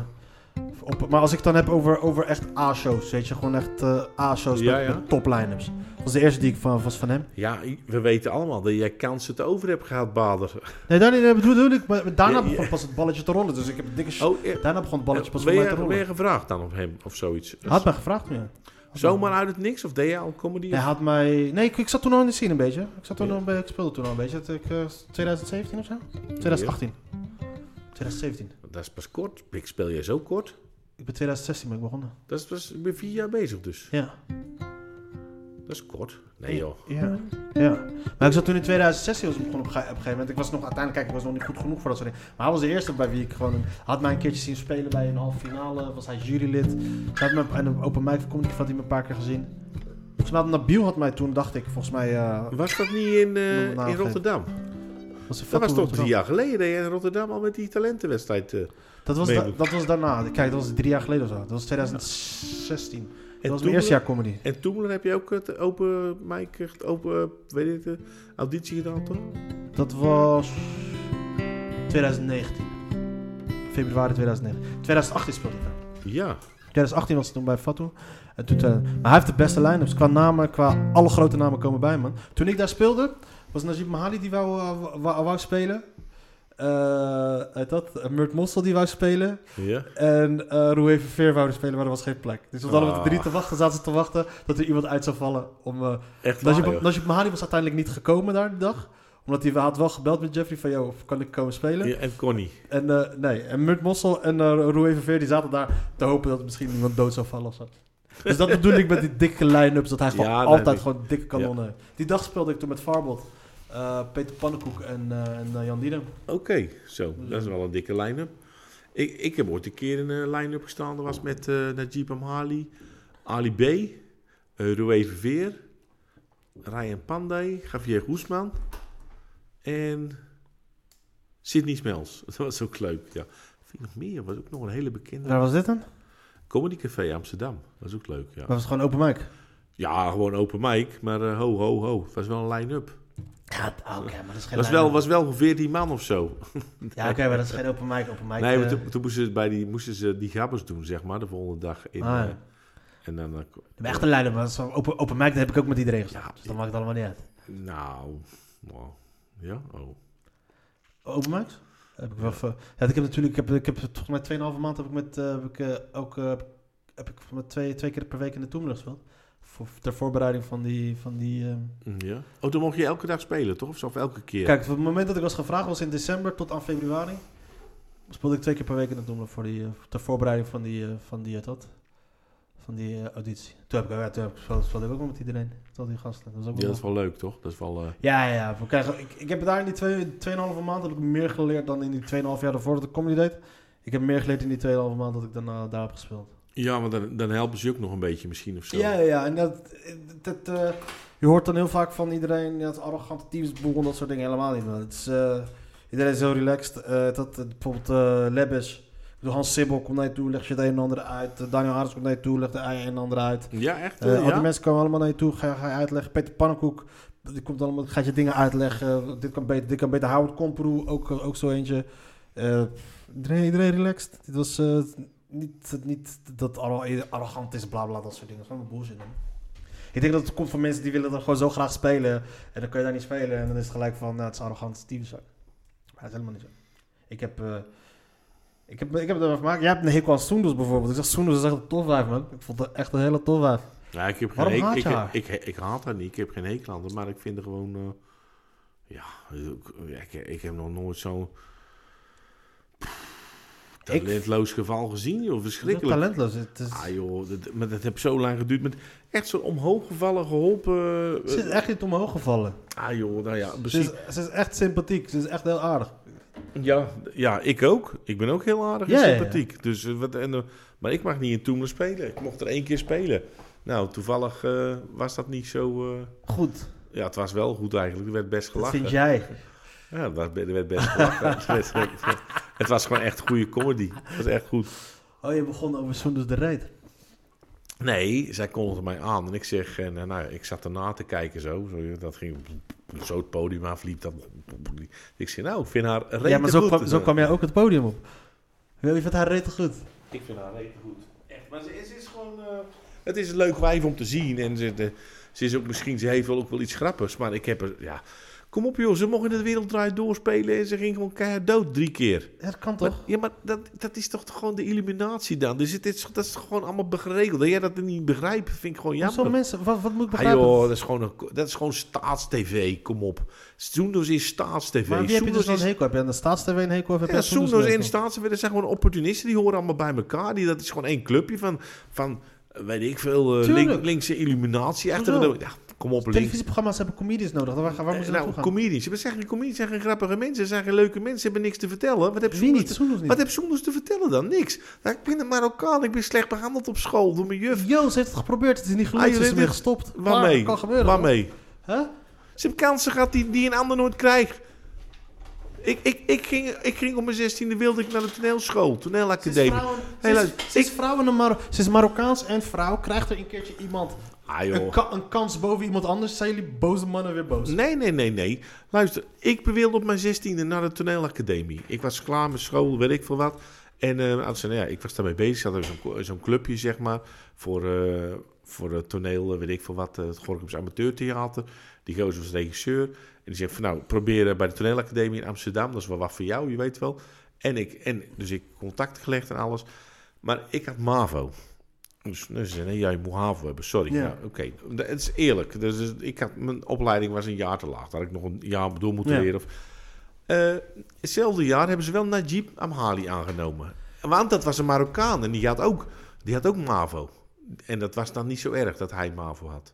[SPEAKER 2] op, maar als ik het dan heb over, over echt A-shows, weet je, gewoon echt eh, A-shows
[SPEAKER 3] Ja,
[SPEAKER 2] met,
[SPEAKER 3] ja.
[SPEAKER 2] met top line-ups. Dat was de eerste die ik van, was van hem.
[SPEAKER 3] Ja, i- we weten allemaal dat jij kansen te over hebt gehad, Bader.
[SPEAKER 2] Nee, daar niet, dat bedoel ik, maar maar daarna
[SPEAKER 3] Ja, ja.
[SPEAKER 2] begon pas het balletje te rollen. Dus ik heb een dikke. sh-
[SPEAKER 3] Oh, eh,
[SPEAKER 2] daarna begon het balletje pas voor
[SPEAKER 3] ben
[SPEAKER 2] mij te
[SPEAKER 3] je, ben
[SPEAKER 2] rollen.
[SPEAKER 3] je gevraagd dan op hem of zoiets?
[SPEAKER 2] Hij had mij gevraagd, meer.
[SPEAKER 3] Zomaar uit het niks? Of deed jij al comedy?
[SPEAKER 2] Hij had mij... Nee, ik, ik zat toen al in de scene een beetje. Ik, zat toen
[SPEAKER 3] Ja.
[SPEAKER 2] al bij, ik speelde toen al een beetje. Dat ik, eh, 2017 of zo? 2018. 2017.
[SPEAKER 3] Dat is pas kort. Ik speel jij zo kort?
[SPEAKER 2] Ik ben 2016 ben ik begonnen.
[SPEAKER 3] Dat is pas, ik ben vier jaar bezig dus.
[SPEAKER 2] Ja.
[SPEAKER 3] Dat is kort. Nee joh.
[SPEAKER 2] Ja. ja. Maar ik zat toen in 2016 was ik begonnen op, een ge- op een gegeven moment. Ik was nog uiteindelijk, kijk, ik was nog niet goed genoeg voor dat soort dingen. Maar hij was de eerste bij wie ik gewoon... een- Had mij een keertje zien spelen bij een halve finale. Was hij jurylid. Hij had me op- en een open mic comedy had hij me een paar keer gezien. Volgens mij had Nabil had mij toen, dacht ik, volgens mij... eh,
[SPEAKER 3] Was dat niet in, eh,
[SPEAKER 2] Noem het nou
[SPEAKER 3] in
[SPEAKER 2] geen-
[SPEAKER 3] Rotterdam?
[SPEAKER 2] was hij
[SPEAKER 3] Dat was toch
[SPEAKER 2] Rotterdam.
[SPEAKER 3] drie jaar geleden dat jij in Rotterdam al met die talentenwedstrijd... eh,
[SPEAKER 2] Dat was,
[SPEAKER 3] Nee,
[SPEAKER 2] da-
[SPEAKER 3] maar-
[SPEAKER 2] dat was daarna. Kijk, dat was drie jaar geleden of zo. Dat was 2016. dat was
[SPEAKER 3] toen-
[SPEAKER 2] mijn eerste jaar comedy.
[SPEAKER 3] En toen heb je ook het open mic, het open, eh, weet ik het, eh, auditie gedaan toch?
[SPEAKER 2] Dat was 2019. Februari 2019. 2018 speelde ik daar.
[SPEAKER 3] Ja.
[SPEAKER 2] 2018 was het toen bij Fatou. En toen, eh, maar hij heeft de beste line-ups. Qua namen, qua alle grote namen komen bij, man. Toen ik daar speelde, was Najib Mahali die wou, wou, wou- wou spelen. Eh, uit dat, eh, Murt Mossel die wou spelen.
[SPEAKER 3] Ja.
[SPEAKER 2] En eh Roe even Veer wouden spelen, maar er was geen plek. Dus we hadden met de drie
[SPEAKER 3] Ah.
[SPEAKER 2] te wachten, zaten ze te wachten dat er iemand uit zou vallen. Om, eh
[SPEAKER 3] Echt waar,
[SPEAKER 2] Najib,
[SPEAKER 3] joh.
[SPEAKER 2] Najib Mahali was uiteindelijk niet gekomen daar die dag. Omdat hij hij had wel gebeld met Jeffrey van, joh, kan ik komen spelen?
[SPEAKER 3] Ja, en Connie.
[SPEAKER 2] En eh, nee, en Murt Mossel en eh Roe even Veer, die zaten daar te hopen dat misschien iemand dood zou vallen of zo. Dus dat bedoel ik met die dikke line-ups, dat hij gewoon
[SPEAKER 3] Ja, nee,
[SPEAKER 2] altijd
[SPEAKER 3] nee.
[SPEAKER 2] gewoon dikke kanonnen heeft. Die dag speelde ik toen met Farbot, eh, Peter Pannenkoek en, eh, en eh, Jan Diedem.
[SPEAKER 3] Oké, zo. Dat is wel een dikke line-up. Ik, ik heb ooit een keer in een line-up gestaan. Dat was met eh Najib Amhali, Ali B, eh Roué Verveer, Ryan Pandey, Javier Guzman en Sidney Smels. Dat was ook leuk, ja. Vind ik nog meer. was ook nog een hele bekende.
[SPEAKER 2] Waar was dit dan?
[SPEAKER 3] Comedy Café Amsterdam. was ook leuk, ja.
[SPEAKER 2] Dat was gewoon open mic.
[SPEAKER 3] Ja, gewoon open mic, maar eh, ho, ho, ho. Het was wel een line-up.
[SPEAKER 2] Ja, oké, maar dat is geen
[SPEAKER 3] Het was wel, was wel 14 man of zo.
[SPEAKER 2] Ja, oké, maar dat is geen open mic. Open mic
[SPEAKER 3] Nee,
[SPEAKER 2] eh,
[SPEAKER 3] maar toen, toen moesten, ze bij die, moesten ze die grabbers doen, zeg maar, de volgende dag. In,
[SPEAKER 2] Ah, ja.
[SPEAKER 3] eh, en dan... eh,
[SPEAKER 2] de echte leider, maar zo'n open, open mic, daar heb ik ook met iedereen gestaan.
[SPEAKER 3] Ja,
[SPEAKER 2] dus dan maakt het allemaal niet uit.
[SPEAKER 3] nou, nou, ja, oh.
[SPEAKER 2] Open mics? Heb ik wel veel- Ja, ik heb natuurlijk, ik heb, ik heb volgens mij 2,5 maand heb ik met, eh, heb ik, eh, ook, eh, heb ik met twee, twee keer per week in de Toemler gespeeld. Voor, ter voorbereiding van die, van die ehm,
[SPEAKER 3] Ja. Oh, toen mocht je elke dag spelen, toch? Of zo, of elke keer?
[SPEAKER 2] Kijk, op het moment dat ik was gevraagd was in december tot aan februari. Speelde ik twee keer per week in de Doemelen voor die, eh, ter voorbereiding van die, eh, van die, eh, dat, van die eh, auditie. Toen heb ik, ja, toen heb ik, speelde, speelde ik ook wel met iedereen, met al die gasten. Dat was ook
[SPEAKER 3] ja,
[SPEAKER 2] wel
[SPEAKER 3] dat is wel leuk, toch? Dat is wel... eh,
[SPEAKER 2] ja, ja, ja. We krijgen, ik, ik heb daar in die twee- 2,5 maand heb ik meer geleerd dan in die 2,5 jaar daarvoor dat ik comedy deed. Ik heb meer geleerd in die 2,5 maand dat ik daarna daar heb gespeeld.
[SPEAKER 3] Ja, maar dan, dan helpen ze je ook nog een beetje misschien of zo.
[SPEAKER 2] Ja, ja, ja. En dat, dat, eh, je hoort dan heel vaak van iedereen dat is arrogante teamsboel en dat soort dingen helemaal niet. Man. Het is, eh, iedereen is heel relaxed. Eh, dat, eh, bijvoorbeeld eh Lebbes. Ik bedoel, Hans Sibbel komt naar je toe, legt je het een en ander uit. Eh, Daniel Harris komt naar je toe, legt het een en ander uit.
[SPEAKER 3] Ja, echt?
[SPEAKER 2] Eh,
[SPEAKER 3] eh,
[SPEAKER 2] Al die
[SPEAKER 3] ja?
[SPEAKER 2] mensen komen allemaal naar je toe, ga, je- ga je uitleggen. Peter Pannenkoek, die komt allemaal, gaat je dingen uitleggen. Eh, Dit kan beter, dit kan beter. Howard Komproe, ook, eh, ook zo eentje. Eh, iedereen, iedereen relaxed. Dit was eh, niet, niet dat arro- arrogant is, bla bla, dat soort dingen. Dat is allemaal bullshit, man. Ik denk dat het komt van mensen die willen er gewoon zo graag spelen. En dan kun je daar niet spelen. En dan is het gelijk van, nou, het is arrogant team zo. Maar dat is helemaal niet zo. Ik heb... eh, ik heb, ik heb het erover gemaakt. Jij hebt een hekel aan Soendels bijvoorbeeld. Ik zeg, Soendels is echt een topwijf, man. Ik vond het echt een hele topwijf.
[SPEAKER 3] Ja, ik heb geen
[SPEAKER 2] Waarom
[SPEAKER 3] hek-
[SPEAKER 2] haat je
[SPEAKER 3] ik,
[SPEAKER 2] haar?
[SPEAKER 3] Ik, ik, ik haat haar niet. Ik heb geen hekel aan haar, maar ik vind er gewoon... eh, ja, ik, ik, ik heb nog nooit zo'n... pff,
[SPEAKER 2] Ik-
[SPEAKER 3] Talentloos geval gezien, joh. Verschrikkelijk.
[SPEAKER 2] Talentloos. Het is,
[SPEAKER 3] Ah joh, dat, maar dat heb zo lang geduurd. Met echt zo'n omhooggevallen, geholpen... eh,
[SPEAKER 2] ze is echt niet omhoog gevallen.
[SPEAKER 3] ah joh, nou ja,
[SPEAKER 2] Ze
[SPEAKER 3] precies.
[SPEAKER 2] is, ze is echt sympathiek. Ze is echt heel aardig.
[SPEAKER 3] Ja, ja, ik ook. Ik ben ook heel aardig en
[SPEAKER 2] Ja, ja, ja.
[SPEAKER 3] sympathiek. Dus, eh, wat, en, eh, maar ik mag niet in Toemler spelen. Ik mocht er één keer spelen. Nou, toevallig eh, was dat niet zo... eh,
[SPEAKER 2] Goed.
[SPEAKER 3] ja, het was wel goed eigenlijk. Er werd best
[SPEAKER 2] Dat
[SPEAKER 3] gelachen.
[SPEAKER 2] vind jij.
[SPEAKER 3] Ja, er werd, er werd best gelachen. Het werd- het werd- het was gewoon echt goede comedy. Het was echt goed.
[SPEAKER 2] Oh, je begon over Soenders de Rijt.
[SPEAKER 3] Nee, zij kondigde mij aan. En ik zeg, en, eh, nou, ik zat erna te kijken zo. zo dat ging zo het podium af, liep dat. Ik zeg, nou, ik vind haar eh. rete
[SPEAKER 2] Ja, maar zo
[SPEAKER 3] goed.
[SPEAKER 2] kwam, zo kwam jij ook het podium op. Wil je vindt haar rete goed?
[SPEAKER 3] Ik vind haar rete goed. Echt, maar ze is, ze is gewoon... eh, Het is een leuk wijf om te zien. En ze, de- ze is ook misschien, ze heeft wel ook wel iets grappigs. Maar ik heb er, ja... Kom op joh, ze mocht in het werelddraai doorspelen en ze ging gewoon keihard dood drie keer.
[SPEAKER 2] Ja, dat kan
[SPEAKER 3] Maar-
[SPEAKER 2] toch?
[SPEAKER 3] ja, maar dat, dat is toch gewoon de illuminatie dan? Dus het is, dat is toch gewoon allemaal geregeld. Dat jij dat niet begrijpt, vind ik gewoon
[SPEAKER 2] Hoezo
[SPEAKER 3] jammer.
[SPEAKER 2] mensen, wat, wat moet ik
[SPEAKER 3] Ah,
[SPEAKER 2] begrijpen?
[SPEAKER 3] joh, dat is gewoon, een, dat is gewoon staatstv, kom op. Soendos is staatstv.
[SPEAKER 2] maar wie heb je dus
[SPEAKER 3] Soendos
[SPEAKER 2] dan een
[SPEAKER 3] is,
[SPEAKER 2] hekel? Heb je aan de staatstv een hekel? Of heb je
[SPEAKER 3] ja,
[SPEAKER 2] aan Soenders
[SPEAKER 3] Soendos
[SPEAKER 2] een
[SPEAKER 3] en
[SPEAKER 2] hekel?
[SPEAKER 3] staatstv, dat zijn gewoon opportunisten. Die horen allemaal bij elkaar. Die, dat is gewoon één clubje van, van eh, weet ik veel, eh,
[SPEAKER 2] Tuurlijk.
[SPEAKER 3] link- linkse illuminatie. Echt,
[SPEAKER 2] Hoezo?
[SPEAKER 3] ja, kom op, links.
[SPEAKER 2] Televisieprogramma's hebben comedians nodig. Waar, waar moeten ze
[SPEAKER 3] nou,
[SPEAKER 2] naartoe gaan?
[SPEAKER 3] comedians. Ze zeggen, comedians zijn geen grappige mensen. Ze zijn geen leuke mensen. Ze hebben niks te vertellen. Wat heb
[SPEAKER 2] Wie
[SPEAKER 3] Soendos
[SPEAKER 2] niet? Soenders
[SPEAKER 3] Wat
[SPEAKER 2] niet.
[SPEAKER 3] heb Soenders te vertellen dan? Niks. Nou, ik ben een Marokkaan, ik ben slecht behandeld op school door mijn juf.
[SPEAKER 2] Jo, ze heeft het geprobeerd. Het is niet gelukt.
[SPEAKER 3] Ah, je
[SPEAKER 2] ze is
[SPEAKER 3] weet
[SPEAKER 2] ermee
[SPEAKER 3] het.
[SPEAKER 2] gestopt. Klaar,
[SPEAKER 3] Waarmee?
[SPEAKER 2] Dat kan gebeuren.
[SPEAKER 3] Waarmee?
[SPEAKER 2] hoor. Hè?
[SPEAKER 3] Ze hebben kansen gehad die, die een ander nooit krijgt. Ik, ik, ik, ging, ik ging op mijn 16e wilde ik naar de toneelschool,
[SPEAKER 2] Ze is
[SPEAKER 3] toneelacademie.
[SPEAKER 2] vrouw, ze
[SPEAKER 3] Helaas,
[SPEAKER 2] is, ze is vrouw en een Mar- ze is Marokkaans en vrouw. Krijgt er een keertje iemand
[SPEAKER 3] Ah
[SPEAKER 2] een,
[SPEAKER 3] joh.
[SPEAKER 2] ka- een kans boven iemand anders? Zijn jullie boze mannen weer boos?
[SPEAKER 3] Nee, nee, nee, nee. Luister, ik wilde op mijn 16e naar de toneelacademie. Ik was klaar met school, weet ik veel wat. En eh, als- nou ja, ik was daarmee bezig. Ik had zo'n zo'n clubje, zeg maar, voor, eh, voor het toneel, eh, weet ik veel wat. eh, Het Gorkums Amateurtheater. Die gozer was regisseur. En die zegt van, nou, probeer eh, bij de toneelacademie in Amsterdam. Dat is wel wat voor jou, je weet wel. En ik, en, dus ik contact gelegd en alles. Maar ik had MAVO. Dus nou, ze zeiden, nee, jij moet HAVO hebben, sorry.
[SPEAKER 2] Ja.
[SPEAKER 3] Nou, Oké, Dat- het is eerlijk. Dus is- ik had, mijn opleiding was een jaar te laag. Daar had ik nog een jaar door moeten
[SPEAKER 2] Ja.
[SPEAKER 3] leren. Of, Eh, hetzelfde jaar hebben ze wel Najib Amhali aangenomen. Want dat was een Marokkaan en die had ook, die had ook MAVO. En dat was dan niet zo erg dat hij MAVO had.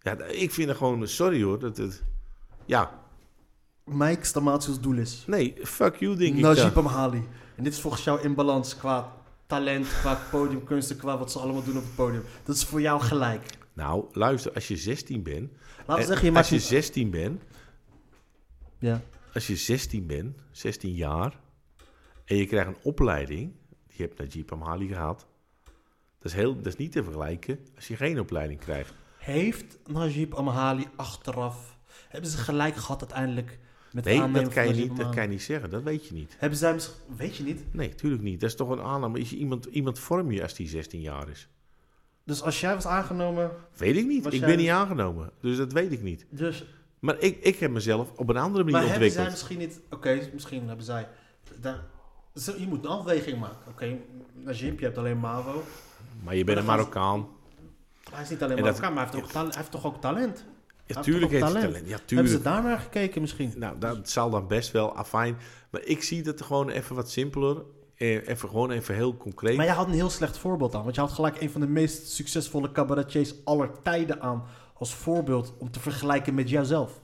[SPEAKER 3] Ja, d- ik vind het gewoon, sorry hoor. Dat, het ja,
[SPEAKER 2] Mike Stamatius doel is.
[SPEAKER 3] nee, fuck you denk ik dan.
[SPEAKER 2] Najib Amhali. En dit is volgens jou in balans qua talent, qua podiumkunsten, qua wat ze allemaal doen op het podium. Dat is voor jou gelijk.
[SPEAKER 3] Nou, luister, als je 16 bent...
[SPEAKER 2] Laten we
[SPEAKER 3] en-
[SPEAKER 2] zeggen, je
[SPEAKER 3] Eh, als
[SPEAKER 2] maakt
[SPEAKER 3] je
[SPEAKER 2] een-
[SPEAKER 3] 16 bent,
[SPEAKER 2] Ja.
[SPEAKER 3] als je 16 bent, 16 jaar, en je krijgt een opleiding, die heb Najib Amhali gehad, dat is, heel, dat is niet te vergelijken als je geen opleiding krijgt.
[SPEAKER 2] Heeft Najib Amhali achteraf... Hebben ze gelijk gehad uiteindelijk met het
[SPEAKER 3] Nee,
[SPEAKER 2] aannemen
[SPEAKER 3] dat kan, je
[SPEAKER 2] van Najib
[SPEAKER 3] niet, dat
[SPEAKER 2] Amhali?
[SPEAKER 3] kan je niet zeggen, dat weet je niet.
[SPEAKER 2] Hebben zij misschien... Weet je niet.
[SPEAKER 3] Nee, tuurlijk niet. Dat is toch een aanname. Is je iemand, iemand vorm je als die 16 jaar is?
[SPEAKER 2] Dus als jij was aangenomen...
[SPEAKER 3] Weet ik niet.
[SPEAKER 2] Was
[SPEAKER 3] ik
[SPEAKER 2] jij-
[SPEAKER 3] ben niet aangenomen, dus dat weet ik niet.
[SPEAKER 2] Dus,
[SPEAKER 3] Maar ik, ik heb mezelf op een andere
[SPEAKER 2] maar
[SPEAKER 3] manier
[SPEAKER 2] hebben zij
[SPEAKER 3] ontwikkeld.
[SPEAKER 2] misschien niet... Oké, misschien hebben zij... daar- ze- je moet een afweging maken. Oké, Najib, je hebt alleen MAVO.
[SPEAKER 3] Maar je bent een
[SPEAKER 2] dan gaan ze-
[SPEAKER 3] Marokkaan.
[SPEAKER 2] Hij is niet alleen
[SPEAKER 3] En
[SPEAKER 2] maar
[SPEAKER 3] dat-
[SPEAKER 2] elkaar, maar hij heeft, ook talen- hij heeft toch ook talent?
[SPEAKER 3] Ja,
[SPEAKER 2] heeft toch
[SPEAKER 3] tuurlijk heeft
[SPEAKER 2] ook
[SPEAKER 3] hij
[SPEAKER 2] talent?
[SPEAKER 3] talent. Ja,
[SPEAKER 2] Hebben
[SPEAKER 3] tuurlijk.
[SPEAKER 2] ze daar naar gekeken misschien?
[SPEAKER 3] Nou, dat zal dan best wel afijn. Maar ik zie dat gewoon even wat simpeler. eh, Even gewoon even heel concreet.
[SPEAKER 2] Maar jij had een heel slecht voorbeeld aan. Want je had gelijk een van de meest succesvolle cabaretiers aller tijden aan. Als voorbeeld om te vergelijken met jouzelf.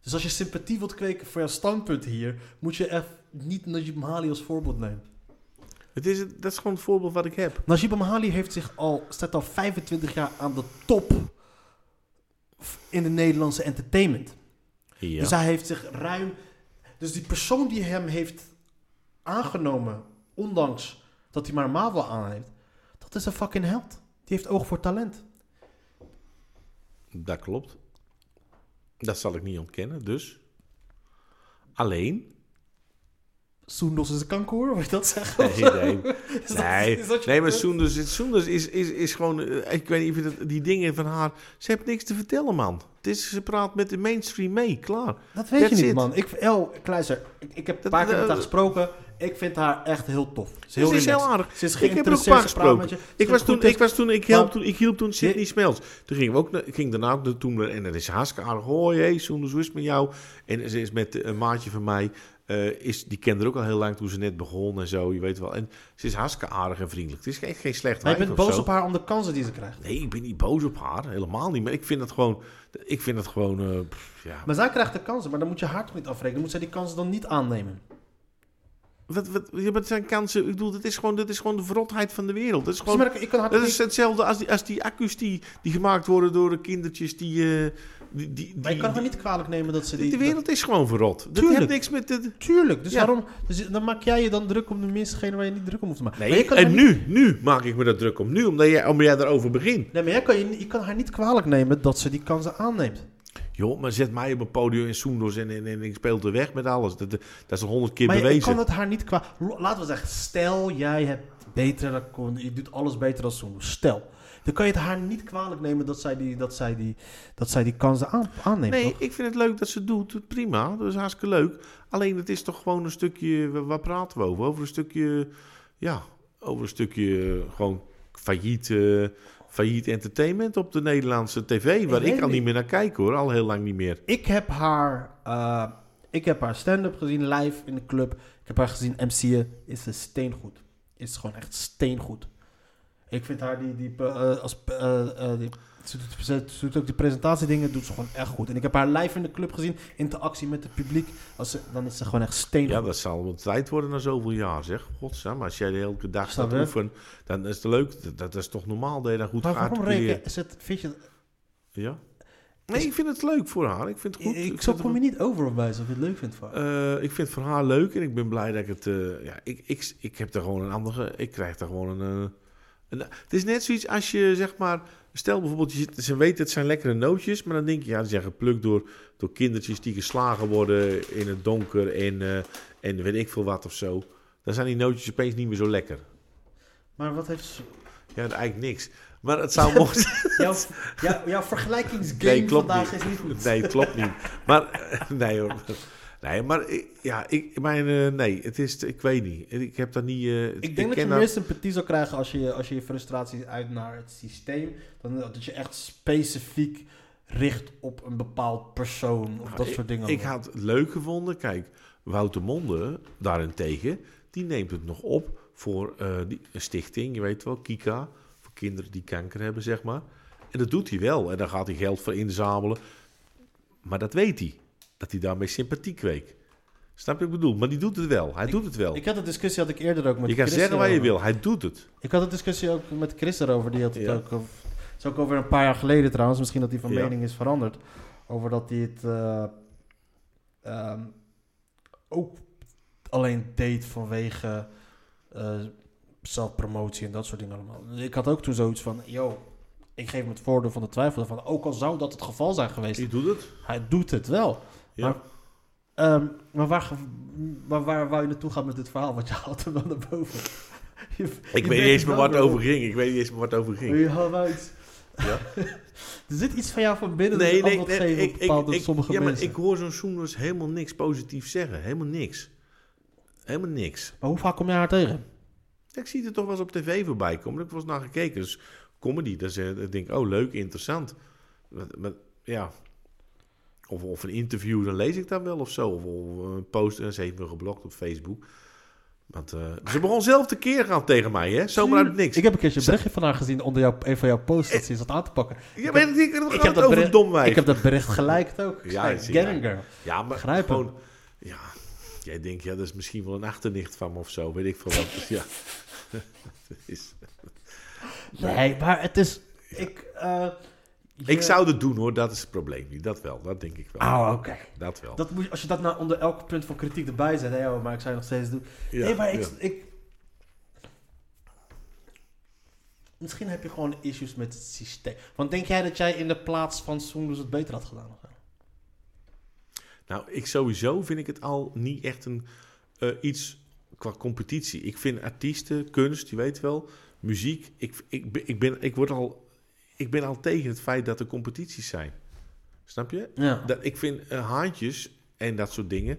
[SPEAKER 2] Dus als je sympathie wilt kweken voor jouw standpunt hier, moet je echt niet Najib Mahali als voorbeeld nemen.
[SPEAKER 3] Het is, dat is gewoon het voorbeeld wat ik heb.
[SPEAKER 2] Najib Mahali heeft zich al, staat al 25 jaar aan de top in de Nederlandse entertainment.
[SPEAKER 3] Ja.
[SPEAKER 2] Dus hij heeft zich ruim. Dus die persoon die hem heeft aangenomen, ondanks dat hij maar Mavo aan heeft, dat is een fucking held. Die heeft oog voor talent.
[SPEAKER 3] Dat klopt. Dat zal ik niet ontkennen, dus. Alleen,
[SPEAKER 2] Soendos is een kanker, wil je dat zeggen?
[SPEAKER 3] Nee, nee.
[SPEAKER 2] Is dat-
[SPEAKER 3] Nee,
[SPEAKER 2] is dat je
[SPEAKER 3] nee maar
[SPEAKER 2] punt?
[SPEAKER 3] Soenders, is- Soenders is, is, is gewoon... eh, Ik weet niet of je dat, die dingen van haar... Ze heeft niks te vertellen, man. Het is, ze praat met de mainstream mee, klaar.
[SPEAKER 2] Dat weet
[SPEAKER 3] That's
[SPEAKER 2] je niet,
[SPEAKER 3] it.
[SPEAKER 2] man. Ik, El Kleiser, ik, ik heb een
[SPEAKER 3] Dat-
[SPEAKER 2] paar keer met
[SPEAKER 3] dat-
[SPEAKER 2] haar gesproken. Ik vind haar echt heel tof. Ze is heel
[SPEAKER 3] Ze is heel
[SPEAKER 2] relaxed.
[SPEAKER 3] aardig.
[SPEAKER 2] Ze is
[SPEAKER 3] ik heb er ook een
[SPEAKER 2] geïnteresseerd,
[SPEAKER 3] paar
[SPEAKER 2] ze praat met
[SPEAKER 3] gesproken.
[SPEAKER 2] je. Ze
[SPEAKER 3] Ik was,
[SPEAKER 2] doet
[SPEAKER 3] toen,
[SPEAKER 2] het
[SPEAKER 3] ik, was toen, ik, help,
[SPEAKER 2] Maar-
[SPEAKER 3] toen, ik hielp toen Sydney Smels. Toen gingen we ook, naar- ik ging daarna ook naartoe naar- en dat is hartstikke aardig. Hoi, hey, Soenders, hoe is het met jou? En ze is met eh, een maatje van mij, eh, is, die kende haar ook al heel lang toen ze net begon en zo, je weet wel. En ze is hartstikke aardig en vriendelijk. Het is echt geen slecht
[SPEAKER 2] Maar je
[SPEAKER 3] wijf
[SPEAKER 2] bent
[SPEAKER 3] of
[SPEAKER 2] boos
[SPEAKER 3] zo.
[SPEAKER 2] op haar om de kansen die ze krijgt.
[SPEAKER 3] Nee, ik ben niet boos op haar, helemaal niet. Maar ik vind dat gewoon, ik vind dat gewoon, eh, pff, ja.
[SPEAKER 2] Maar zij krijgt de kansen, maar dan moet je haar toch niet afrekenen? Moet zij die kansen dan niet aannemen?
[SPEAKER 3] Wat, wat, ja, maar het zijn kansen, ik bedoel, dat is gewoon, dat is gewoon de verrotheid van de wereld. Dat is
[SPEAKER 2] Dus
[SPEAKER 3] gewoon,
[SPEAKER 2] maar ik, ik kan haar
[SPEAKER 3] Dat
[SPEAKER 2] toch
[SPEAKER 3] is
[SPEAKER 2] niet-
[SPEAKER 3] hetzelfde als die, als die accu's die, die gemaakt worden door de kindertjes die... eh, die, die,
[SPEAKER 2] maar je
[SPEAKER 3] die-
[SPEAKER 2] kan haar niet kwalijk nemen dat ze
[SPEAKER 3] die-
[SPEAKER 2] die...
[SPEAKER 3] de wereld is gewoon verrot. Dat
[SPEAKER 2] Tuurlijk.
[SPEAKER 3] heeft niks met... De,
[SPEAKER 2] dat- tuurlijk, dus
[SPEAKER 3] Ja.
[SPEAKER 2] daarom... Dus dan maak jij je dan druk om de minstgene waar je niet druk om hoeft te maken. Maar
[SPEAKER 3] nee,
[SPEAKER 2] je kan haar
[SPEAKER 3] en
[SPEAKER 2] niet-
[SPEAKER 3] nu, nu maak ik me dat druk om. Nu, omdat jij, omdat jij daarover begint.
[SPEAKER 2] Nee, maar jij kan, je, niet- je kan haar niet kwalijk nemen dat ze die kansen aanneemt.
[SPEAKER 3] Joh, maar zet mij op een podium in Soendos en, en, en ik speel te weg met alles. Dat, dat is al honderd keer
[SPEAKER 2] Maar je- ik
[SPEAKER 3] bewezen.
[SPEAKER 2] kan het haar niet kwalijk... Laten we zeggen, stel jij hebt betere... kon- Je doet alles beter dan Soen. Stel. Dan kan je het haar niet kwalijk nemen dat zij die, dat zij die, dat zij die kansen aan, aanneemt.
[SPEAKER 3] Nee,
[SPEAKER 2] toch?
[SPEAKER 3] ik vind het leuk dat ze het doet. Prima, dat is hartstikke leuk. Alleen het is toch gewoon een stukje... wa- Waar praten we over? Over een stukje... Ja, over een stukje eh, gewoon failliet... eh, failliet entertainment op de Nederlandse tv. Waar
[SPEAKER 2] weet
[SPEAKER 3] ik al
[SPEAKER 2] niet.
[SPEAKER 3] niet meer naar kijk hoor. Al heel lang niet meer.
[SPEAKER 2] Ik heb haar, eh, ik heb haar stand-up gezien live in de club. Ik heb haar gezien MC'en. Is ze steengoed. Is gewoon echt steengoed. Ik vind haar die, die, eh, als, eh, eh, die ze, doet, ze doet ook die presentatiedingen, doet ze gewoon echt goed. En ik heb haar live in de club gezien, interactie met het publiek. Als ze, dan is ze gewoon echt steengoed.
[SPEAKER 3] Ja, dat zal wel tijd worden na zoveel jaar zeg. Godsam, als jij de hele dag
[SPEAKER 2] Snap
[SPEAKER 3] staat
[SPEAKER 2] je?
[SPEAKER 3] oefenen... Dan is het leuk. Dat, dat is toch normaal dat je dan goed
[SPEAKER 2] maar
[SPEAKER 3] gaat
[SPEAKER 2] waarom reken is het, vind je,
[SPEAKER 3] Ja. Nee, ik vind het leuk voor haar. Ik vind het goed.
[SPEAKER 2] ik,
[SPEAKER 3] vind
[SPEAKER 2] zo
[SPEAKER 3] het
[SPEAKER 2] kom je niet over op wijze of je het leuk vindt van haar.
[SPEAKER 3] Eh, ik vind het voor haar leuk en ik ben blij dat ik het. eh, ja, ik, ik, ik heb er gewoon een andere. Ik krijg er gewoon een, eh, een- Het is net zoiets als je zeg maar. Stel bijvoorbeeld, je zit- ze weten het zijn lekkere nootjes, maar dan denk je, ja, die zijn geplukt door, door kindertjes die geslagen worden in het donker en, eh, en weet ik veel wat of zo. Dan zijn die nootjes opeens niet meer zo lekker.
[SPEAKER 2] Maar wat heeft ze...
[SPEAKER 3] Ja, eigenlijk niks. Maar het zou mooi zijn.
[SPEAKER 2] Jouw, jouw, jouw vergelijkingsgame
[SPEAKER 3] Nee, klopt
[SPEAKER 2] vandaag
[SPEAKER 3] niet.
[SPEAKER 2] is niet goed.
[SPEAKER 3] Nee, klopt niet. Maar eh, nee hoor. Nee, maar ik- ja, ik, mijn, eh, nee, het is, ik weet niet. Ik heb daar niet. eh,
[SPEAKER 2] Ik denk dat je
[SPEAKER 3] ken
[SPEAKER 2] meer sympathie zou krijgen als je, als je je frustraties uit naar het systeem. Dan, dat je echt specifiek richt op een bepaald persoon of dat
[SPEAKER 3] Nou, Ah, ik-
[SPEAKER 2] soort dingen.
[SPEAKER 3] Ik had het leuk gevonden. Kijk, Wouter Monde daarentegen, die neemt het nog op voor eh, die, een stichting, je weet wel, Kika, voor kinderen die kanker hebben, zeg maar. En dat doet hij wel. En daar gaat hij geld voor inzamelen. Maar dat weet hij. Dat hij daarmee sympathie kweekt. Snap je wat ik bedoel? Maar die doet het wel. Hij doet het wel.
[SPEAKER 2] ik had een discussie had ik eerder ook met
[SPEAKER 3] je kan
[SPEAKER 2] Chris eh,
[SPEAKER 3] zeggen wat je
[SPEAKER 2] erover.
[SPEAKER 3] wil. Hij doet het.
[SPEAKER 2] Ik had een discussie ook met Chris erover. Die had het
[SPEAKER 3] Ja.
[SPEAKER 2] ook. over- Dat is ook over een paar jaar geleden trouwens. Misschien dat hij van
[SPEAKER 3] Ja.
[SPEAKER 2] mening is veranderd. Over dat hij het eh, ehm, ook alleen deed vanwege eh, zelfpromotie en dat soort dingen allemaal. Dus Ik had ook toen zoiets van: yo, ik geef hem het voordeel van de twijfel. Van, ook al zou dat het geval zijn geweest,
[SPEAKER 3] Hij doet het.
[SPEAKER 2] hij doet het wel.
[SPEAKER 3] Ja.
[SPEAKER 2] Maar, ehm, maar waar, ge- maar waar wou je naartoe gaan met dit verhaal? Want je haalt hem wel naar boven. Je- je
[SPEAKER 3] Ik weet niet
[SPEAKER 2] brengt
[SPEAKER 3] eens
[SPEAKER 2] hem
[SPEAKER 3] meer
[SPEAKER 2] wel
[SPEAKER 3] wat het
[SPEAKER 2] naar
[SPEAKER 3] over ging. Ik weet niet eens meer wat het over ging.
[SPEAKER 2] je uit.
[SPEAKER 3] Ja.
[SPEAKER 2] er zit iets van jou van binnen
[SPEAKER 3] Nee,
[SPEAKER 2] dat
[SPEAKER 3] nee,
[SPEAKER 2] antwoord
[SPEAKER 3] nee,
[SPEAKER 2] geven
[SPEAKER 3] ik,
[SPEAKER 2] op
[SPEAKER 3] ik,
[SPEAKER 2] bepaalde
[SPEAKER 3] ik-
[SPEAKER 2] sommige
[SPEAKER 3] ja, maar
[SPEAKER 2] mensen.
[SPEAKER 3] ik hoor zo'n Soenders helemaal niks positiefs zeggen. Helemaal niks. Helemaal niks.
[SPEAKER 2] Maar hoe vaak kom jij haar tegen?
[SPEAKER 3] Ik zie het toch wel eens op tv voorbij komen. Ik was naar gekeken. Dus comedy. Dus, eh, ik denk, oh leuk, interessant. Met, met- ja. Of, of een interview, dan lees ik dat wel of zo. Of, of een post. En ze heeft me geblokt op Facebook. Want, eh, ze begon zelf te keer gaan tegen mij, hè? Zomaar uit het niks.
[SPEAKER 2] Ik heb een keertje een berichtje van haar gezien onder jouw, een van jouw posts dat ze is dat aan te pakken.
[SPEAKER 3] ja, maar ik, denk, dat gaat
[SPEAKER 2] dat
[SPEAKER 3] over
[SPEAKER 2] bericht-
[SPEAKER 3] domwijf.
[SPEAKER 2] ik heb dat bericht gelijk ook.
[SPEAKER 3] Ja,
[SPEAKER 2] Ja,
[SPEAKER 3] zie je.
[SPEAKER 2] Geringer.
[SPEAKER 3] Ja, maar
[SPEAKER 2] Begrijp hem.
[SPEAKER 3] gewoon... Ja, jij denkt, ja, dat is misschien wel een achternicht van me of zo. Weet ik veel wat. Dus ja. Het is-
[SPEAKER 2] Nee, maar het is... Ik, eh,
[SPEAKER 3] Ik
[SPEAKER 2] je-
[SPEAKER 3] zou dat doen, hoor. Dat is het probleem niet. Dat wel. Dat denk ik wel.
[SPEAKER 2] Oh, oké.
[SPEAKER 3] Dat wel.
[SPEAKER 2] Dat moet je, als je dat nou onder elk punt van kritiek erbij zet, hè, oh, maar ik zou je nog steeds doen.
[SPEAKER 3] Ja,
[SPEAKER 2] nee, maar ik,
[SPEAKER 3] ja.
[SPEAKER 2] ik. Misschien heb je gewoon issues met het systeem. Want denk jij dat jij in de plaats van Soenders het beter had gedaan? of zo?
[SPEAKER 3] Nou, ik sowieso vind ik het al niet echt een, eh, iets qua competitie. Ik vind artiesten, kunst, je weet wel, muziek. Ik, ik, ben- ik, ben, ik, word al, ik ben al tegen het feit dat er competities zijn. Snap je?
[SPEAKER 2] Ja.
[SPEAKER 3] Dat, ik vind eh, haantjes en dat soort dingen.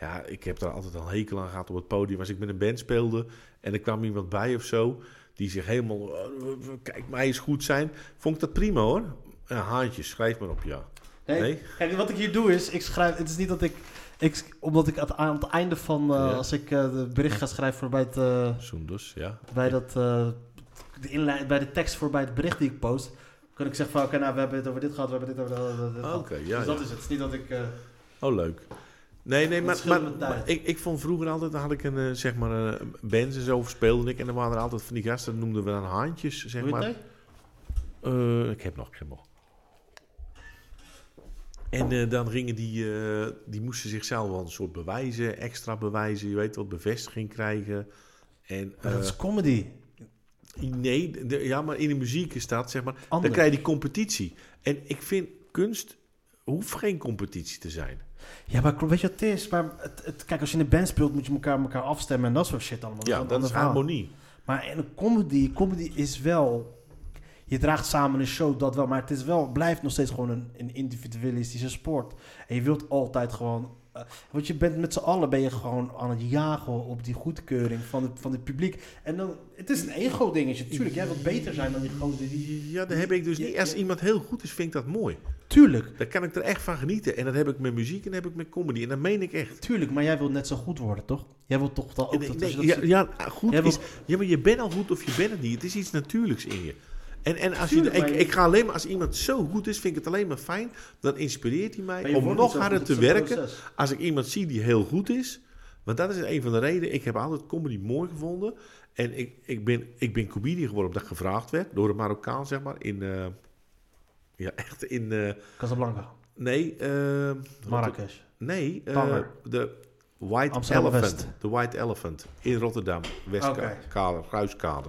[SPEAKER 3] Ja, ik heb daar altijd al hekel aan gehad op het podium. Als ik met een band speelde en er kwam iemand bij of zo. die zich helemaal. "Oh, w- w- kijk, mij eens goed zijn. Vond ik dat prima hoor. Eh, haantjes, schrijf maar op ja.
[SPEAKER 2] Nee.
[SPEAKER 3] Nee?
[SPEAKER 2] Kijk, wat ik hier doe is, ik schrijf. Het is niet dat ik. ik omdat ik aan het- aan het einde van. eh,
[SPEAKER 3] Ja.
[SPEAKER 2] Als ik eh, het bericht ga schrijven voor bij, het, eh,
[SPEAKER 3] Soendos, ja.
[SPEAKER 2] bij, dat, eh, de inleid, bij de tekst voor bij het bericht die ik post. kan ik zeggen van oké, nou we hebben het over dit gehad, we hebben dit over dat. dat- dat- dat
[SPEAKER 3] Ah, Oké,
[SPEAKER 2] gehad.
[SPEAKER 3] ja.
[SPEAKER 2] dus
[SPEAKER 3] ja.
[SPEAKER 2] dat is het. Het is niet dat ik. eh,
[SPEAKER 3] Oh, leuk. Nee, nee,
[SPEAKER 2] Dat
[SPEAKER 3] maar,
[SPEAKER 2] scheelt
[SPEAKER 3] maar,
[SPEAKER 2] met tijd.
[SPEAKER 3] maar ik, ik vond vroeger altijd, dan had ik een, eh, zeg maar, een band en zo speelde ik. En dan waren er altijd van die gasten, dat noemden we dan haantjes, zeg
[SPEAKER 2] hoe heet
[SPEAKER 3] maar.
[SPEAKER 2] hij?
[SPEAKER 3] Eh, ik heb nog, ik heb nog. En eh, dan gingen die, eh, die moesten zichzelf wel een soort bewijzen, extra bewijzen, je weet wat, bevestiging krijgen. En,
[SPEAKER 2] Maar dat
[SPEAKER 3] eh,
[SPEAKER 2] is comedy.
[SPEAKER 3] nee, de- ja, maar in de muziek is dat, zeg maar,
[SPEAKER 2] Anders.
[SPEAKER 3] dan krijg je die competitie. En ik vind, kunst hoeft geen competitie te zijn.
[SPEAKER 2] Ja, maar klopt, weet je wat het is? Maar het, het- kijk, als je in een band speelt, moet je elkaar, elkaar afstemmen en dat soort shit allemaal.
[SPEAKER 3] Ja,
[SPEAKER 2] een
[SPEAKER 3] dat
[SPEAKER 2] ander
[SPEAKER 3] is
[SPEAKER 2] verhaal.
[SPEAKER 3] harmonie.
[SPEAKER 2] Maar in een comedy, comedy is wel. Je draagt samen een show, dat wel. Maar het is wel, blijft nog steeds gewoon een, een individualistische sport. En je wilt altijd gewoon. eh, want je bent met z'n allen ben je gewoon aan het jagen op die goedkeuring van het, van het publiek. En dan, het is een ego-dingetje. Tuurlijk, jij wilt beter zijn dan die gozer die.
[SPEAKER 3] Ja, dat heb ik dus niet. Als iemand heel goed is, vind ik dat mooi.
[SPEAKER 2] Tuurlijk,
[SPEAKER 3] Daar kan ik er echt van genieten. En dat heb ik met muziek en dat heb ik met comedy. En dat meen ik echt.
[SPEAKER 2] tuurlijk, maar jij wilt net zo goed worden, toch? Jij wilt toch dan ook
[SPEAKER 3] Nee,
[SPEAKER 2] dat, als
[SPEAKER 3] nee,
[SPEAKER 2] je dat
[SPEAKER 3] ja,
[SPEAKER 2] ziet-
[SPEAKER 3] ja, goed
[SPEAKER 2] Jij wil-
[SPEAKER 3] is, ja, maar je bent al goed of je bent het niet. Het is iets natuurlijks in je. En, en als
[SPEAKER 2] Tuurlijk,
[SPEAKER 3] je,
[SPEAKER 2] maar
[SPEAKER 3] ik,
[SPEAKER 2] je-
[SPEAKER 3] ik ga alleen maar, als iemand zo goed is, vind ik het alleen maar fijn. Dan inspireert hij
[SPEAKER 2] Maar
[SPEAKER 3] mij
[SPEAKER 2] je
[SPEAKER 3] om
[SPEAKER 2] wordt
[SPEAKER 3] nog
[SPEAKER 2] niet zo
[SPEAKER 3] harder
[SPEAKER 2] goed,
[SPEAKER 3] te
[SPEAKER 2] het is een
[SPEAKER 3] werken.
[SPEAKER 2] proces.
[SPEAKER 3] Als ik iemand zie die heel goed is. Want dat is een van de redenen. Ik heb altijd comedy mooi gevonden. En ik, ik, ben, ik ben comedian geworden omdat ik gevraagd werd door een Marokkaan, zeg maar. In, eh, ja, echt in. eh,
[SPEAKER 2] Casablanca,
[SPEAKER 3] nee, eh,
[SPEAKER 2] Marrakesh.
[SPEAKER 3] Nee, eh,
[SPEAKER 2] Tanger.
[SPEAKER 3] de White
[SPEAKER 2] Amsterdam
[SPEAKER 3] Elephant.
[SPEAKER 2] West.
[SPEAKER 3] De White Elephant in Rotterdam, Westkade,
[SPEAKER 2] Oké.
[SPEAKER 3] Ruiskade.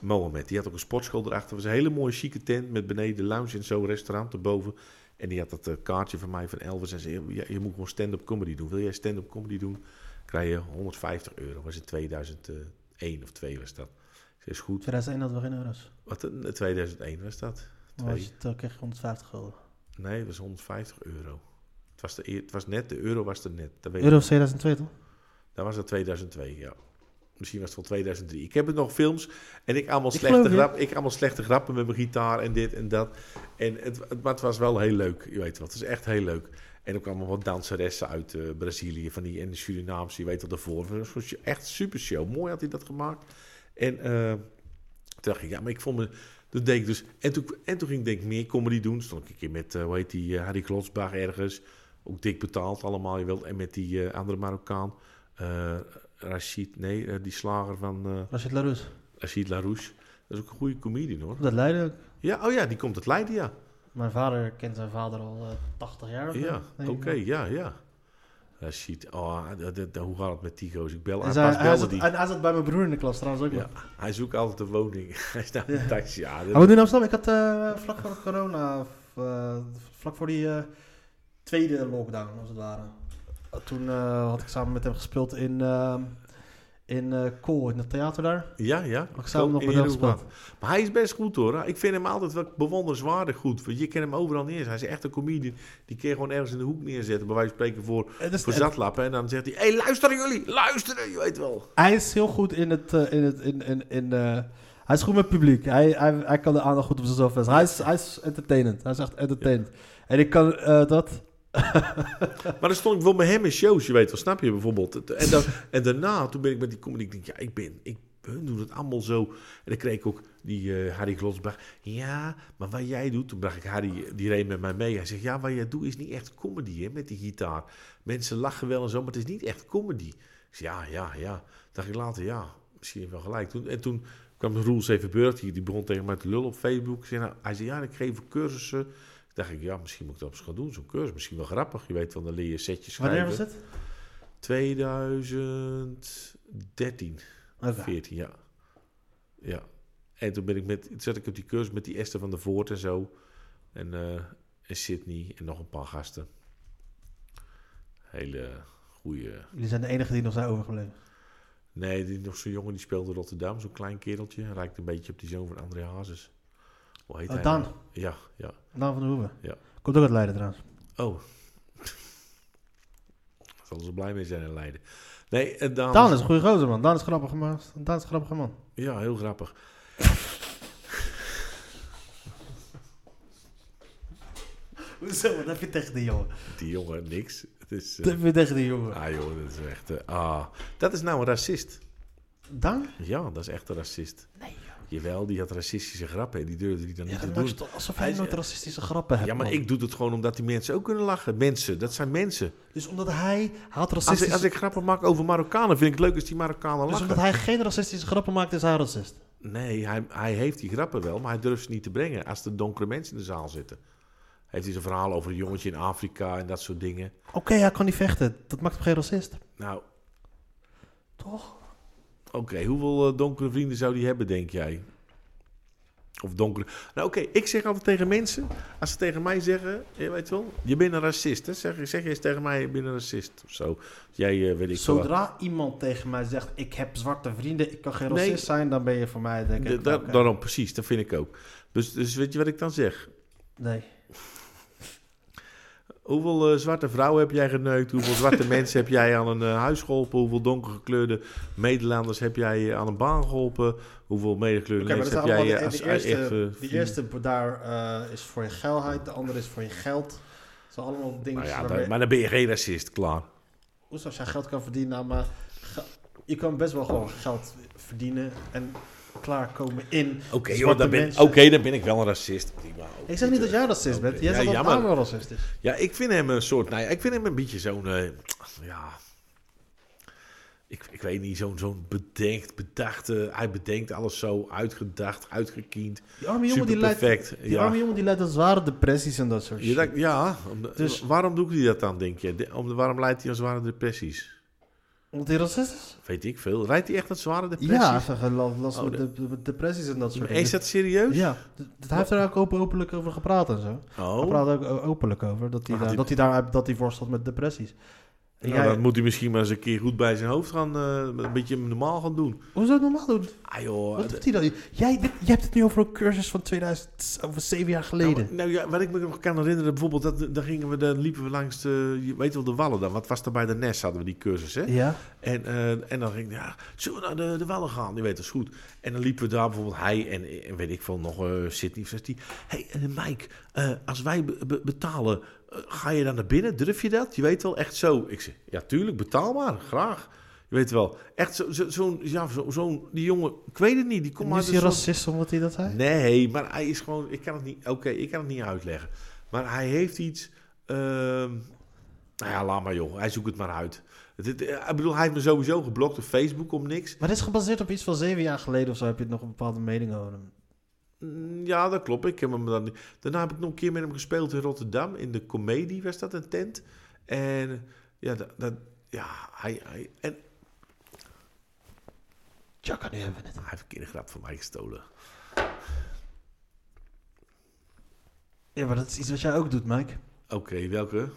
[SPEAKER 3] Mohamed, die had ook een sportschool erachter. was een hele mooie chique tent met beneden lounge en zo, restaurant erboven. En die had dat eh, kaartje van mij van Elvis en zei, "Ja, je moet gewoon stand-up comedy doen. Wil jij stand-up comedy doen? Krijg je 150 euro. was in 2001 of 2 was dat. Ik zei, is goed.
[SPEAKER 2] 2001 hadden we geen euro's.
[SPEAKER 3] Wat, eh, 2001 was dat?
[SPEAKER 2] Toen
[SPEAKER 3] Twee.
[SPEAKER 2] was je- Toen kreeg je 150 gulden.
[SPEAKER 3] Nee, het was 150 euro. Het was, de, eer- het was net, de euro was er net. Dat weet ik
[SPEAKER 2] Euro 2002 toch?
[SPEAKER 3] Dat was dat 2002, ja. Misschien was het wel 2003. Ik heb het nog films en ik allemaal,
[SPEAKER 2] Ik
[SPEAKER 3] slechte,
[SPEAKER 2] geloof je.
[SPEAKER 3] grap, ik allemaal slechte grappen met mijn gitaar en dit en dat. En het, het- maar het was wel heel leuk, je weet wat. Het is echt heel leuk. En er kwamen wat danseressen uit eh, Brazilië van die, en de Surinaamse, je weet wat, ervoor. Het was gewoon echt super show. Mooi had hij dat gemaakt. En eh, toen dacht ik, ja, maar ik vond me... Toen deed ik dus, en, toen, en toen ging ik denk ik meer comedy doen. Stond ik een keer met, eh, hoe heet die, eh, Harry Klotsbach ergens. Ook dik betaald allemaal, je wilt. En met die eh, andere Marokkaan. eh Rashid, nee, eh, die slager van eh
[SPEAKER 2] Rashid Larousse.
[SPEAKER 3] Rashid Larouche. Dat is ook een goede comedian hoor.
[SPEAKER 2] Dat leidde ook.
[SPEAKER 3] Ja, oh ja, die komt uit Leiden, ja.
[SPEAKER 2] Mijn vader kent zijn vader al eh, 80 jaar. of zo,
[SPEAKER 3] Ja,
[SPEAKER 2] denk
[SPEAKER 3] oké,
[SPEAKER 2] ik wel.
[SPEAKER 3] ja, ja. Rashid, oh, dat- dat- hoe gaat het met die gozer? Ik bel,
[SPEAKER 2] En
[SPEAKER 3] hij
[SPEAKER 2] zij-
[SPEAKER 3] pas
[SPEAKER 2] Dus Hij
[SPEAKER 3] belde
[SPEAKER 2] zat-
[SPEAKER 3] die.
[SPEAKER 2] en hij zat bij mijn broer in de klas trouwens ook.
[SPEAKER 3] Ja,
[SPEAKER 2] Ja.
[SPEAKER 3] hij zoekt altijd een woning. Hij staat in een taxi. Ja, dat-
[SPEAKER 2] Hij woont nu in Amsterdam. Ik had eh, vlak voor de corona, of, eh, vlak voor die eh, tweede lockdown als het ware. Eh, Toen eh, had ik samen met hem gespeeld in, eh, in eh Kool, in het theater daar.
[SPEAKER 3] ja, ja.
[SPEAKER 2] Ik zou hem nog
[SPEAKER 3] In
[SPEAKER 2] bedacht
[SPEAKER 3] Heerhugowaard.
[SPEAKER 2] spelen.
[SPEAKER 3] Maar hij is best goed hoor. Ik vind hem altijd wel bewonderenswaardig goed. Want je kent hem overal neer. Hij is echt een comedian. Die kun je gewoon ergens in de hoek neerzetten. Bij wijze van spreken voor,
[SPEAKER 2] Het Eh, is-
[SPEAKER 3] voor
[SPEAKER 2] het-
[SPEAKER 3] zatlappen. En dan zegt hij, hé, hey, luisteren jullie, luisteren. Je weet wel.
[SPEAKER 2] Hij is heel goed in het. eh, in het in, in, in, eh, hij is goed met het publiek. Hij, hij, hij kan de aandacht goed op zichzelf vestigen. Hij is, hij is entertainend. Hij is echt entertainend. En ik kan eh, dat.
[SPEAKER 3] Maar dan stond ik wel met hem in shows, je weet wel, snap je bijvoorbeeld. En, dan, en daarna, toen ben ik met die comedy, ik denk, ja, ik ben, ik, hun doen het allemaal zo. En dan kreeg ik ook die eh, Harry Glotsbach, ja, maar wat jij doet, toen bracht ik Harry, die reed met mij mee. Hij zegt, ja, wat jij doet is niet echt comedy, hè, met die gitaar. Mensen lachen wel en zo, maar het is niet echt comedy. Ik zei, ja, ja, ja. Toen dacht ik later, ja, misschien heb je wel gelijk. Toen, en toen kwam Roel Zevenburg, die, die begon tegen mij te lullen op Facebook. Ik Zei, nou, hij zei, ja, ik geef cursussen. Ik dacht ik, ja, misschien moet ik dat op eens gaan doen, zo'n cursus. Misschien wel grappig. Je weet, van dan leer je setjes schrijven.
[SPEAKER 2] Wanneer was het?
[SPEAKER 3] 2013,
[SPEAKER 2] Oké.
[SPEAKER 3] 14, ja. Ja. En toen ben ik met, toen zat ik op die cursus met die Esther van der Voort en zo. En, eh en Sydney en nog een paar gasten. Hele Goeie.
[SPEAKER 2] Jullie zijn de enige die nog zijn overgebleven.
[SPEAKER 3] Nee, die, nog zo'n jongen die speelde Rotterdam, zo'n klein kereltje. Hij lijkt een beetje op die zoon van André Hazes. Hoe heet
[SPEAKER 2] Oh,
[SPEAKER 3] hij?
[SPEAKER 2] Daan.
[SPEAKER 3] nou? Ja, ja.
[SPEAKER 2] Daan van de Hoeven.
[SPEAKER 3] Ja.
[SPEAKER 2] Komt ook uit Leiden trouwens.
[SPEAKER 3] Oh. Daar Zullen ze blij mee zijn in Leiden. Nee, en Daan,
[SPEAKER 2] Daan is een goede gozer, man. Daan is een grappige man. Daan is een grappige man.
[SPEAKER 3] Ja, heel grappig.
[SPEAKER 2] Hoezo? Wat heb je tegen die jongen?
[SPEAKER 3] Die jongen, niks. Het is... eh,
[SPEAKER 2] Dat heb je tegen die jongen?
[SPEAKER 3] ah joh, dat is echt... eh, ah, dat is nou een racist.
[SPEAKER 2] Daan?
[SPEAKER 3] Ja, dat is echt een racist. Nee Jawel, die had racistische grappen en die durfde die dan
[SPEAKER 2] Ja,
[SPEAKER 3] niet te
[SPEAKER 2] dat
[SPEAKER 3] doen.
[SPEAKER 2] maakt toch alsof hij nooit racistische grappen heeft.
[SPEAKER 3] Ja, maar
[SPEAKER 2] man.
[SPEAKER 3] ik doe dat gewoon omdat die mensen ook kunnen lachen. Mensen, dat zijn mensen.
[SPEAKER 2] Dus omdat hij haalt
[SPEAKER 3] Als ik,
[SPEAKER 2] racistische...
[SPEAKER 3] als ik grappen maak over Marokkanen, vind ik het leuk als die Marokkanen
[SPEAKER 2] Dus
[SPEAKER 3] lachen.
[SPEAKER 2] omdat hij geen racistische grappen maakt, is hij racist.
[SPEAKER 3] Nee, hij, hij heeft die grappen wel, maar hij durft ze niet te brengen als er donkere mensen in de zaal zitten. Heeft hij zijn verhaal over een jongetje in Afrika en dat soort dingen.
[SPEAKER 2] Oké, hij kan niet vechten. Dat maakt hem geen racist.
[SPEAKER 3] Nou,
[SPEAKER 2] Toch?
[SPEAKER 3] oké, hoeveel eh, donkere vrienden zou die hebben, denk jij? Of donkere... Nou, oké, ik zeg altijd tegen mensen, als ze tegen mij zeggen, je weet wel, je bent een racist. Hè? Zeg, zeg je eens tegen mij, je bent een racist of zo. Jij eh, weet ik veel wat.
[SPEAKER 2] Zodra iemand tegen mij zegt, ik heb zwarte vrienden, ik kan geen
[SPEAKER 3] Nee.
[SPEAKER 2] racist zijn, dan ben je voor mij, denk ik.
[SPEAKER 3] Da- da-
[SPEAKER 2] oké.
[SPEAKER 3] Daarom, precies, dat vind ik ook. Dus, dus weet je wat ik dan zeg?
[SPEAKER 2] Nee.
[SPEAKER 3] Hoeveel eh, zwarte vrouwen heb jij geneukt? Hoeveel zwarte mensen heb jij aan een eh, huis geholpen? Hoeveel donkergekleurde Nederlanders heb jij eh, aan een baan geholpen? Hoeveel medekleurde
[SPEAKER 2] Oké, maar dat is
[SPEAKER 3] mensen heb
[SPEAKER 2] allemaal
[SPEAKER 3] jij
[SPEAKER 2] de,
[SPEAKER 3] eh, als
[SPEAKER 2] de eerste,
[SPEAKER 3] echt, eh,
[SPEAKER 2] de
[SPEAKER 3] vriend-
[SPEAKER 2] eerste daar eh, is voor je geilheid, de andere is voor je geld. Dat zijn allemaal dingen
[SPEAKER 3] Nou ja,
[SPEAKER 2] waarmee-
[SPEAKER 3] dan- maar dan ben je geen racist, klaar.
[SPEAKER 2] Hoezo als jij geld kan verdienen, nou, maar ge- je kan best wel gewoon geld verdienen en klaarkomen in
[SPEAKER 3] Oké, joh,
[SPEAKER 2] zwarte
[SPEAKER 3] dan, ben-
[SPEAKER 2] mensen.
[SPEAKER 3] oké, dan ben ik wel een racist. Prima.
[SPEAKER 2] Ik zeg niet dat jij racist
[SPEAKER 3] Oké.
[SPEAKER 2] bent. Jij
[SPEAKER 3] Ja,
[SPEAKER 2] zegt dat
[SPEAKER 3] jammer.
[SPEAKER 2] Daan wel racist is.
[SPEAKER 3] Ja, ik vind hem een soort... Nou ja, ik vind hem een beetje zo'n... eh, ja... Ik, ik weet niet, zo'n zo'n bedenkt, bedachte... Hij bedenkt alles zo, uitgedacht, uitgekiend.
[SPEAKER 2] Die arme jongen die leidt,
[SPEAKER 3] Superperfect,
[SPEAKER 2] die
[SPEAKER 3] ja.
[SPEAKER 2] arme jongen die leidt aan zware depressies en dat soort
[SPEAKER 3] Je
[SPEAKER 2] shit.
[SPEAKER 3] denkt, ja, om de-
[SPEAKER 2] Dus-
[SPEAKER 3] waarom doet hij dat dan, denk je? De- om de- waarom leidt hij aan zware depressies?
[SPEAKER 2] Omdat hij racist is?
[SPEAKER 3] Weet ik veel. Rijdt hij echt aan zware depressies?
[SPEAKER 2] Ja, hij heeft last- last
[SPEAKER 3] Oh,
[SPEAKER 2] met de, met depressies en dat soort
[SPEAKER 3] Is dus? dat serieus?
[SPEAKER 2] Ja, d- d- hij heeft er ook open- openlijk over gepraat en zo. Hij
[SPEAKER 3] Oh,
[SPEAKER 2] praat ook o- openlijk over dat hij,
[SPEAKER 3] Maar
[SPEAKER 2] daar,
[SPEAKER 3] gaat
[SPEAKER 2] dat hij daar dat hij worstelt met depressies. En
[SPEAKER 3] nou,
[SPEAKER 2] jij-
[SPEAKER 3] dan moet hij misschien maar eens een keer goed bij zijn hoofd gaan... eh, een beetje normaal gaan doen.
[SPEAKER 2] Hoe zou het normaal doen?
[SPEAKER 3] Ah joh.
[SPEAKER 2] Wat
[SPEAKER 3] eh,
[SPEAKER 2] doet hij dan? Jij, dit- jij hebt het nu over een cursus van 2000, over zeven jaar geleden.
[SPEAKER 3] Nou, nou ja, wat ik me nog kan herinneren, bijvoorbeeld, dat, dan, gingen we, dan liepen we langs de, je weet wel, de Wallen dan. Wat was er bij de NES, hadden we die cursus, hè?
[SPEAKER 2] ja?
[SPEAKER 3] En, eh, en dan ging ik, ja, zullen we naar de, de Wallen gaan? Die weet dat is goed. En dan liepen we daar bijvoorbeeld, hij en, en weet ik veel, nog eh Sydney, zegt hij. Hé, hey, Mike, eh, als wij be- be- betalen, eh, ga je dan naar binnen? Durf je dat? Je weet wel, echt zo. Ik zeg, ja, tuurlijk, betaal maar, graag. Je weet wel, echt zo- zo- zo'n, ja, zo- zo'n, die jongen, ik weet het niet, die komt
[SPEAKER 2] Nu
[SPEAKER 3] uit
[SPEAKER 2] is
[SPEAKER 3] een
[SPEAKER 2] hij
[SPEAKER 3] soort-
[SPEAKER 2] racist omdat hij dat zei?
[SPEAKER 3] Nee, maar hij is gewoon. Ik kan het niet. Oké, ik kan het niet uitleggen. Maar hij heeft iets. ehm, nou ja, laat maar joh. Hij zoekt het maar uit. Het, het- eh, ik bedoel, hij heeft me sowieso geblokt op Facebook om niks.
[SPEAKER 2] Maar dit is gebaseerd op iets van zeven jaar geleden of zo. Heb je nog een bepaalde mening over hem?
[SPEAKER 3] Mm, Ja, dat klopt. Ik heb hem dan niet- Daarna heb ik nog een keer met hem gespeeld in Rotterdam. In de comedie was dat een tent. En ja, dat, dat- ja hij, hij, en,
[SPEAKER 2] Tjaka, nu hebben we het.
[SPEAKER 3] hij heeft een keer een grap van mij gestolen.
[SPEAKER 2] Ja, maar dat is iets wat jij ook doet, Mike.
[SPEAKER 3] Oké, welke?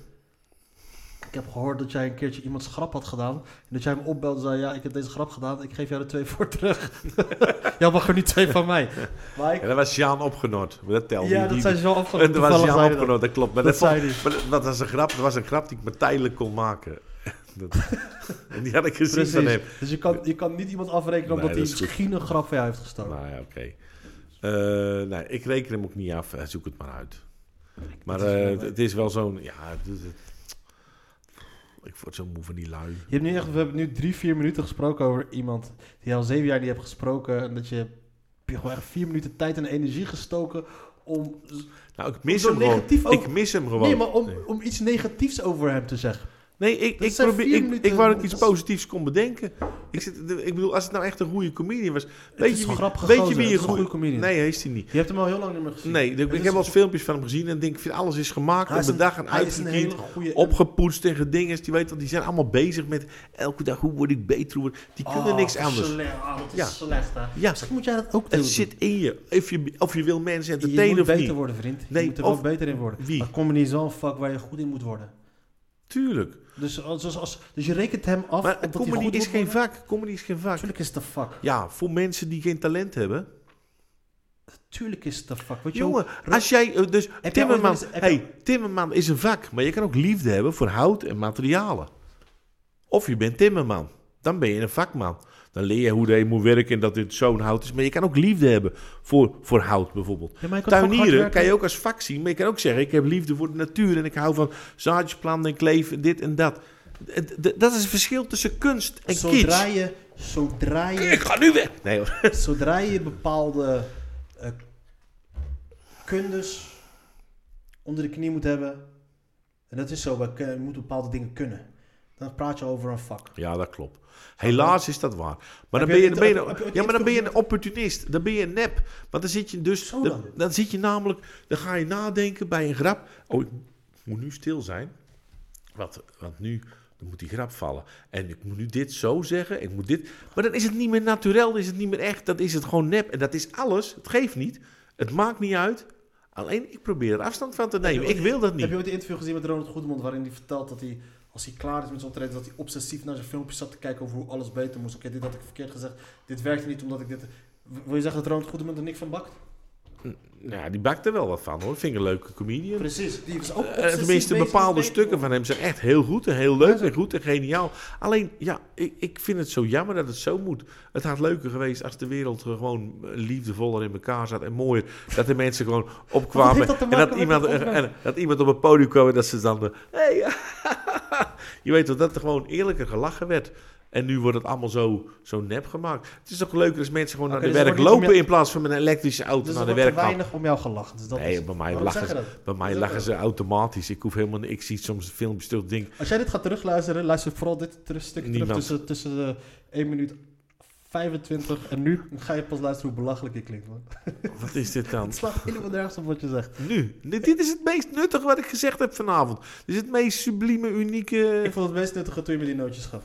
[SPEAKER 2] Ik heb gehoord dat jij een keertje iemands grap had gedaan. En dat jij hem opbelde en zei, ja, ik heb deze grap gedaan. Ik geef jou er twee voor terug. jij mag er niet twee van mij.
[SPEAKER 3] En
[SPEAKER 2] Mike,
[SPEAKER 3] dat was Sjaan opgenord. Dat telde
[SPEAKER 2] ja,
[SPEAKER 3] niet.
[SPEAKER 2] dat
[SPEAKER 3] Die-
[SPEAKER 2] zijn ze wel
[SPEAKER 3] En
[SPEAKER 2] afgelopen.
[SPEAKER 3] dat was
[SPEAKER 2] Toevallig
[SPEAKER 3] Jan
[SPEAKER 2] zei je
[SPEAKER 3] opgenomen, dat klopt. Maar
[SPEAKER 2] Dat
[SPEAKER 3] dat,
[SPEAKER 2] zei
[SPEAKER 3] vond- maar dat- dat was een grap. Dat was een grap die ik me tijdelijk kon maken. Dat, en die had ik gezien
[SPEAKER 2] Precies.
[SPEAKER 3] van hem.
[SPEAKER 2] Dus je kan, je kan niet iemand afrekenen
[SPEAKER 3] Nee,
[SPEAKER 2] omdat hij
[SPEAKER 3] dat is goed.
[SPEAKER 2] misschien een grap van jou heeft gestolen.
[SPEAKER 3] Nou ja, oké. Eh, nee, ik reken hem ook niet af. Eh, Zoek het maar uit. Maar eh, het- het is wel zo'n... Ja, het- het- het- ik word zo moe van die lui.
[SPEAKER 2] Je hebt nu echt, we hebben nu drie, vier minuten gesproken over iemand die je al zeven jaar niet hebt gesproken. En dat je, heb je gewoon echt vier minuten tijd en energie gestoken om,
[SPEAKER 3] Nou, ik mis
[SPEAKER 2] Om zo
[SPEAKER 3] hem gewoon.
[SPEAKER 2] negatief ook-
[SPEAKER 3] Ik mis hem gewoon.
[SPEAKER 2] nee, maar om, om iets negatiefs over hem te zeggen.
[SPEAKER 3] Nee, ik,
[SPEAKER 2] Dat
[SPEAKER 3] ik,
[SPEAKER 2] zijn
[SPEAKER 3] probeer,
[SPEAKER 2] vier
[SPEAKER 3] ik,
[SPEAKER 2] minuten.
[SPEAKER 3] ik wou dat ik iets
[SPEAKER 2] Dat is-
[SPEAKER 3] positiefs kon bedenken. Ik, zit, ik bedoel, als het nou echt een goede comedian was...
[SPEAKER 2] is
[SPEAKER 3] Weet
[SPEAKER 2] een
[SPEAKER 3] je, wie-
[SPEAKER 2] grappige
[SPEAKER 3] weet je
[SPEAKER 2] gozer,
[SPEAKER 3] wie
[SPEAKER 2] het
[SPEAKER 3] je
[SPEAKER 2] is een goede comedian.
[SPEAKER 3] Nee, hij is hij niet.
[SPEAKER 2] Je hebt hem al heel lang niet meer gezien.
[SPEAKER 3] Nee, ik,
[SPEAKER 2] Het
[SPEAKER 3] ik
[SPEAKER 2] is
[SPEAKER 3] heb wel
[SPEAKER 2] een-
[SPEAKER 3] filmpjes van hem gezien en denk, ik vind alles is gemaakt
[SPEAKER 2] Hij
[SPEAKER 3] en
[SPEAKER 2] is een-
[SPEAKER 3] bedacht en
[SPEAKER 2] hij is een hele
[SPEAKER 3] uitgekiend.
[SPEAKER 2] goede...
[SPEAKER 3] Opgepoetst en gedinges, die weet dat die zijn allemaal bezig met elke dag hoe word ik beter, hoe word ik- die kunnen
[SPEAKER 2] Oh,
[SPEAKER 3] niks
[SPEAKER 2] dat is
[SPEAKER 3] anders.
[SPEAKER 2] Slecht. Ah, dat is
[SPEAKER 3] Ja.
[SPEAKER 2] slecht, hè.
[SPEAKER 3] Ja,
[SPEAKER 2] Misschien moet jij dat ook doen.
[SPEAKER 3] het zit in je. Of je, of je wil mensen
[SPEAKER 2] Je
[SPEAKER 3] entertainen
[SPEAKER 2] moet
[SPEAKER 3] of
[SPEAKER 2] beter
[SPEAKER 3] niet.
[SPEAKER 2] worden, vriend. Je
[SPEAKER 3] Nee,
[SPEAKER 2] moet er
[SPEAKER 3] of-
[SPEAKER 2] wel beter in worden.
[SPEAKER 3] Wie?
[SPEAKER 2] Maar comedy is wel een vak waar je goed in moet worden.
[SPEAKER 3] Tuurlijk.
[SPEAKER 2] Dus, als, als, als- dus je rekent hem af.
[SPEAKER 3] Maar
[SPEAKER 2] omdat hij
[SPEAKER 3] comedy
[SPEAKER 2] goed
[SPEAKER 3] is
[SPEAKER 2] moet
[SPEAKER 3] geen
[SPEAKER 2] worden?
[SPEAKER 3] vak. Comedy is geen vak.
[SPEAKER 2] Tuurlijk is het de vak.
[SPEAKER 3] Ja, voor mensen die geen talent hebben.
[SPEAKER 2] Tuurlijk is het de vak. Weet je
[SPEAKER 3] Jongen,
[SPEAKER 2] hoe-
[SPEAKER 3] als jij... eh, Dus
[SPEAKER 2] jij
[SPEAKER 3] Timmerman,
[SPEAKER 2] ooit wel eens- heb
[SPEAKER 3] hey, Timmerman is een vak. Maar je kan ook liefde hebben voor hout en materialen. Of je bent Timmerman. Dan ben je een vakman. Dan leer je hoe je moet werken en dat dit zo'n hout is. Maar je kan ook liefde hebben voor, voor hout bijvoorbeeld.
[SPEAKER 2] Ja, maar je kan toch ook hard
[SPEAKER 3] Tuinieren
[SPEAKER 2] werken?
[SPEAKER 3] kan je ook als vak zien. Maar je kan ook zeggen, ik heb liefde voor de natuur. En ik hou van zaadjes planten en kleven, dit en dat. D- d- Dat is het verschil tussen kunst en kitsch.
[SPEAKER 2] zodra je, zodra je,
[SPEAKER 3] Ik ga nu weg. Nee hoor.
[SPEAKER 2] zodra je bepaalde eh, kundes onder de knie moet hebben, en dat is zo, we kun- we moeten bepaalde dingen kunnen, dan praat je over een vak.
[SPEAKER 3] Ja, dat klopt. Helaas is dat waar. Maar dan
[SPEAKER 2] je
[SPEAKER 3] ben je,
[SPEAKER 2] het-
[SPEAKER 3] dan ben je,
[SPEAKER 2] heb- heb je het
[SPEAKER 3] ja, maar dan ben je
[SPEAKER 2] niet
[SPEAKER 3] een opportunist. Dan ben je een nep. Want dan zit je dus.
[SPEAKER 2] Zo
[SPEAKER 3] Dan,
[SPEAKER 2] dan.
[SPEAKER 3] dan zit je namelijk. Dan ga je nadenken bij een grap. Oh, ik moet nu stil zijn. Want, want nu dan moet die grap vallen. En ik moet nu dit zo zeggen. Ik moet dit. Maar dan is het niet meer natuurlijk. Dan is het niet meer echt. Dan is het gewoon nep. En dat is alles. Het geeft niet. Het maakt niet uit. Alleen ik probeer er afstand van te nemen. Ik wil dat niet.
[SPEAKER 2] Heb je ooit een interview gezien met Ronald Goedemond waarin hij vertelt dat hij, als hij klaar is met zijn optreden, dat hij obsessief naar zijn filmpjes zat te kijken over hoe alles beter moest. Oké, dit had ik verkeerd gezegd, dit werkte niet omdat ik dit... W- Wil je zeggen dat Ronald Goedemond er niks van bakt?
[SPEAKER 3] Nou, die bakt er wel wat van hoor. Vind ik een leuke comedian.
[SPEAKER 2] Precies, die is ook
[SPEAKER 3] Eh,
[SPEAKER 2] obsessief
[SPEAKER 3] tenminste,
[SPEAKER 2] bezig
[SPEAKER 3] bepaalde
[SPEAKER 2] met
[SPEAKER 3] stukken van hem zijn echt heel goed en heel leuk en goed en geniaal. Alleen, ja, ik, ik vind het zo jammer dat het zo moet. Het had leuker geweest als de wereld gewoon liefdevoller in elkaar zat en mooier. Dat de mensen gewoon
[SPEAKER 2] Wat
[SPEAKER 3] opkwamen
[SPEAKER 2] heeft dat te
[SPEAKER 3] en dat,
[SPEAKER 2] maken met
[SPEAKER 3] iemand,
[SPEAKER 2] het onderwerp?
[SPEAKER 3] en dat iemand op een podium kwam en dat ze dan... eh, Hey, je weet wel, dat er gewoon eerlijker gelachen werd. En nu wordt het allemaal zo, zo nep gemaakt. Het is toch leuker als mensen gewoon
[SPEAKER 2] Oké,
[SPEAKER 3] naar de
[SPEAKER 2] dus er
[SPEAKER 3] werk
[SPEAKER 2] wordt niet
[SPEAKER 3] lopen
[SPEAKER 2] meer-
[SPEAKER 3] in plaats van met een elektrische auto
[SPEAKER 2] Dus
[SPEAKER 3] naar
[SPEAKER 2] er
[SPEAKER 3] de
[SPEAKER 2] wordt te
[SPEAKER 3] werk gaan.
[SPEAKER 2] weinig om jou gelachen. Dus dat
[SPEAKER 3] Nee,
[SPEAKER 2] is,
[SPEAKER 3] bij mij,
[SPEAKER 2] Waarom
[SPEAKER 3] lachen
[SPEAKER 2] zeg je
[SPEAKER 3] ze,
[SPEAKER 2] dat?
[SPEAKER 3] bij mij
[SPEAKER 2] Zeg
[SPEAKER 3] lachen
[SPEAKER 2] dat.
[SPEAKER 3] ze automatisch. Ik hoef helemaal, ik zie soms filmpjes terug, denk
[SPEAKER 2] Als jij dit gaat terugluisteren, luister vooral dit ter- stuk terug
[SPEAKER 3] Niemand.
[SPEAKER 2] tussen, tussen de 1 minuut 25 en nu. Dan ga je pas luisteren hoe belachelijk je klinkt, man.
[SPEAKER 3] wat is dit dan?
[SPEAKER 2] Het slaat helemaal nergens op wat je zegt.
[SPEAKER 3] Nu, dit, dit is het meest nuttige wat ik gezegd heb vanavond. Dit is het meest sublieme, unieke.
[SPEAKER 2] Ik vond het best nuttig toen je me die nootjes gaf.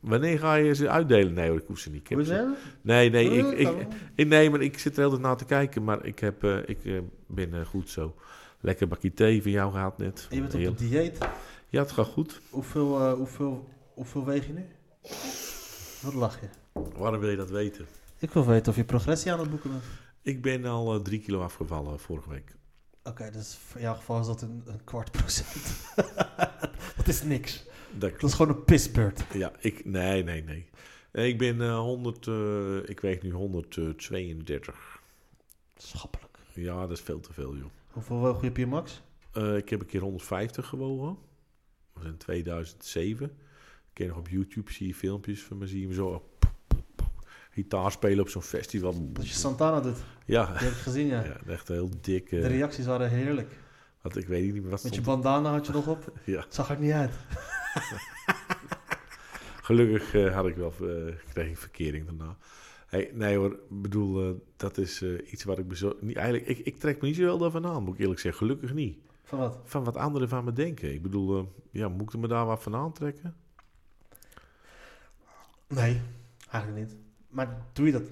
[SPEAKER 3] Wanneer ga je ze uitdelen? Nee, hoor, ik hoef ze niet. Ik heb
[SPEAKER 2] Hoe is
[SPEAKER 3] ze-
[SPEAKER 2] het?
[SPEAKER 3] Nee, nee,
[SPEAKER 2] Oh,
[SPEAKER 3] ik, ik,
[SPEAKER 2] kan wel.
[SPEAKER 3] ik- nee, maar ik zit er heel erg naar te kijken. Maar ik, heb, eh, ik eh, ben eh, goed zo. Lekker bakje thee van jou gehad net.
[SPEAKER 2] En je bent op
[SPEAKER 3] Heerlijk.
[SPEAKER 2] een dieet.
[SPEAKER 3] Ja, het gaat goed.
[SPEAKER 2] Hoeveel, eh, hoeveel, hoeveel weeg je nu? Wat lach je?
[SPEAKER 3] Waarom wil je dat weten?
[SPEAKER 2] Ik wil weten of je progressie aan het boeken bent.
[SPEAKER 3] Ik ben al eh, drie kilo afgevallen vorige week.
[SPEAKER 2] Oké, dus voor jouw geval is dat een, een kwart procent. dat is niks.
[SPEAKER 3] Dat
[SPEAKER 2] Dat is gewoon een pisbeurt.
[SPEAKER 3] Ja, ik, nee, nee, nee. Nee, Ik ben eh, 100, eh, ik weeg nu 132.
[SPEAKER 2] Schappelijk.
[SPEAKER 3] Ja, dat is veel te veel, joh.
[SPEAKER 2] Hoeveel woog je op je max?
[SPEAKER 3] Eh, ik heb een keer 150 gewogen. Dat was in 2007. Een keer nog op YouTube zie je filmpjes van me, zie je me zo gitaar spelen op zo'n festival.
[SPEAKER 2] Dat je Santana doet.
[SPEAKER 3] Ja,
[SPEAKER 2] Die heb ik gezien, ja.
[SPEAKER 3] ja echt heel dik. eh,
[SPEAKER 2] De reacties waren heerlijk.
[SPEAKER 3] wat, ik weet niet meer wat
[SPEAKER 2] Met je
[SPEAKER 3] stond.
[SPEAKER 2] bandana had je nog op.
[SPEAKER 3] Ja.
[SPEAKER 2] Zag er niet uit.
[SPEAKER 3] Gelukkig eh, had ik wel, eh, kreeg ik verkering daarna. Hey, nee hoor, ik bedoel, eh, dat is eh, iets wat ik... bezo- Niet, eigenlijk, ik, ik trek me niet zo wel daarvan aan, moet ik eerlijk zeggen. Gelukkig niet.
[SPEAKER 2] Van wat?
[SPEAKER 3] Van wat anderen van me denken. Ik bedoel, eh, ja, moet ik me daar wat van aantrekken?
[SPEAKER 2] Nee, eigenlijk niet. Maar doe je dat?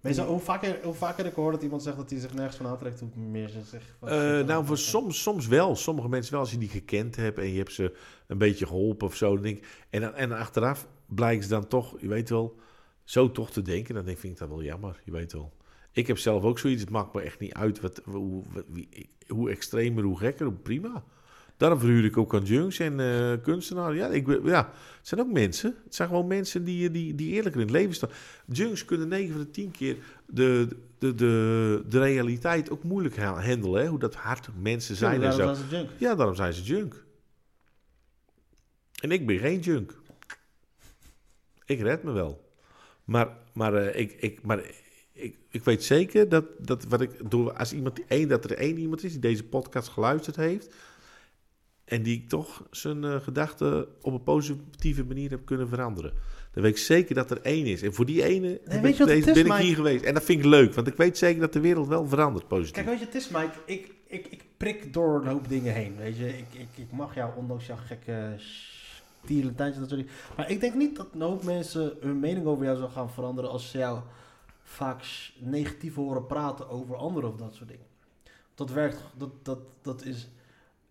[SPEAKER 2] Weet je, hoe vaker, hoe vaker ik hoor dat iemand zegt dat hij zich nergens van aantrekt, hoe meer ze zich... van-
[SPEAKER 3] Eh, nou, voor soms, soms wel. Sommige mensen wel, als je die gekend hebt en je hebt ze een beetje geholpen of zo. Dan denk, ik- en, dan, en achteraf blijkt ze dan toch, je weet wel, zo toch te denken. Dan denk, ik, vind ik dat wel jammer, je weet wel. Ik heb zelf ook zoiets, het maakt me echt niet uit wat, hoe, wat- wie, hoe extremer, hoe gekker, hoe prima. Daarom verhuur ik ook adjuncts en eh kunstenaars. Ja, ik, ben- ja, het zijn ook mensen. Het zijn gewoon mensen die, eh, die, die eerlijker in het leven staan. Junks kunnen 9 van de 10 keer de, de, de, de realiteit ook moeilijk ha- handelen. Hè? Hoe dat hard mensen zijn en
[SPEAKER 2] Daarom
[SPEAKER 3] zo.
[SPEAKER 2] zijn ze junk.
[SPEAKER 3] Ja, daarom zijn ze junk. En ik ben geen junk. Ik red me wel. Maar, maar, eh, ik, ik, maar ik, ik weet zeker dat, dat wat ik door als iemand die één, dat er één iemand is die deze podcast geluisterd heeft. En die ik toch zijn eh, gedachten op een positieve manier heb kunnen veranderen. Dan weet ik zeker dat er één is. En voor die ene ben,
[SPEAKER 2] weet je wat
[SPEAKER 3] ik,
[SPEAKER 2] het
[SPEAKER 3] deze-
[SPEAKER 2] is,
[SPEAKER 3] ben ik hier
[SPEAKER 2] Mike?
[SPEAKER 3] geweest. En dat vind ik leuk, want ik weet zeker dat de wereld wel verandert positief.
[SPEAKER 2] Kijk, weet je, het is Mike, ik, ik, ik prik door een hoop dingen heen, weet je. Ik, ik, ik mag jou, ondanks jouw gekke tierlentijntje, dat soort dingen. Maar ik denk niet dat een hoop mensen hun mening over jou zou gaan veranderen als ze jou vaak s- negatief horen praten over anderen of dat soort dingen. Dat werkt, dat, dat, dat is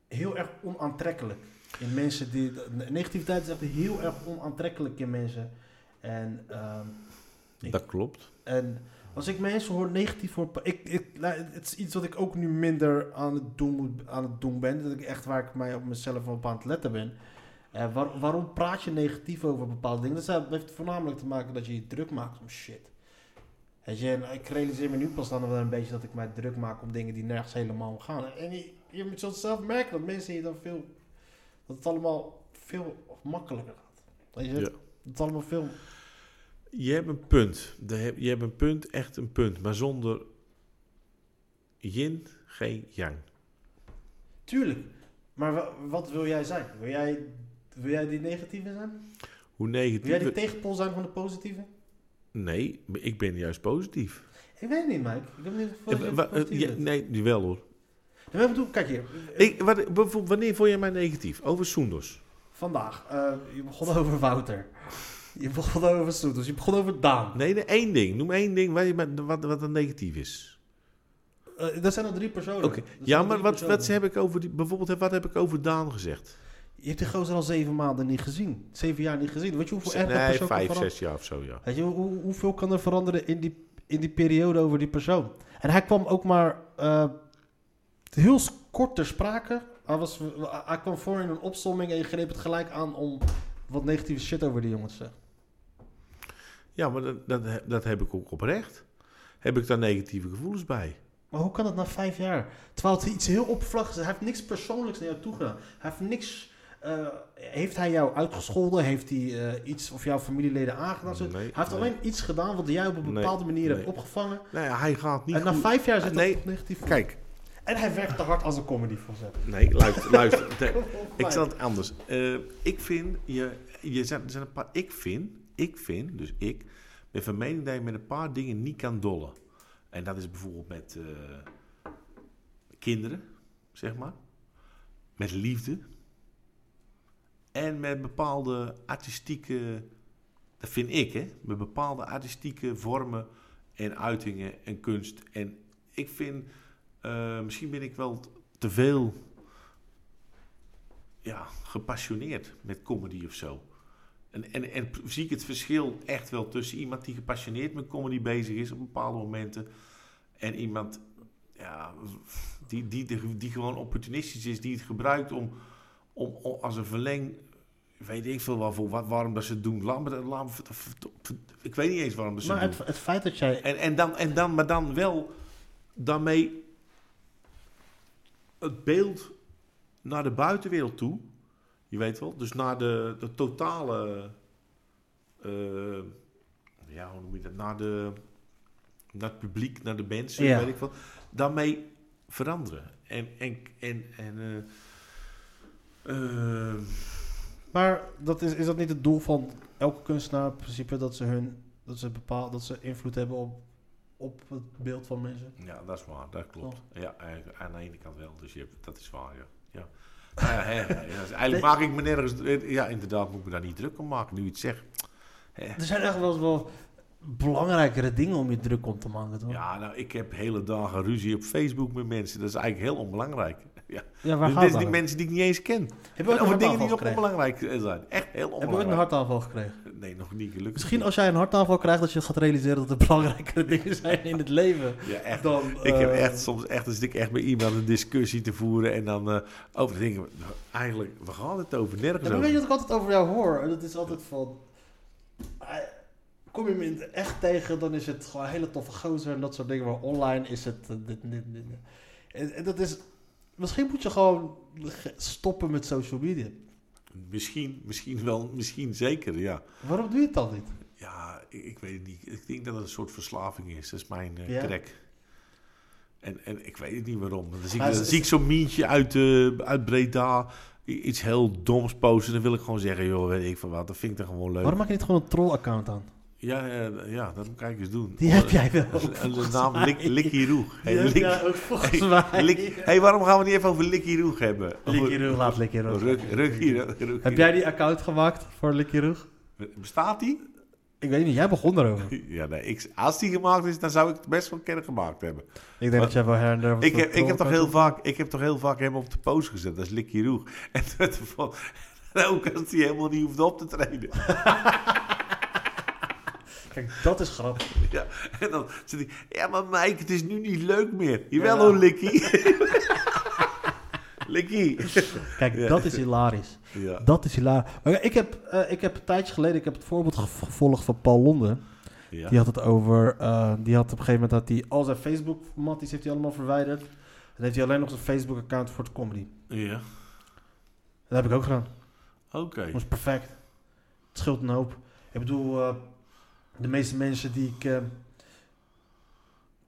[SPEAKER 2] heel erg onaantrekkelijk. In mensen die, negativiteit is echt heel erg onaantrekkelijk in mensen. En, ehm, Ik-
[SPEAKER 5] Dat klopt.
[SPEAKER 2] en als ik mensen hoor negatief hoor, ik, ik, nou, het is iets wat ik ook nu minder aan het doen, moet- aan het doen ben. Dat ik echt waar ik mij op mezelf op aan het letten ben. Eh, waar- waarom praat je negatief over bepaalde dingen? Dat zou- heeft voornamelijk te maken dat je je druk maakt om shit. Weet je, en ik realiseer me nu pas dan wel een beetje dat ik mij druk maak om dingen die nergens helemaal om gaan. En je, je moet zult zelf merken dat mensen je dan veel, dat het allemaal veel makkelijker gaat. Weet je,
[SPEAKER 3] Ja.
[SPEAKER 2] dat het allemaal veel...
[SPEAKER 3] Je hebt een punt. De heb- Je hebt een punt, echt een punt. Maar zonder yin geen yang.
[SPEAKER 2] Tuurlijk, maar wa- wat wil jij zijn? Wil jij, wil jij die negatieve zijn?
[SPEAKER 3] Hoe
[SPEAKER 2] Wil jij die
[SPEAKER 3] negatief...
[SPEAKER 2] tegenpol zijn van de positieve?
[SPEAKER 3] Nee, ik ben juist positief.
[SPEAKER 2] Ik weet het niet, Mike. Ik heb niet
[SPEAKER 3] Eh,
[SPEAKER 2] voor
[SPEAKER 3] wa- eh, ja, nee, nu wel hoor.
[SPEAKER 2] Nee, maar ik bedoel, kijk hier.
[SPEAKER 3] Ik, wat, bijvoorbeeld, wanneer vond jij mij negatief? Over Soendos.
[SPEAKER 2] Vandaag, eh, je begon over Wouter. Je begon over Soetels. Je begon over Daan.
[SPEAKER 3] Nee, nee, één ding. Noem één ding waar je, mij- wat, wat een negatief is.
[SPEAKER 2] Eh, dat zijn al drie personen.
[SPEAKER 3] Oké.
[SPEAKER 2] Dat zijn
[SPEAKER 3] Ja,
[SPEAKER 2] al
[SPEAKER 3] maar
[SPEAKER 2] drie
[SPEAKER 3] wat, wat
[SPEAKER 2] personen.
[SPEAKER 3] heb ik over die, bijvoorbeeld, wat heb ik over Daan gezegd?
[SPEAKER 2] Je hebt die gozer al zeven maanden niet gezien. Zeven jaar niet gezien. Weet je hoeveel er per
[SPEAKER 3] Nee,
[SPEAKER 2] persoon kan
[SPEAKER 3] vijf,
[SPEAKER 2] veranderen?
[SPEAKER 3] zes jaar of zo, ja.
[SPEAKER 2] Weet je, hoe, hoeveel kan er veranderen in die, in die periode over die persoon? En hij kwam ook maar eh, heel s- kort ter sprake. Hij, was, hij kwam voor in een opsomming en je greep het gelijk aan om wat negatieve shit over die jongens te zeggen.
[SPEAKER 3] Ja, maar dat, dat, he- dat heb ik ook oprecht. Heb ik daar negatieve gevoelens bij?
[SPEAKER 2] Maar hoe kan dat na vijf jaar? Terwijl het iets heel oppervlakkigs is. Hij heeft niks persoonlijks naar jou toegedaan. Hij heeft niks... eh, heeft hij jou uitgescholden? Heeft hij eh, iets of jouw familieleden aangedaan? Zo-
[SPEAKER 3] Nee,
[SPEAKER 2] hij heeft
[SPEAKER 3] nee.
[SPEAKER 2] alleen iets gedaan wat jij op een bepaalde manier hebt
[SPEAKER 3] nee.
[SPEAKER 2] opgevangen.
[SPEAKER 3] Nou ja, hij gaat niet
[SPEAKER 2] en na
[SPEAKER 3] goed-
[SPEAKER 2] vijf jaar zit
[SPEAKER 3] Nee,
[SPEAKER 2] dat op negatief.
[SPEAKER 3] Kijk,
[SPEAKER 2] En hij werkt te hard als een comedy volzet.
[SPEAKER 3] nee, luister, luister.
[SPEAKER 2] Kom
[SPEAKER 3] Nee,
[SPEAKER 2] op,
[SPEAKER 3] ik
[SPEAKER 2] Mike.
[SPEAKER 3] zal het anders. Eh, ik vind, je, je zijn, er zijn een paar, ik vind, ik vind, dus ik, ben van mening dat je met een paar dingen niet kan dollen. En dat is bijvoorbeeld met eh, kinderen, zeg maar. Met liefde. En met bepaalde artistieke, dat vind ik hè, met bepaalde artistieke vormen en uitingen en kunst. En ik vind, eh, misschien ben ik wel t- te veel ja, gepassioneerd met comedy of zo. En, en, en zie ik het verschil echt wel tussen iemand die gepassioneerd met comedy bezig is op bepaalde momenten. En iemand ja, die, die, die, die gewoon opportunistisch is, die het gebruikt om, om, om als een verleng. Weet ik veel waarvoor, wat, waarom dat ze het doen. Laat me, dat- laat me, vert- vert- vert- ik weet niet eens waarom dat ze
[SPEAKER 2] Maar
[SPEAKER 3] het doen.
[SPEAKER 2] het, het feit dat jij...
[SPEAKER 3] En, en, dan, en dan, maar dan wel daarmee het beeld naar de buitenwereld toe. Je weet wel, dus naar de, de totale. eh, ja, hoe noem je dat? Naar, de, naar het publiek, naar de mensen,
[SPEAKER 2] Ja.
[SPEAKER 3] weet ik wel. Daarmee veranderen. En. en, en, en eh, eh,
[SPEAKER 2] Maar dat is, is dat niet het doel van elke kunstenaar in principe? Dat ze, hun, dat ze, bepaal, dat ze invloed hebben op, op het beeld van mensen?
[SPEAKER 3] Ja, dat is waar, dat klopt. Ja, eigenlijk aan de ene kant wel, dus je, hebt- dat is waar, ja. ja. Nou ja, hè, hè, dat is- eigenlijk maak ik me nergens... Ja, inderdaad, moet ik me daar niet druk om maken, nu je het zegt.
[SPEAKER 2] Er zijn echt wel, wel belangrijkere dingen om je druk om te maken, toch?
[SPEAKER 3] Ja, nou, ik heb hele dagen ruzie op Facebook met mensen. Dat is eigenlijk heel onbelangrijk. Ja.
[SPEAKER 2] Ja, waar gaat
[SPEAKER 3] Dus
[SPEAKER 2] het
[SPEAKER 3] dit zijn die
[SPEAKER 2] over?
[SPEAKER 3] mensen die ik niet eens ken.
[SPEAKER 2] Heb je ooit
[SPEAKER 3] En
[SPEAKER 2] een
[SPEAKER 3] over
[SPEAKER 2] hartaanval
[SPEAKER 3] dingen die ook
[SPEAKER 2] gekregen?
[SPEAKER 3] onbelangrijk zijn. Echt
[SPEAKER 2] Heb
[SPEAKER 3] heel
[SPEAKER 2] je ooit een
[SPEAKER 3] onbelangrijk.
[SPEAKER 2] hartaanval gekregen?
[SPEAKER 3] Nee, nog niet gelukkig.
[SPEAKER 2] Misschien als jij een hartaanval krijgt, dat je gaat realiseren dat er belangrijkere dingen zijn in het leven.
[SPEAKER 3] Ja, echt.
[SPEAKER 2] Dan,
[SPEAKER 3] ik heb
[SPEAKER 2] eh,
[SPEAKER 3] echt soms echt, dan zit ik echt met iemand een discussie te voeren en dan eh over de dingen. nou, Eigenlijk, we gaan het over nergens
[SPEAKER 2] Ja, maar
[SPEAKER 3] over.
[SPEAKER 2] weet je wat ik altijd over jou hoor? Dat is altijd van... eh, Kom je me in het echt tegen, dan is het gewoon een hele toffe gozer en dat soort dingen. Maar online is het... eh, Dit, dit, dit. En, en dat is... Misschien moet je gewoon ge- stoppen met social media.
[SPEAKER 3] Misschien, misschien wel, misschien zeker, ja.
[SPEAKER 2] Waarom doe je het dan niet?
[SPEAKER 3] Ja, ik, ik weet het niet. Ik denk dat het een soort verslaving is. Dat is mijn eh
[SPEAKER 2] Ja?
[SPEAKER 3] crack. En, en ik weet het niet waarom. Dan zie ik,
[SPEAKER 2] Maar is-
[SPEAKER 3] dan zie ik zo'n mientje uit, eh, uit Breda i- iets heel doms posten. Dan wil ik gewoon zeggen, joh, weet ik van wat. Dat vind ik dan gewoon leuk.
[SPEAKER 2] Waarom maak je niet gewoon een troll-account aan?
[SPEAKER 3] Ja, ja, ja, dat moet ik eigenlijk eens doen.
[SPEAKER 2] Die heb jij wel.
[SPEAKER 3] De, naam Lik, Likkie Roeg. Hey,
[SPEAKER 2] Die heb
[SPEAKER 3] Lik-
[SPEAKER 2] jij ook volgens
[SPEAKER 3] hey,
[SPEAKER 2] mij.
[SPEAKER 3] Lik- hey, waaam gaan we niet even over Likkie Roeg hebben?
[SPEAKER 2] Likkie Roeg, laat Likkie Roeg.
[SPEAKER 3] Ruk- Rukkie Roeg.
[SPEAKER 2] Heb jij die account gemaakt voor Likkie Roeg?
[SPEAKER 3] Bestaat die?
[SPEAKER 2] Ik weet niet, jij begon daarover.
[SPEAKER 3] Ja, nee, ik, als die gemaakt is, dan zou ik het best wel kennen gemaakt hebben.
[SPEAKER 2] Ik denk dat jij wel her en der wat
[SPEAKER 3] Ik heb, ik,
[SPEAKER 2] vertrouwen
[SPEAKER 3] heb toch
[SPEAKER 2] kan
[SPEAKER 3] heel
[SPEAKER 2] doen.
[SPEAKER 3] vaak, ik heb toch heel vaak hem op de post gezet. Dat is Likkie Roeg. En dat van- en ook als hij helemaal niet hoeft op te treden.
[SPEAKER 2] Kijk, dat is grappig.
[SPEAKER 3] Ja, en dan zit hij... Ja, maar Mike, het is nu niet leuk meer. Jawel hoor, Likkie. Likkie.
[SPEAKER 2] Kijk, dat is hilarisch.
[SPEAKER 3] Ja.
[SPEAKER 2] Dat is hilarisch. Maar ja, ik, heb, eh, ik heb een tijdje geleden, ik heb het voorbeeld gev- gevolgd van Paul Londen.
[SPEAKER 3] Ja.
[SPEAKER 2] Die had het over, eh, die had op een gegeven moment dat hij al zijn Facebook-matties heeft hij allemaal verwijderd. En heeft hij alleen nog zijn Facebook-account voor de comedy.
[SPEAKER 3] ja.
[SPEAKER 2] Dat heb ik ook gedaan.
[SPEAKER 3] Oké.
[SPEAKER 2] Dat was perfect. Het scheelt een hoop. Ik bedoel, eh, de meeste mensen die ik... eh,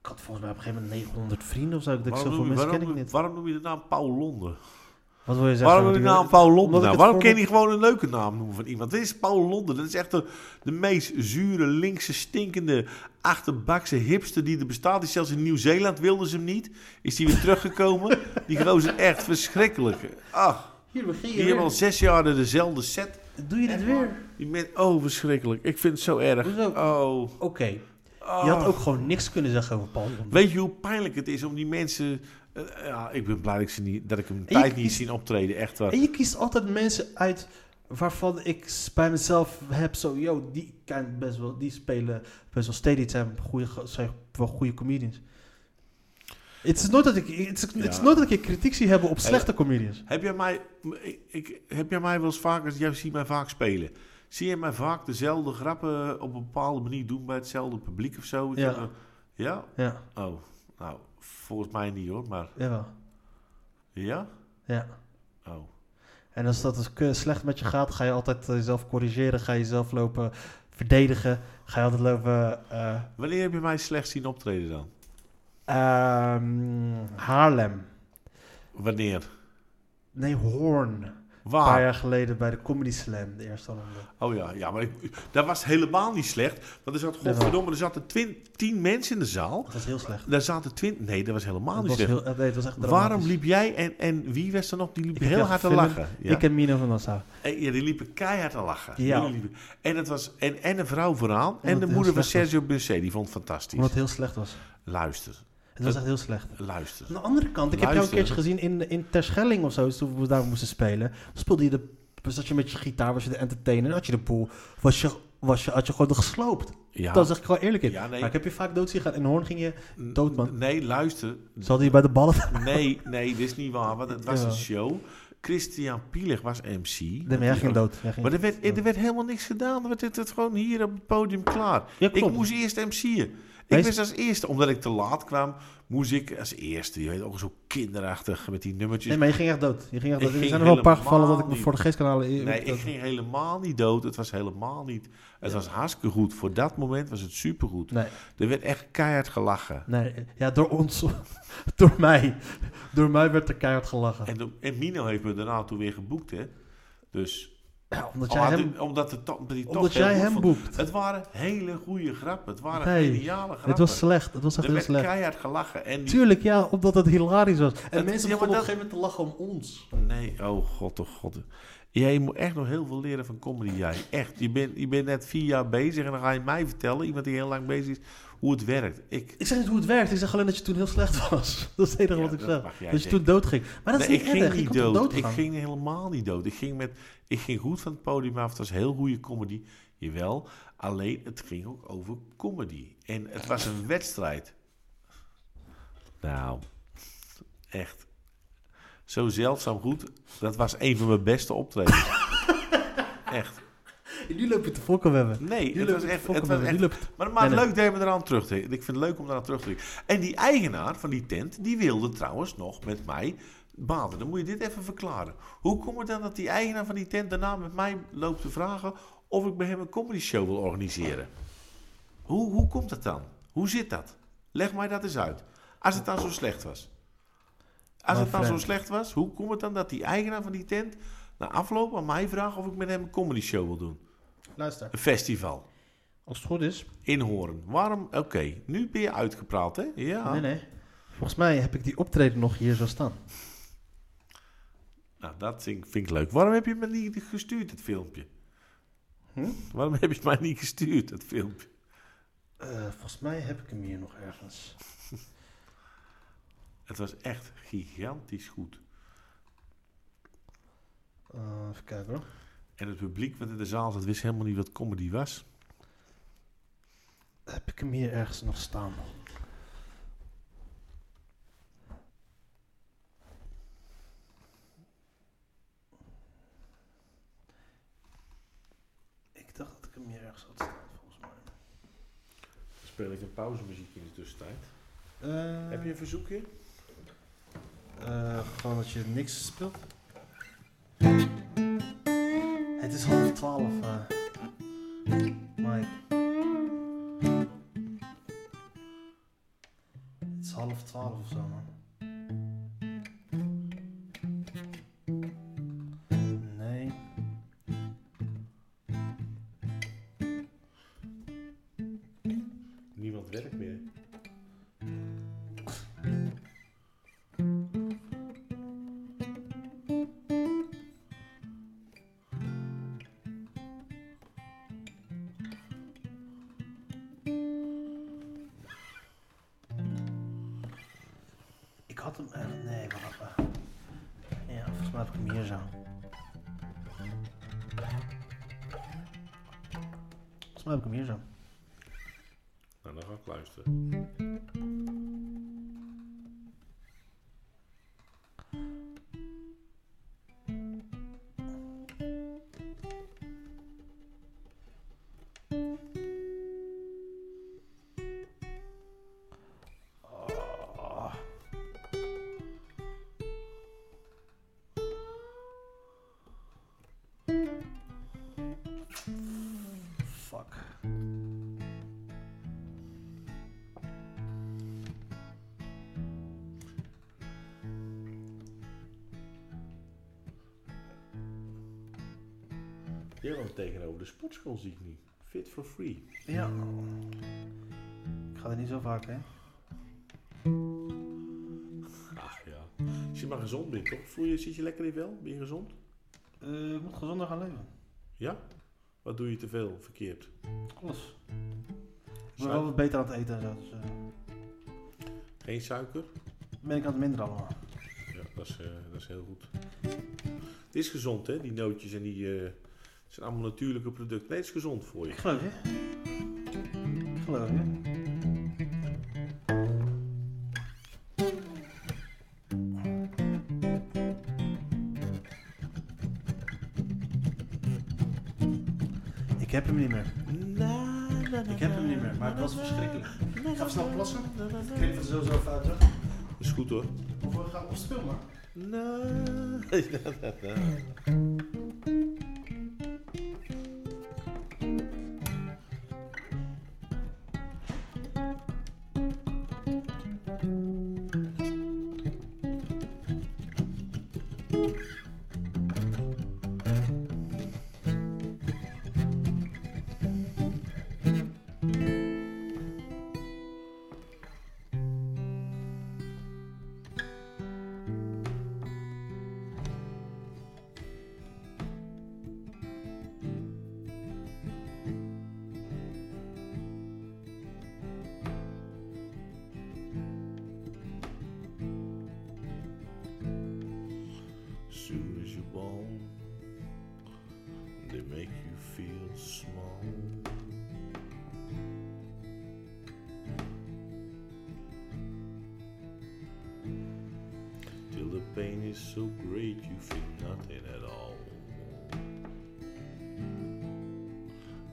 [SPEAKER 2] ik had volgens mij op een gegeven moment 900 vrienden of zo. Ik denk,
[SPEAKER 3] Waarom,
[SPEAKER 2] zoveel
[SPEAKER 3] noem je,
[SPEAKER 2] mensen
[SPEAKER 3] waarom,
[SPEAKER 2] ken ik
[SPEAKER 3] noem-
[SPEAKER 2] niet.
[SPEAKER 3] waarom noem je de naam Paul Londen?
[SPEAKER 2] Wat wil je zeggen?
[SPEAKER 3] Waarom noem je de
[SPEAKER 2] Die-
[SPEAKER 3] naam Paul Londen?
[SPEAKER 2] Omdat ik
[SPEAKER 3] Nou,
[SPEAKER 2] het
[SPEAKER 3] waarom kan je
[SPEAKER 2] voorbeeld-
[SPEAKER 3] niet gewoon een leuke naam noemen van iemand? Dit is Paul Londen. Dat is echt de, de meest zure, linkse, stinkende, achterbakse hipster die er bestaat. Die zelfs in Nieuw-Zeeland wilden ze hem niet. Is die weer teruggekomen? Die gozer echt verschrikkelijk. Ach,
[SPEAKER 2] Hier begin je
[SPEAKER 3] die hebben al
[SPEAKER 2] weer.
[SPEAKER 3] zes jaar dezelfde set.
[SPEAKER 2] Doe je dit weer?
[SPEAKER 3] Die men, oh, verschrikkelijk. Ik vind het zo erg.
[SPEAKER 2] Hoezo?
[SPEAKER 3] Oh.
[SPEAKER 2] Oké. Je
[SPEAKER 3] Ah.
[SPEAKER 2] had ook gewoon niks kunnen zeggen over Paul Londen.
[SPEAKER 3] Weet je hoe pijnlijk het is om die mensen... eh, ja, ik ben blij dat ik, ze niet, dat ik hem een
[SPEAKER 2] En je
[SPEAKER 3] tijd niet
[SPEAKER 2] kiest-
[SPEAKER 3] zien optreden. Echt waar.
[SPEAKER 2] En je kiest altijd mensen uit waarvan ik s- bij mezelf heb zo, yo, die kan best wel, die spelen best wel steady, het zijn goede, ge- zijn wel goede comedians. Het is nooit dat ik, het is, het is nooit dat ik kritiek zie hebben op slechte comedians.
[SPEAKER 3] Heb jij mij, ik, ik- heb jij mij wel eens vaker, jij ziet mij vaak spelen. Zie je mij vaak dezelfde grappen op een bepaalde manier doen bij hetzelfde publiek of zo? Ik
[SPEAKER 2] Ja.
[SPEAKER 3] heb een- ja?
[SPEAKER 2] Ja,
[SPEAKER 3] Oh, nou, volgens mij niet hoor, maar
[SPEAKER 2] jawel.
[SPEAKER 3] ja?
[SPEAKER 2] Ja.
[SPEAKER 3] Oh.
[SPEAKER 2] En als dat dus ke- slecht met je gaat, ga je altijd eh, jezelf corrigeren, ga je jezelf lopen verdedigen, ga je altijd lopen... eh,
[SPEAKER 3] Wanneer heb je mij slecht zien optreden dan?
[SPEAKER 2] ehm, Haarlem.
[SPEAKER 3] Wanneer?
[SPEAKER 2] Nee, Hoorn. Een paar
[SPEAKER 3] Waar?
[SPEAKER 2] jaar geleden bij de Comedy Slam, de eerste ronde.
[SPEAKER 3] Oh ja, ja maar ik, dat was helemaal niet slecht. Want er zat,
[SPEAKER 2] wel.
[SPEAKER 3] godverdomme, er zaten twin, tien mensen in de zaal.
[SPEAKER 2] Dat was heel slecht.
[SPEAKER 3] Daar zaten twintig, nee, dat was helemaal
[SPEAKER 2] Dat
[SPEAKER 3] niet
[SPEAKER 2] was
[SPEAKER 3] slecht.
[SPEAKER 2] heel, nee, het was echt
[SPEAKER 3] Waarom
[SPEAKER 2] dramatisch.
[SPEAKER 3] liep jij en, en wie was er nog? Die liep
[SPEAKER 2] heb
[SPEAKER 3] heel
[SPEAKER 2] jou
[SPEAKER 3] hard te
[SPEAKER 2] gefilmd.
[SPEAKER 3] lachen. Ja.
[SPEAKER 2] Ik en Mino van Nassau.
[SPEAKER 3] En, Eh, ja, die liepen keihard te lachen.
[SPEAKER 2] Ja.
[SPEAKER 3] Jullie liepen- En, het was, en, en een vrouw vooraan.
[SPEAKER 2] het
[SPEAKER 3] En de
[SPEAKER 2] heel
[SPEAKER 3] moeder van
[SPEAKER 2] slecht was.
[SPEAKER 3] Sergio Busset. Die vond het fantastisch.
[SPEAKER 2] Omdat het heel slecht was.
[SPEAKER 3] Luister,
[SPEAKER 2] Het was echt heel slecht.
[SPEAKER 3] luister.
[SPEAKER 2] Aan de andere kant, ik heb jou een keertje
[SPEAKER 3] Luister.
[SPEAKER 2] gezien in, in Terschelling of zo, dus toen we daar moesten spelen. Speelde je de, zat je met je gitaar, was je de entertainer, had je de pool, was je, was je, had je gewoon de gesloopt.
[SPEAKER 3] Ja.
[SPEAKER 2] Dat zeg ik gewoon eerlijk in.
[SPEAKER 3] Ja, nee.
[SPEAKER 2] Maar ik heb je vaak dood zien gaan. In Hoorn ging je dood, man.
[SPEAKER 3] Nee, luister.
[SPEAKER 2] Ze hadden je bij de ballen.
[SPEAKER 3] Nee, nee, dit is niet waar. Want het was
[SPEAKER 2] Ja.
[SPEAKER 3] een show. Christian Pielig was MC.
[SPEAKER 2] Nee, maar jij ging dood. Jij ging
[SPEAKER 3] Maar er werd, er werd helemaal niks gedaan. Er werd het, het gewoon hier op het podium klaar.
[SPEAKER 2] Ja,
[SPEAKER 3] ik
[SPEAKER 2] klopt.
[SPEAKER 3] moest eerst MC'en. Ik
[SPEAKER 2] Wees-
[SPEAKER 3] was als eerste, omdat ik te laat kwam, moest ik als eerste. Je weet ook zo kinderachtig met die nummertjes.
[SPEAKER 2] Nee, maar je ging echt dood. Je ging echt
[SPEAKER 3] Ik
[SPEAKER 2] dood. Er
[SPEAKER 3] ging
[SPEAKER 2] zijn er wel een paar
[SPEAKER 3] helemaal
[SPEAKER 2] gevallen dat ik me
[SPEAKER 3] niet.
[SPEAKER 2] voor de geest kan halen.
[SPEAKER 3] Nee, ik ging helemaal niet dood. Het was helemaal niet. Het was hartstikke goed. Voor dat moment was het supergoed.
[SPEAKER 2] Nee.
[SPEAKER 3] Er werd echt keihard gelachen.
[SPEAKER 2] Nee, ja, door ons. door mij. Door mij werd er keihard gelachen.
[SPEAKER 3] En, de- en Mino heeft me daarna toen weer geboekt, hè? Dus
[SPEAKER 2] Ja, omdat
[SPEAKER 3] Oh,
[SPEAKER 2] jij
[SPEAKER 3] had-
[SPEAKER 2] hem...
[SPEAKER 3] omdat, de to- omdat, die toch
[SPEAKER 2] Omdat
[SPEAKER 3] heel
[SPEAKER 2] jij
[SPEAKER 3] goed
[SPEAKER 2] hem
[SPEAKER 3] vond.
[SPEAKER 2] boekt.
[SPEAKER 3] Het waren hele goede grappen. Het waren
[SPEAKER 2] Nee,
[SPEAKER 3] geniale grappen.
[SPEAKER 2] Het was slecht. Het was echt
[SPEAKER 3] er
[SPEAKER 2] heel
[SPEAKER 3] werd
[SPEAKER 2] slecht.
[SPEAKER 3] keihard gelachen. En die,
[SPEAKER 2] Tuurlijk, ja, omdat het hilarisch was. En
[SPEAKER 3] Het-
[SPEAKER 2] mensen
[SPEAKER 3] ja, maar
[SPEAKER 2] begonnen
[SPEAKER 3] dat-
[SPEAKER 2] op een gegeven moment te lachen om ons.
[SPEAKER 3] nee, oh god, oh god. Jij moet echt nog heel veel leren van comedy, jij. Echt. Je bent, je bent net vier jaar bezig en dan ga je mij vertellen, iemand die heel lang bezig is, hoe het werkt. Ik,
[SPEAKER 2] Ik zeg niet hoe het werkt. Ik zeg alleen dat je toen heel slecht was. Dat is het enige
[SPEAKER 3] Ja,
[SPEAKER 2] wat ik
[SPEAKER 3] dat
[SPEAKER 2] zeg.
[SPEAKER 3] mag
[SPEAKER 2] Dat
[SPEAKER 3] jij
[SPEAKER 2] je
[SPEAKER 3] denken.
[SPEAKER 2] toen dood ging. Maar dat
[SPEAKER 3] Nee,
[SPEAKER 2] is
[SPEAKER 3] ik
[SPEAKER 2] niet
[SPEAKER 3] ging
[SPEAKER 2] erg. Je
[SPEAKER 3] niet
[SPEAKER 2] kon toch
[SPEAKER 3] dood.
[SPEAKER 2] dood
[SPEAKER 3] ik
[SPEAKER 2] gaan?
[SPEAKER 3] ging helemaal niet dood. Ik ging, met, ik ging goed van het podium af. Het was heel goede comedy. Jawel. Alleen het ging ook over comedy. En het was een wedstrijd. Nou, echt. Zo zeldzaam goed. Dat was een van mijn beste optredens. echt.
[SPEAKER 2] Nu loop je te fokken hebben.
[SPEAKER 3] Nee,
[SPEAKER 2] Nu loop
[SPEAKER 3] het was
[SPEAKER 2] je te
[SPEAKER 3] echt...
[SPEAKER 2] fokken
[SPEAKER 3] Het
[SPEAKER 2] met
[SPEAKER 3] was
[SPEAKER 2] me.
[SPEAKER 3] echt
[SPEAKER 2] Nu loop je te-
[SPEAKER 3] maar maar
[SPEAKER 2] Nee, nee.
[SPEAKER 3] leuk dat je me eraan terug Ik vind het leuk om eraan terug te denken. En die eigenaar van die tent, die wilde trouwens nog met mij baden. Dan moet je dit even verklaren. Hoe komt het dan dat die eigenaar van die tent daarna met mij loopt te vragen... of ik bij hem een comedy show wil organiseren? Hoe, hoe komt dat dan? Hoe zit dat? Leg mij dat eens uit. Als het dan zo slecht was. Als
[SPEAKER 2] Maar
[SPEAKER 3] het dan zo
[SPEAKER 2] Frank-
[SPEAKER 3] slecht was, hoe komt het dan dat die eigenaar van die tent... na afloop aan mij vraagt of ik met hem een comedy show wil doen?
[SPEAKER 2] Luister.
[SPEAKER 3] Een festival.
[SPEAKER 2] Als het goed is...
[SPEAKER 3] Inhoorn. Waarom? Oké, nu ben je uitgepraat, hè? Ja.
[SPEAKER 2] Nee, nee. Volgens mij heb ik die optreden nog hier zo staan.
[SPEAKER 3] Nou, dat vind ik, vind ik leuk. Waarom heb je me niet gestuurd, het filmpje?
[SPEAKER 2] Hm?
[SPEAKER 3] Waarom hebben ze het mij niet gestuurd, dat filmpje?
[SPEAKER 2] Eh, volgens mij heb ik hem hier nog ergens.
[SPEAKER 3] Het was echt gigantisch goed.
[SPEAKER 2] Eh, even kijken hoor.
[SPEAKER 3] En het publiek wat in de zaal zat, wist helemaal niet wat comedy was.
[SPEAKER 2] Heb ik hem hier ergens nog staan? Ik dacht dat ik hem hier ergens had staan, volgens mij.
[SPEAKER 3] Dan speel ik een pauzemuziek in de tussentijd.
[SPEAKER 2] Eh,
[SPEAKER 3] Heb je een verzoekje?
[SPEAKER 2] eh, gewoon dat je niks speelt? Het is half twaalf, eh Mike. Het is half twaalf of zo, man. Nee.
[SPEAKER 3] Niemand werkt meer.
[SPEAKER 2] Ik had hem echt. Nee, wacht even. Ja, volgens mij heb ik hem hier zo. Volgens mij heb ik hem hier zo.
[SPEAKER 3] Nou, dan ga ik luisteren.
[SPEAKER 2] Fuck.
[SPEAKER 3] Jij woont tegenover de sportschool, zie ik nu. Fit for free.
[SPEAKER 2] Ja. Ik ga er niet zo vaak heen.
[SPEAKER 3] Ach Ah, ja. Als je maar gezond bent, toch? Voel je, zit je lekker in wel? Ben je gezond?
[SPEAKER 2] Eh, ik moet gezonder gaan leven.
[SPEAKER 3] Ja? Wat doe je te veel verkeerd?
[SPEAKER 2] Alles. Ik ben
[SPEAKER 3] Zou-
[SPEAKER 2] wel wat beter aan het eten en zo. Dus, eh,
[SPEAKER 3] Geen suiker?
[SPEAKER 2] ben ik aan het minderen allemaal.
[SPEAKER 3] Ja, dat is, eh, dat is heel goed. Het is gezond, hè? Die nootjes en die... eh, het zijn allemaal natuurlijke producten. Nee, het is gezond voor je.
[SPEAKER 2] Ik geloof je. Ik geloof je. Ik heb hem niet meer. Ik heb hem niet meer, maar het was verschrikkelijk. Ik ga snel plassen. Ik kreeg er sowieso even uit.
[SPEAKER 3] Dat is goed, hoor.
[SPEAKER 2] Of we gaan opspelen maar.
[SPEAKER 3] soon as you're born, they make you feel small. Till the pain is so great you feel nothing at all.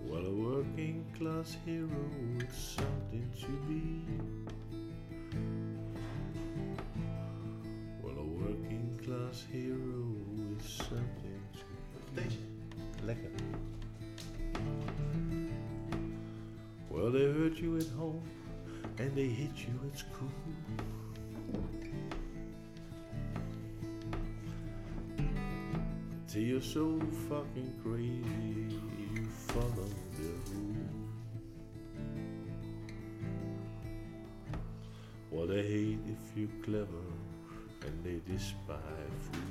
[SPEAKER 3] What a working class hero, it's something to be. Well, a working class hero is something to Lekker. Well, they hurt you at home and they hit you at school. Till you're so fucking crazy, you follow the rules. Well, they hate if you're clever and they despise you.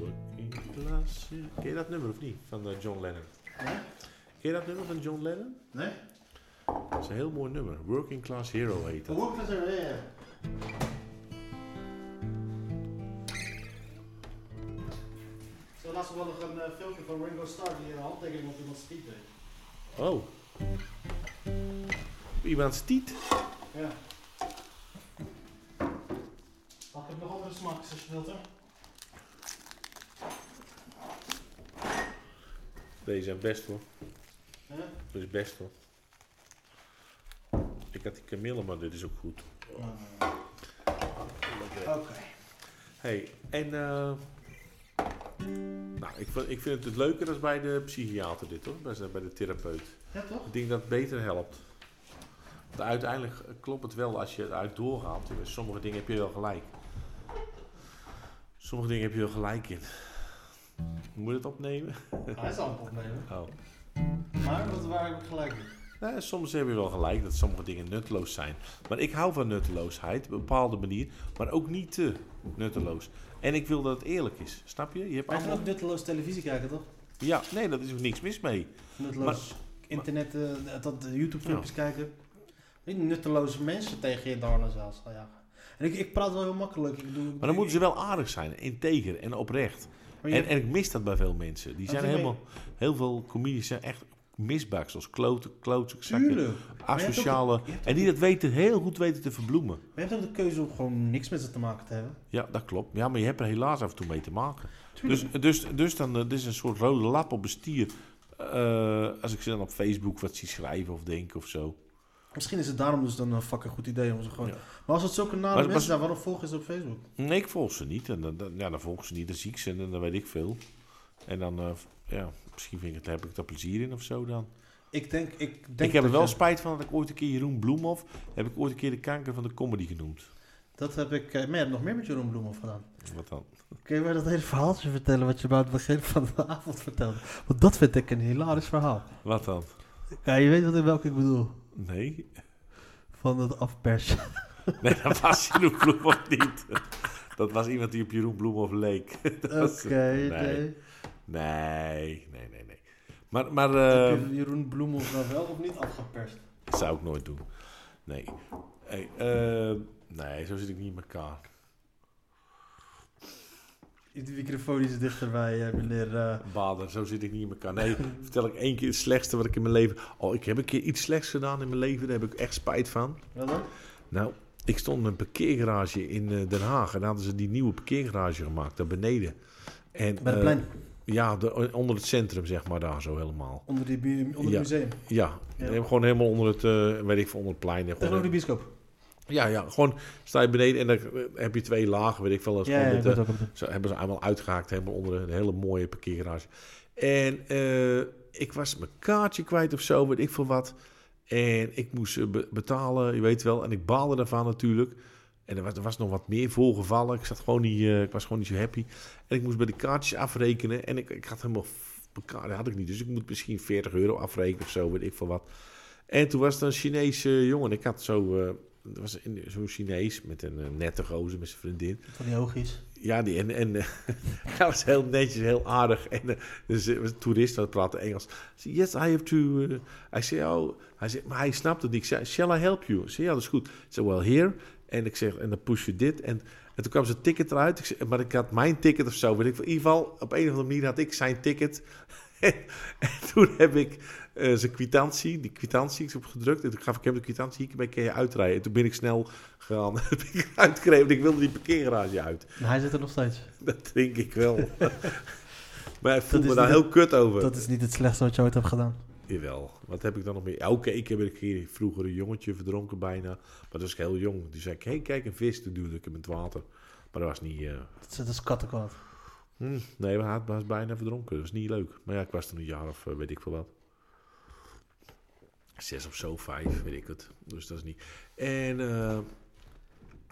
[SPEAKER 3] What
[SPEAKER 2] zie-
[SPEAKER 3] Ken je dat nummer of niet? Van eh, John Lennon.
[SPEAKER 2] Nee?
[SPEAKER 3] Ken je dat nummer van John Lennon?
[SPEAKER 2] Nee?
[SPEAKER 3] Dat is een heel mooi nummer. Working Class Hero heet dat.
[SPEAKER 2] Hoe ik dat er weer? Zo laatst wel nog een eh, filmpje van Ringo Starr die een handtekening op iemands tiet deed.
[SPEAKER 3] Oh. Iemand stiet.
[SPEAKER 2] Ja. Pak ik nog andere smaakjes als je wilt, hè?
[SPEAKER 3] Deze zijn best hoor.
[SPEAKER 2] Ja?
[SPEAKER 3] Dat is best hoor. Ik had die kamille, maar dit is ook goed.
[SPEAKER 2] Oké.
[SPEAKER 3] Hey, en eh, nou, ik, vind- ik vind het het leuker als bij de psychiater dit hoor, bij, de- bij de therapeut.
[SPEAKER 2] Ja, toch?
[SPEAKER 3] Ik denk dat het beter helpt. Want uiteindelijk eh, klopt het wel als je eruit doorgaat. Sommige dingen heb je wel gelijk. Sommige dingen heb je wel gelijk in. Moet je het opnemen?
[SPEAKER 2] Hij is aan het opnemen.
[SPEAKER 3] Oh.
[SPEAKER 2] Maar dat waar heb ik gelijk in.
[SPEAKER 3] Nou, soms heb je wel gelijk dat sommige dingen nutteloos zijn. Maar ik hou van nutteloosheid, op een bepaalde manier. Maar ook niet te nutteloos. En ik wil dat het eerlijk is. Snap je? Je hebt
[SPEAKER 2] Maar je kan
[SPEAKER 3] allemaal...
[SPEAKER 2] ook nutteloos televisie kijken, toch?
[SPEAKER 3] Ja, nee, daar is ook niks mis mee.
[SPEAKER 2] Nutteloos internet, eh, dat eh, YouTube-filmpjes kijken. Niet nutteloze mensen tegen je darnen zelfs gaan jagen. En ik, ik praat wel heel makkelijk. Ik doe,
[SPEAKER 3] Maar dan moeten ze wel aardig zijn, integer en oprecht.
[SPEAKER 2] Maar je-
[SPEAKER 3] En, en ik mis dat bij veel mensen. Die
[SPEAKER 2] Wat
[SPEAKER 3] zijn
[SPEAKER 2] doe je
[SPEAKER 3] helemaal... Heel veel comedies zijn echt misbaksels. Kloten, kloten, zakken,
[SPEAKER 2] Tuurlijk. Maar je hebt ook-
[SPEAKER 3] asociale.
[SPEAKER 2] je hebt
[SPEAKER 3] En die dat weten, heel goed weten te verbloemen.
[SPEAKER 2] Maar je hebt ook de keuze om gewoon niks met ze te maken te hebben.
[SPEAKER 3] Ja, dat klopt. Ja, maar je hebt er helaas af en toe mee te maken. Dus, dus, dus dan, eh, dit is een soort rode lap op een stier. eh, als ik ze dan op Facebook wat zie schrijven of denken of zo.
[SPEAKER 2] Misschien is het daarom dus dan een fucking goed idee om ze gewoon...
[SPEAKER 3] Ja.
[SPEAKER 2] Maar als het zulke nare
[SPEAKER 3] Maar-
[SPEAKER 2] mensen
[SPEAKER 3] maar-
[SPEAKER 2] zijn, waarom volgen ze op Facebook?
[SPEAKER 3] Nee, ik volg ze niet. En dan, dan- ja, dan volg ik ze niet, dan zie ik ze en dan weet ik veel. En dan, eh, ja, misschien vind ik het, heb ik daar plezier in of zo dan.
[SPEAKER 2] Ik denk... Ik, denk
[SPEAKER 3] ik heb er
[SPEAKER 2] dat
[SPEAKER 3] wel
[SPEAKER 2] je-
[SPEAKER 3] spijt van dat ik ooit een keer Jeroen Bloemhoff... heb ik ooit een keer de kanker van de comedy genoemd.
[SPEAKER 2] Dat heb ik... eh, Maar je hebt nog meer met Jeroen Bloemhoff gedaan.
[SPEAKER 3] Wat dan?
[SPEAKER 2] Kun je mij dat hele verhaaltje vertellen wat je me aan het begin van de avond vertelde? Want dat vind ik een hilarisch verhaal.
[SPEAKER 3] Wat dan?
[SPEAKER 2] Ja, je weet wat ik, welke ik bedoel.
[SPEAKER 3] Nee?
[SPEAKER 2] Van het afpersen.
[SPEAKER 3] Nee, dat was Jeroen Bloemhoff niet. Dat was iemand die op Jeroen Bloemhoff leek. Dat
[SPEAKER 2] Oké,
[SPEAKER 3] was-
[SPEAKER 2] nee.
[SPEAKER 3] Nee, nee, nee, nee. Maar, maar
[SPEAKER 2] Heb
[SPEAKER 3] eh,
[SPEAKER 2] je Jeroen Bloemhoff nou wel of niet afgeperst?
[SPEAKER 3] dat zou ik nooit doen. Nee. Hey, eh, nee, zo zit ik niet in elkaar.
[SPEAKER 2] De microfoon is dichterbij, eh, meneer... eh,
[SPEAKER 3] Bader, zo zit ik niet in elkaar. Nee, vertel ik één keer het slechtste wat ik in mijn leven... Oh, ik heb een keer iets slechts gedaan in mijn leven. Daar heb ik echt spijt van.
[SPEAKER 2] wat dan?
[SPEAKER 3] Nou, ik stond in een parkeergarage in eh, Den Haag. En daar hadden ze die nieuwe parkeergarage gemaakt, daar beneden. En,
[SPEAKER 2] Bij de
[SPEAKER 3] eh,
[SPEAKER 2] plein.
[SPEAKER 3] Ja, de- eh, onder het centrum, zeg maar, daar zo helemaal.
[SPEAKER 2] Onder, die, bu- onder
[SPEAKER 3] Ja.
[SPEAKER 2] het museum.
[SPEAKER 3] Ja,
[SPEAKER 2] Ja.
[SPEAKER 3] eh, gewoon helemaal onder het, eh, weet ik veel, onder het plein. Gewoon-
[SPEAKER 2] Tegenover de bioscoop.
[SPEAKER 3] ja, ja, gewoon sta je beneden en dan eh, heb je twee lagen, weet ik veel. Dat is
[SPEAKER 2] Ja, ja,
[SPEAKER 3] gewoon
[SPEAKER 2] ik
[SPEAKER 3] met,
[SPEAKER 2] weet
[SPEAKER 3] eh,
[SPEAKER 2] ook wat
[SPEAKER 3] zo hebben ze allemaal uitgehaakt, helemaal onder een hele mooie parkeergarage. En eh, ik was mijn kaartje kwijt of zo, weet ik veel wat. En ik moest eh, be- betalen, je weet wel. En ik baalde daarvan natuurlijk. En er was, er was nog wat meer voorgevallen. Ik, zat gewoon niet, eh, ik was gewoon niet zo happy. En ik moest bij de kaartjes afrekenen. En ik, ik had helemaal... f- mijn kaart had ik niet, dus ik moet misschien 40 euro afrekenen of zo, weet ik veel wat. En toen was er een Chinese jongen. Ik had zo... eh, er was een- zo'n Chinees met een eh, nette gozer met zijn vriendin.
[SPEAKER 2] Van die hoogjes.
[SPEAKER 3] Ja, die, en, en eh, hij was heel netjes, heel aardig. En eh, dus, eh, was een toerist, dat praatte Engels. I said, yes, I have to... eh, I say, oh... Hij zei, maar hij snapte het niet. Ik zei, shall I help you? Ik zei, ja, dat is goed. Ze zei, well, here. En ik zeg, en dan push je dit. En, en toen kwam zijn ticket eruit. Ik zei, maar ik had mijn ticket of zo. Weet ik, veel. in ieder geval, op een of andere manier had ik zijn ticket. en, toen heb ik eh, zijn kwitantie, die kwitantie, ik heb gedrukt. En toen gaf ik hem de kwitantie, hierbij kan je uitrijden. En toen ben ik snel gegaan. heb ik uitgekregen, want ik wilde die parkeergarage uit.
[SPEAKER 2] En hij zit er nog steeds.
[SPEAKER 3] Dat denk ik wel. maar hij voelt
[SPEAKER 2] is
[SPEAKER 3] me daar
[SPEAKER 2] niet-
[SPEAKER 3] heel kut over.
[SPEAKER 2] Dat is niet het slechtste wat je ooit hebt gedaan.
[SPEAKER 3] Jawel. Wat heb ik dan nog meer? Ja, Oké, ik heb een keer vroeger een jongetje verdronken bijna. Maar dat was ik heel jong. Die zei ik, hey, kijk, een vis. Toen duwde ik hem in het water. Maar dat was niet... eh,
[SPEAKER 2] Dat is, dat is kattenkwaad.
[SPEAKER 3] hm, nee, maar hij was bijna verdronken. Dat was niet leuk. Maar ja, ik was toen een jaar of eh, weet ik veel wat. Zes of zo, vijf, weet ik het. Dus dat is niet... En eh,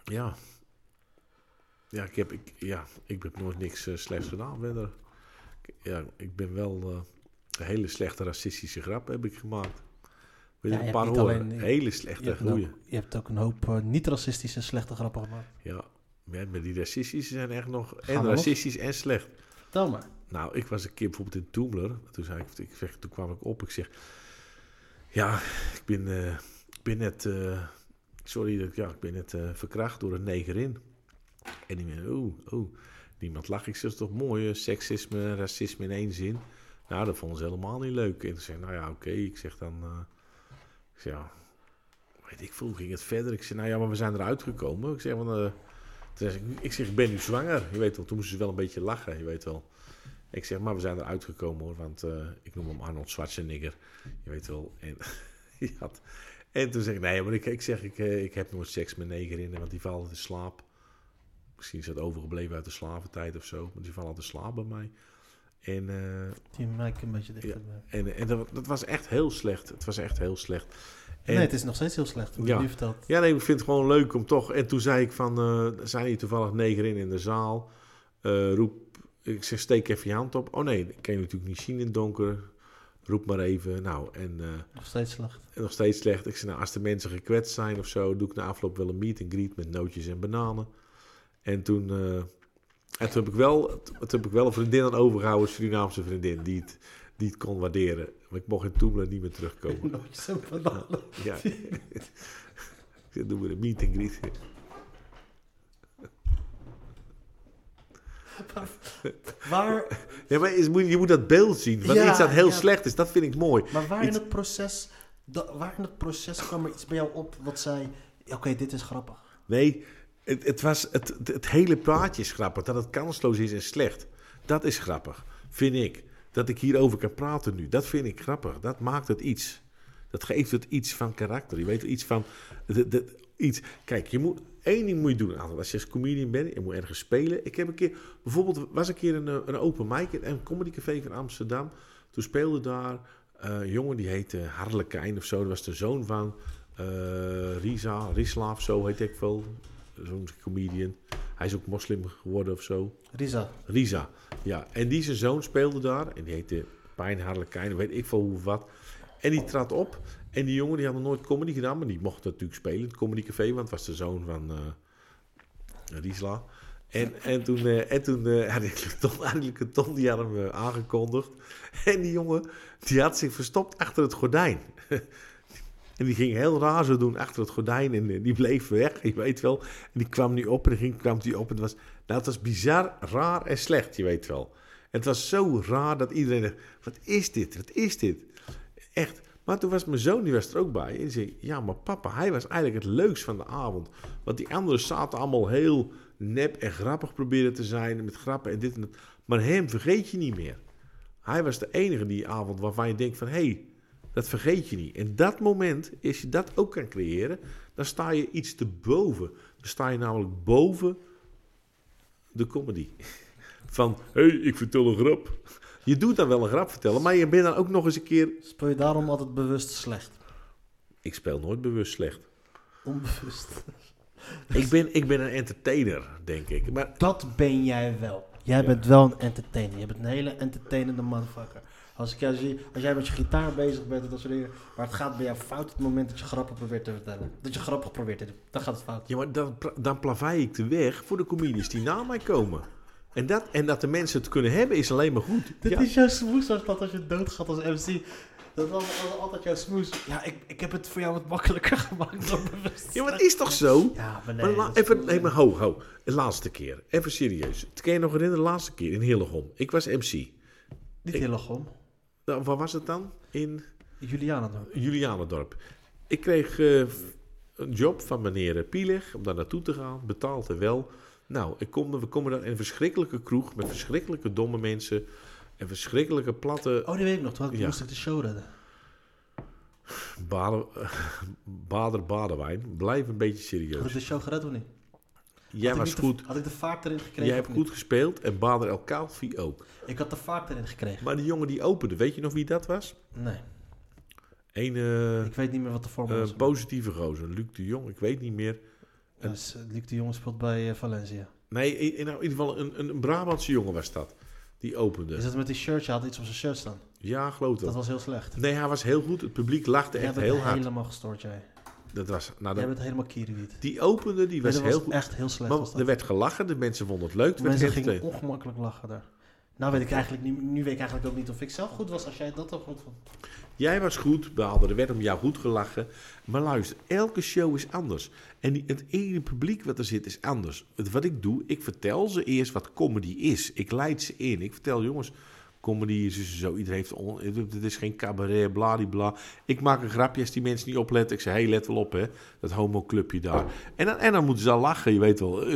[SPEAKER 3] ja... Ja ik, heb, ik, ja, ik heb nooit niks eh, slechts gedaan verder. Ik- Ja, ik ben wel... eh, een hele slechte racistische grap heb ik gemaakt. Weet
[SPEAKER 2] Ja,
[SPEAKER 3] je,
[SPEAKER 2] je
[SPEAKER 3] een paar
[SPEAKER 2] hebt niet
[SPEAKER 3] horen.
[SPEAKER 2] alleen-
[SPEAKER 3] hele
[SPEAKER 2] Je
[SPEAKER 3] slechte,
[SPEAKER 2] hebt, ook,
[SPEAKER 3] goeie.
[SPEAKER 2] je hebt ook een hoop eh, niet-racistische slechte grappen gemaakt.
[SPEAKER 3] Ja, maar die racistische zijn echt nog...
[SPEAKER 2] we
[SPEAKER 3] en
[SPEAKER 2] nog?
[SPEAKER 3] racistisch en slecht.
[SPEAKER 2] Vertel maar.
[SPEAKER 3] Nou, ik was een keer bijvoorbeeld in Toemler. Toen, zei ik, ik zeg, toen kwam ik op. Ik zeg, ja, ik ben, eh, ik ben net, eh, sorry, dat ik- ja, ik ben net eh, verkracht door een negerin. En die mensen, oeh, oeh, niemand lacht. Ik zeg, dat is toch mooi, eh, seksisme, en racisme in één zin. Nou, dat vonden ze helemaal niet leuk. En toen zei ik, nou ja, oké. Ik zeg dan, eh, ik zeg, ja, weet ik veel, hoe ging het verder? Ik zeg, nou ja, maar we zijn eruit gekomen. Ik zeg, van, eh, toen zei ik, ik zeg, ik ben nu zwanger. Je weet wel, toen moesten ze wel een beetje lachen, je weet wel. Ik zeg, maar we zijn eruit gekomen hoor, want eh, ik noem hem Arnold Schwarzenegger. Je weet wel. En, die had, en toen zeg ik, nee, maar ik, ik zeg, ik, eh, ik heb nooit seks met negerinnen, want die vallen altijd in slaap. Misschien is dat overgebleven uit de slaventijd of zo, maar die vallen altijd in slaap bij mij. En eh,
[SPEAKER 2] Die mic een beetje dichter.
[SPEAKER 3] Ja. en, en dat, dat was echt heel slecht. Het was echt heel slecht. En,
[SPEAKER 2] Nee, het is nog steeds heel slecht. Wat
[SPEAKER 3] Ja.
[SPEAKER 2] je nu vertelt.
[SPEAKER 3] Ja, nee, ik vind het gewoon leuk om toch... En toen zei ik van... eh, er zijn hier toevallig negen in in de zaal. Eh, roep... Ik zeg, steek even je hand op. Oh nee, dat kan je natuurlijk niet zien in het donker. Roep maar even. Nou, en... eh,
[SPEAKER 2] Nog steeds slecht.
[SPEAKER 3] en nog steeds slecht. Ik zei, nou, als de mensen gekwetst zijn of zo, doe ik na afloop wel een meet en greet met nootjes en bananen. En toen, eh, en toen, heb, ik wel, toen heb ik wel een vriendin aan overgehouden, een Surinaamse vriendin, die het, die het kon waarderen. Maar ik mocht in Toemelen niet meer terugkomen.
[SPEAKER 2] Nootjes en bananen.
[SPEAKER 3] Ja. ik zei, doe maar een meet en greet.
[SPEAKER 2] Waar,
[SPEAKER 3] Ja, maar is- moet- je moet dat beeld zien, want
[SPEAKER 2] Ja,
[SPEAKER 3] iets dat heel
[SPEAKER 2] ja.
[SPEAKER 3] slecht is, dat vind ik mooi.
[SPEAKER 2] maar waar in
[SPEAKER 3] Iets-
[SPEAKER 2] het proces... da- waar in het proces kwam er iets bij jou op wat zei... Oké, dit is grappig.
[SPEAKER 3] Nee, het, het, was, het, het- het hele plaatje is grappig. Dat het kansloos is en slecht. Dat is grappig, vind ik. Dat ik hierover kan praten nu, dat vind ik grappig. Dat maakt het iets. Dat geeft het iets van karakter. Je weet iets van. de- de- iets. Kijk, je moet, één ding moet je doen. Altijd. Als je als comedian bent, je moet ergens spelen. Ik heb een keer, bijvoorbeeld, was een keer een, eh, een open mic in een comedycafé van Amsterdam. Toen speelde daar eh, een jongen die heette Harlekijn of zo. Dat was de zoon van eh Risa, Rislaaf, zo heet ik wel. Zo'n comedian. Hij is ook moslim geworden of zo.
[SPEAKER 2] Risa,
[SPEAKER 3] Risa. Ja, en die zijn zoon speelde daar. En die heette Pijn Harlekijn, weet ik veel hoe of wat. En die trad op. En die jongen die had nog nooit comedy gedaan, maar die mocht natuurlijk spelen in het comedycafé, want het was de zoon van eh Riesla. En, en toen, eh, en toen eh, had ik Leton, had ik Leton, die had hem eh, aangekondigd. En die jongen die had zich verstopt achter het gordijn. En die ging heel raar zo doen achter het gordijn. En eh, die bleef weg, je weet wel. En die kwam nu op en ging, kwam die op. En het was, nou, het was bizar, raar en slecht, je weet wel. En het was zo raar dat iedereen dacht, wat is dit, wat is dit? Echt. Maar toen was mijn zoon, die was er ook bij. En die zei, ja, maar papa, hij was eigenlijk het leukst van de avond. Want die anderen zaten allemaal heel nep en grappig proberen te zijn. Met grappen en dit en dat. Maar hem vergeet je niet meer. Hij was de enige die avond waarvan je denkt van... hé, hey, dat vergeet je niet. En dat moment, als je dat ook kan creëren... dan sta je iets te boven. Dan sta je namelijk boven de comedy. Van, hé, hey, ik vertel een grap. Je doet dan wel een grap vertellen... maar je bent dan ook nog eens een keer...
[SPEAKER 2] speel je daarom altijd bewust slecht?
[SPEAKER 3] Ik speel nooit bewust slecht.
[SPEAKER 2] Onbewust.
[SPEAKER 3] Ik ben, ik ben een entertainer, denk ik. Maar
[SPEAKER 2] Dat ben jij wel. Jij bent wel een entertainer. Je bent een hele entertainende motherfucker. Als, ik jou zie, als jij met je gitaar bezig bent en dat soort dingen. Maar het gaat bij jou fout op het moment dat je grappen probeert te vertellen. Dat je grappig probeert te doen. Dan gaat het fout.
[SPEAKER 3] Ja, maar dan, pla- dan plavei ik de weg voor de comedies die na mij komen. En dat, en dat de mensen het kunnen hebben is alleen maar goed.
[SPEAKER 2] Dit
[SPEAKER 3] Ja.
[SPEAKER 2] is jouw smoes als dat als je doodgaat als MC. Dat was, was altijd jouw smoes. Ja, ik, ik heb het voor jou wat makkelijker gemaakt dan bewust.
[SPEAKER 3] Ja, maar het is toch zo?
[SPEAKER 2] Ja, maar nee.
[SPEAKER 3] Maar la-
[SPEAKER 2] dat is-
[SPEAKER 3] even, nee, maar ho, ho. De laatste keer. Even serieus. Het kan je nog herinneren, de laatste keer in Hillegom. Ik was MC.
[SPEAKER 2] Niet heel erg om.
[SPEAKER 3] Nou, waar was het dan? In
[SPEAKER 2] Juliana dan.
[SPEAKER 3] Julianendorp. Ik kreeg eh, een job van meneer Pielig om daar naartoe te gaan. Betaald en wel. Nou, ik kom, we komen daar in een verschrikkelijke kroeg met verschrikkelijke domme mensen. En verschrikkelijke platte
[SPEAKER 2] Oh, die weet ik nog. Toen had ik-
[SPEAKER 3] Ja.
[SPEAKER 2] moest ik de show redden.
[SPEAKER 3] Baden, bader Badenwijn. Blijf een beetje
[SPEAKER 2] Had ik
[SPEAKER 3] serieus.
[SPEAKER 2] de show gered of niet? Had
[SPEAKER 3] Jij
[SPEAKER 2] ik
[SPEAKER 3] was
[SPEAKER 2] niet de-
[SPEAKER 3] goed.
[SPEAKER 2] had ik de vaart erin gekregen
[SPEAKER 3] Jij
[SPEAKER 2] of
[SPEAKER 3] hebt
[SPEAKER 2] niet?
[SPEAKER 3] goed gespeeld en Bader El Kaalfi ook.
[SPEAKER 2] Ik had de vaart erin gekregen.
[SPEAKER 3] Maar die jongen die opende, weet je nog wie dat was?
[SPEAKER 2] Nee,
[SPEAKER 3] Eén eh,
[SPEAKER 2] ik weet niet meer wat de vorm
[SPEAKER 3] eh,
[SPEAKER 2] was.
[SPEAKER 3] positieve gozer, Luc de Jong, ik weet niet meer.
[SPEAKER 2] Ja, dus, eh, Luc de Jong speelt bij eh, Valencia.
[SPEAKER 3] Nee, in, nou, in, ieder geval een, een, een Brabantse jongen was dat. Die opende.
[SPEAKER 2] Is dat met die shirtje? Hij had iets op zijn shirt staan.
[SPEAKER 3] Ja, geloof
[SPEAKER 2] Dat
[SPEAKER 3] dat.
[SPEAKER 2] was heel slecht.
[SPEAKER 3] Nee, hij was heel goed. Het publiek lachte
[SPEAKER 2] Jij
[SPEAKER 3] echt
[SPEAKER 2] bent
[SPEAKER 3] heel hard.
[SPEAKER 2] helemaal gestoord, jij.
[SPEAKER 3] Dat was,
[SPEAKER 2] Jij
[SPEAKER 3] nou, dat,
[SPEAKER 2] bent helemaal kiriwiet.
[SPEAKER 3] die opende, die
[SPEAKER 2] Nee,
[SPEAKER 3] was
[SPEAKER 2] dat
[SPEAKER 3] heel
[SPEAKER 2] was
[SPEAKER 3] goed.
[SPEAKER 2] echt heel slecht.
[SPEAKER 3] Maar
[SPEAKER 2] was dat.
[SPEAKER 3] er werd gelachen, de mensen vonden het leuk. Het werd
[SPEAKER 2] Mensen
[SPEAKER 3] entertainend.
[SPEAKER 2] gingen ongemakkelijk lachen daar. Nou weet ik eigenlijk niet, nu weet ik eigenlijk ook niet of ik zelf goed was als jij dat ook goed vond.
[SPEAKER 3] Jij was goed, we hadden er werd om jou goed gelachen. Maar luister, elke show is anders. En die- het ene publiek wat er zit is anders. Het- Wat ik doe, ik vertel ze eerst wat comedy is. Ik leid ze in. Ik vertel jongens, comedy is dus zo. Iedereen heeft... On, het is geen cabaret, bladibla. Ik maak een grapje als die mensen niet opletten. Ik zeg, hé, hey, let wel op, hè. Dat homoclubje daar. En dan, en dan moeten ze al lachen, je weet wel. En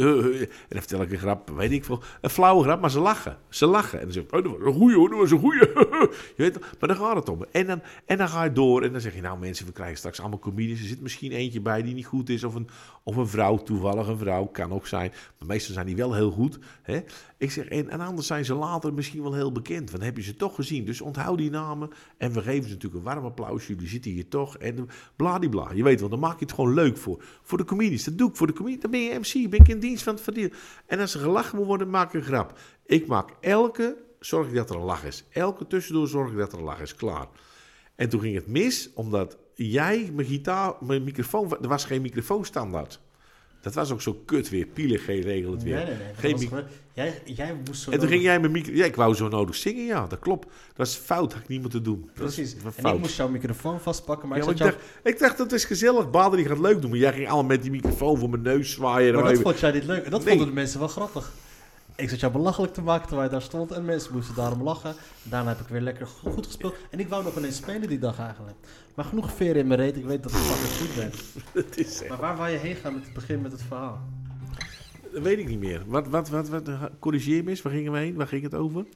[SPEAKER 3] dan vertel ik een grap, weet ik veel. Een flauwe grap, maar ze lachen. Ze lachen. En dan zeg ik, oh, dat was een goeie hoor, dat was een goeie. je weet wel. Maar dan gaat het om. En dan, en dan ga je door en dan zeg je, nou mensen, we krijgen straks allemaal comedies. Er zit misschien eentje bij die niet goed is. Of een, of een vrouw, toevallig een vrouw, kan ook zijn. Maar meestal zijn die wel heel goed. Hè? Ik zeg, en, en anders zijn ze later misschien wel heel bekend. Want dan heb je ze toch gezien. Dus onthoud die namen. En we geven ze natuurlijk een warm applaus. Jullie zitten hier toch. En bladibla. Je weet wel, dan maak je het gewoon leuk voor. Voor de comedies. Dat doe ik voor de comedies. Dan ben je MC. Ben ik in dienst van het verdienen. En als er gelachen moet worden, maak ik een grap. Ik maak elke, zorg ik dat er een lach is. Elke tussendoor zorg ik dat er een lach is. Klaar. En toen ging het mis, omdat jij mijn gitaar, mijn microfoon, er was geen microfoonstandaard. Dat was ook zo kut weer, pielig, geen regel het weer.
[SPEAKER 2] Nee, nee, nee. dat
[SPEAKER 3] Geen
[SPEAKER 2] was
[SPEAKER 3] mic-
[SPEAKER 2] gewoon- jij, jij moest zo.
[SPEAKER 3] en toen
[SPEAKER 2] nodig-
[SPEAKER 3] ging jij mijn micro... Ja, ik wou zo nodig zingen, ja, dat klopt. Dat is fout, had ik niet moeten doen. Dat is
[SPEAKER 2] Precies.
[SPEAKER 3] een
[SPEAKER 2] En ik
[SPEAKER 3] fout.
[SPEAKER 2] moest jouw microfoon vastpakken, maar
[SPEAKER 3] Ja,
[SPEAKER 2] ik
[SPEAKER 3] maar
[SPEAKER 2] zat
[SPEAKER 3] ik,
[SPEAKER 2] jou...
[SPEAKER 3] dacht, ik dacht, dat is gezellig, Bader die gaat leuk doen. Maar jij ging allemaal met die microfoon voor mijn neus zwaaien.
[SPEAKER 2] Maar dat
[SPEAKER 3] Even-
[SPEAKER 2] vond jij niet leuk. En dat
[SPEAKER 3] Nee.
[SPEAKER 2] vonden de mensen wel grappig. Ik zat jou belachelijk te maken terwijl je daar stond. En mensen moesten daarom lachen. Daarna heb ik weer lekker go- goed gespeeld. En ik wou nog ineens spelen die dag eigenlijk. Maar genoeg veren in mijn reet. Ik weet dat ik fucking goed ben.
[SPEAKER 3] Dat is echt-
[SPEAKER 2] Maar waar wou je heen gaan met het begin met het verhaal?
[SPEAKER 3] dat weet ik niet meer. Wat, wat, wat, wat, eh, corrigeer me eens, waar gingen we heen? Waar ging het over?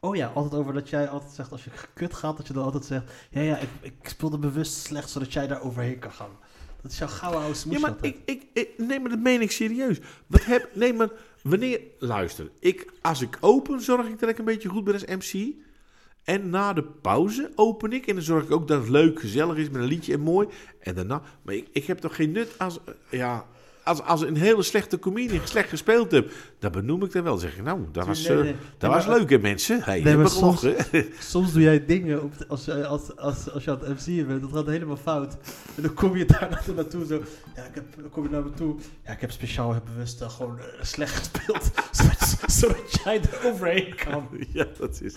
[SPEAKER 2] Oh ja, altijd over dat jij altijd zegt als je gekut gaat, dat je dan altijd zegt... Ja, ja, ik, ik speelde bewust slecht zodat jij daar overheen kan gaan. Dat is jouw gouden oude smoes
[SPEAKER 3] Ja, maar
[SPEAKER 2] altijd.
[SPEAKER 3] ik, ik, ik, nee, maar dat meen ik serieus. Wat heb, nee, maar wanneer... Luister, ik, als ik open, zorg ik dat ik een beetje goed ben als MC. En na de pauze open ik en dan zorg ik ook dat het leuk, gezellig is met een liedje en mooi. En daarna... Maar ik, ik heb toch geen nut als... Ja... Als, als een hele slechte comedian slecht gespeeld hebt, dan benoem ik dat wel. Dan zeg ik, nou, dat was,
[SPEAKER 2] nee,
[SPEAKER 3] eh,
[SPEAKER 2] nee.
[SPEAKER 3] Dat
[SPEAKER 2] Nee,
[SPEAKER 3] was
[SPEAKER 2] maar-
[SPEAKER 3] leuk, hè, mensen? Hey,
[SPEAKER 2] Nee,
[SPEAKER 3] nee,
[SPEAKER 2] maar
[SPEAKER 3] maar
[SPEAKER 2] soms- Soms doe jij dingen op de- als, je- als, als, als je aan het MC'en bent, dat gaat helemaal fout. En dan kom je daar naartoe zo. Ja, ik heb, dan kom je naar me toe. Ja, ik heb speciaal heel bewust eh, gewoon eh, slecht gespeeld. zodat, zodat jij er overheen kan.
[SPEAKER 3] Ja, dat is...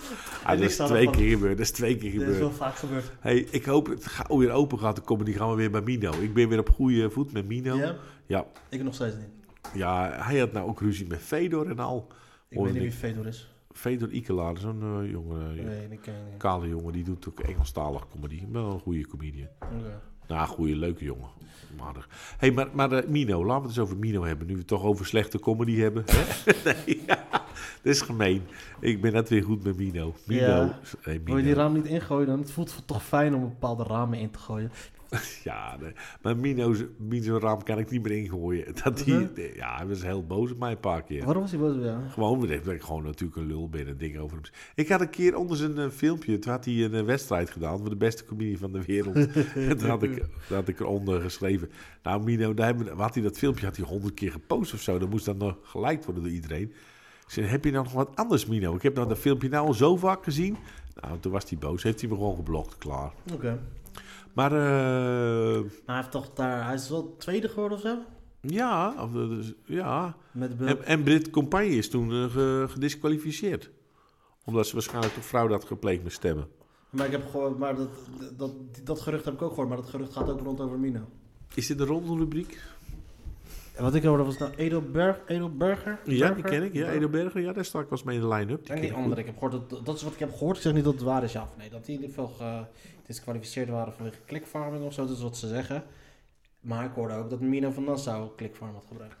[SPEAKER 2] En
[SPEAKER 3] Ah, dat
[SPEAKER 2] ik
[SPEAKER 3] is
[SPEAKER 2] sta
[SPEAKER 3] twee
[SPEAKER 2] ervan-
[SPEAKER 3] keer gebeurd. Dat is twee keer
[SPEAKER 2] Dat is
[SPEAKER 3] gebeurd.
[SPEAKER 2] wel vaak gebeurd.
[SPEAKER 3] Hey, ik hoop dat het gauw weer open gaat. Dan komen die gaan we weer bij Mino. Ik ben weer op goede voet met Mino.
[SPEAKER 2] Ja?
[SPEAKER 3] Ja,
[SPEAKER 2] Ik nog steeds niet.
[SPEAKER 3] ja, hij had nou ook ruzie met Fedor en al.
[SPEAKER 2] Ik
[SPEAKER 3] Hoorde
[SPEAKER 2] weet niet
[SPEAKER 3] ik.
[SPEAKER 2] wie Fedor is.
[SPEAKER 3] Fedor Ikelaar, zo'n eh, jongen, eh,
[SPEAKER 2] Nee, ik ken je niet.
[SPEAKER 3] kale jongen, die doet ook Engelstalig comedy. Wel een goede comedian.
[SPEAKER 2] Oké.
[SPEAKER 3] Nou, goede, leuke jongen. Aardig. hey, maar, maar eh, Mino, laten we het eens over Mino hebben. Nu we het toch over slechte comedy hebben. hè? nee, ja, dat is gemeen. Ik ben net weer goed met Mino. Mino.
[SPEAKER 2] Ja.
[SPEAKER 3] hey,
[SPEAKER 2] Wil
[SPEAKER 3] Mino.
[SPEAKER 2] je die raam niet ingooien dan? Het voelt toch fijn om bepaalde ramen in te gooien.
[SPEAKER 3] Ja, nee. maar Mino's, Mino's raam kan ik niet meer ingooien. Dat die, nee, ja, hij was heel boos op mij een paar keer.
[SPEAKER 2] Waarom was hij boos bij jou?
[SPEAKER 3] Gewoon, dat ik gewoon natuurlijk een lul ben en dingen over hem. Ik had een keer onder zijn eh, filmpje, toen had hij een eh, wedstrijd gedaan voor de beste comedie van de wereld. en toen had ik, toen had ik eronder geschreven. Nou Mino, daar hebben, had hij dat filmpje had hij honderd keer gepost of zo. Dan moest dat nog geliked worden door iedereen. Ik zei, heb je nou nog wat anders Mino? Ik heb nou dat filmpje nou al zo vaak gezien. Nou, toen was hij boos. Heeft hij me gewoon geblokt, klaar.
[SPEAKER 2] Oké.
[SPEAKER 3] Maar eh,
[SPEAKER 2] Maar hij heeft toch daar... Hij is wel tweede geworden of zo?
[SPEAKER 3] ja, of, dat is- ja.
[SPEAKER 2] Met Bul.
[SPEAKER 3] En, en Brit Compagne is toen eh, ge- gedisqualificeerd. Omdat ze waarschijnlijk toch fraude had gepleegd met stemmen.
[SPEAKER 2] Maar, ik heb gehoord, maar dat, dat, dat gerucht heb ik ook gehoord, maar dat gerucht gaat ook rond over Mino.
[SPEAKER 3] Is dit een rondelrubriek?
[SPEAKER 2] En wat ik hoorde was nou Edelberg, Edelberger?
[SPEAKER 3] Ja, die ken ik. Ja, Edelberger. Ja, daar sta ik wel eens mee in de line-up.
[SPEAKER 2] En
[SPEAKER 3] Die ken
[SPEAKER 2] die
[SPEAKER 3] ik
[SPEAKER 2] andere, ik heb gehoord, dat, dat is wat ik heb gehoord. Ik zeg niet dat het waar is, ja of nee. Dat die in ieder geval gedisqualificeerd waren vanwege clickfarming of zo, dat is wat ze zeggen. Maar ik hoorde ook dat Mino van Nassau clickfarm had gebruikt.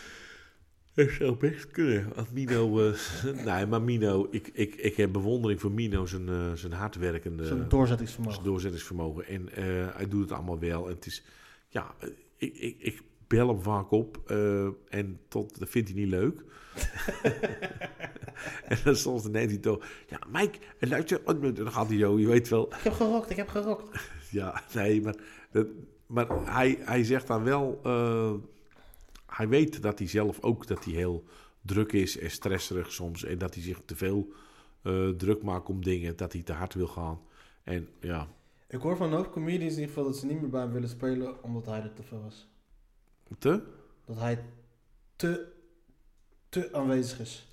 [SPEAKER 3] goed. Dat zou best kunnen. Want Mino... eh, nee, maar Mino... Ik, ik, ik heb bewondering voor Mino. Zijn, eh, zijn hardwerkende...
[SPEAKER 2] Zo'n
[SPEAKER 3] zijn
[SPEAKER 2] doorzettingsvermogen.
[SPEAKER 3] doorzettingsvermogen. En eh, hij doet het allemaal wel. En het is, ja, eh, ik, ik, ik bel hem vaak op eh, en tot, dat vindt hij niet leuk. en dan soms dan neemt hij toch, ja, Mike, en luister, en dan gaat hij zo, je weet wel.
[SPEAKER 2] Ik heb gerokt, ik heb gerokt.
[SPEAKER 3] Ja, nee, maar, dat, maar hij, hij zegt dan wel, eh, hij weet dat hij zelf ook dat hij heel druk is en stresserig soms. En dat hij zich te veel eh, druk maakt om dingen, dat hij te hard wil gaan. En ja,
[SPEAKER 2] Ik hoor van een hoop comedians in ieder geval dat ze niet meer bij hem willen spelen omdat hij er te veel was.
[SPEAKER 3] te?
[SPEAKER 2] Dat hij te, te aanwezig is.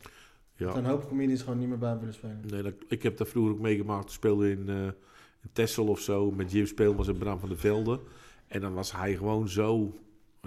[SPEAKER 2] Dat een hoop comedians gewoon niet meer bij willen spelen.
[SPEAKER 3] Nee, dat- ik heb daar vroeger ook meegemaakt. Toen speelde in, eh in Texel of zo. Met Jim Speelmans en Bram van der Velde. En dan was hij gewoon zo...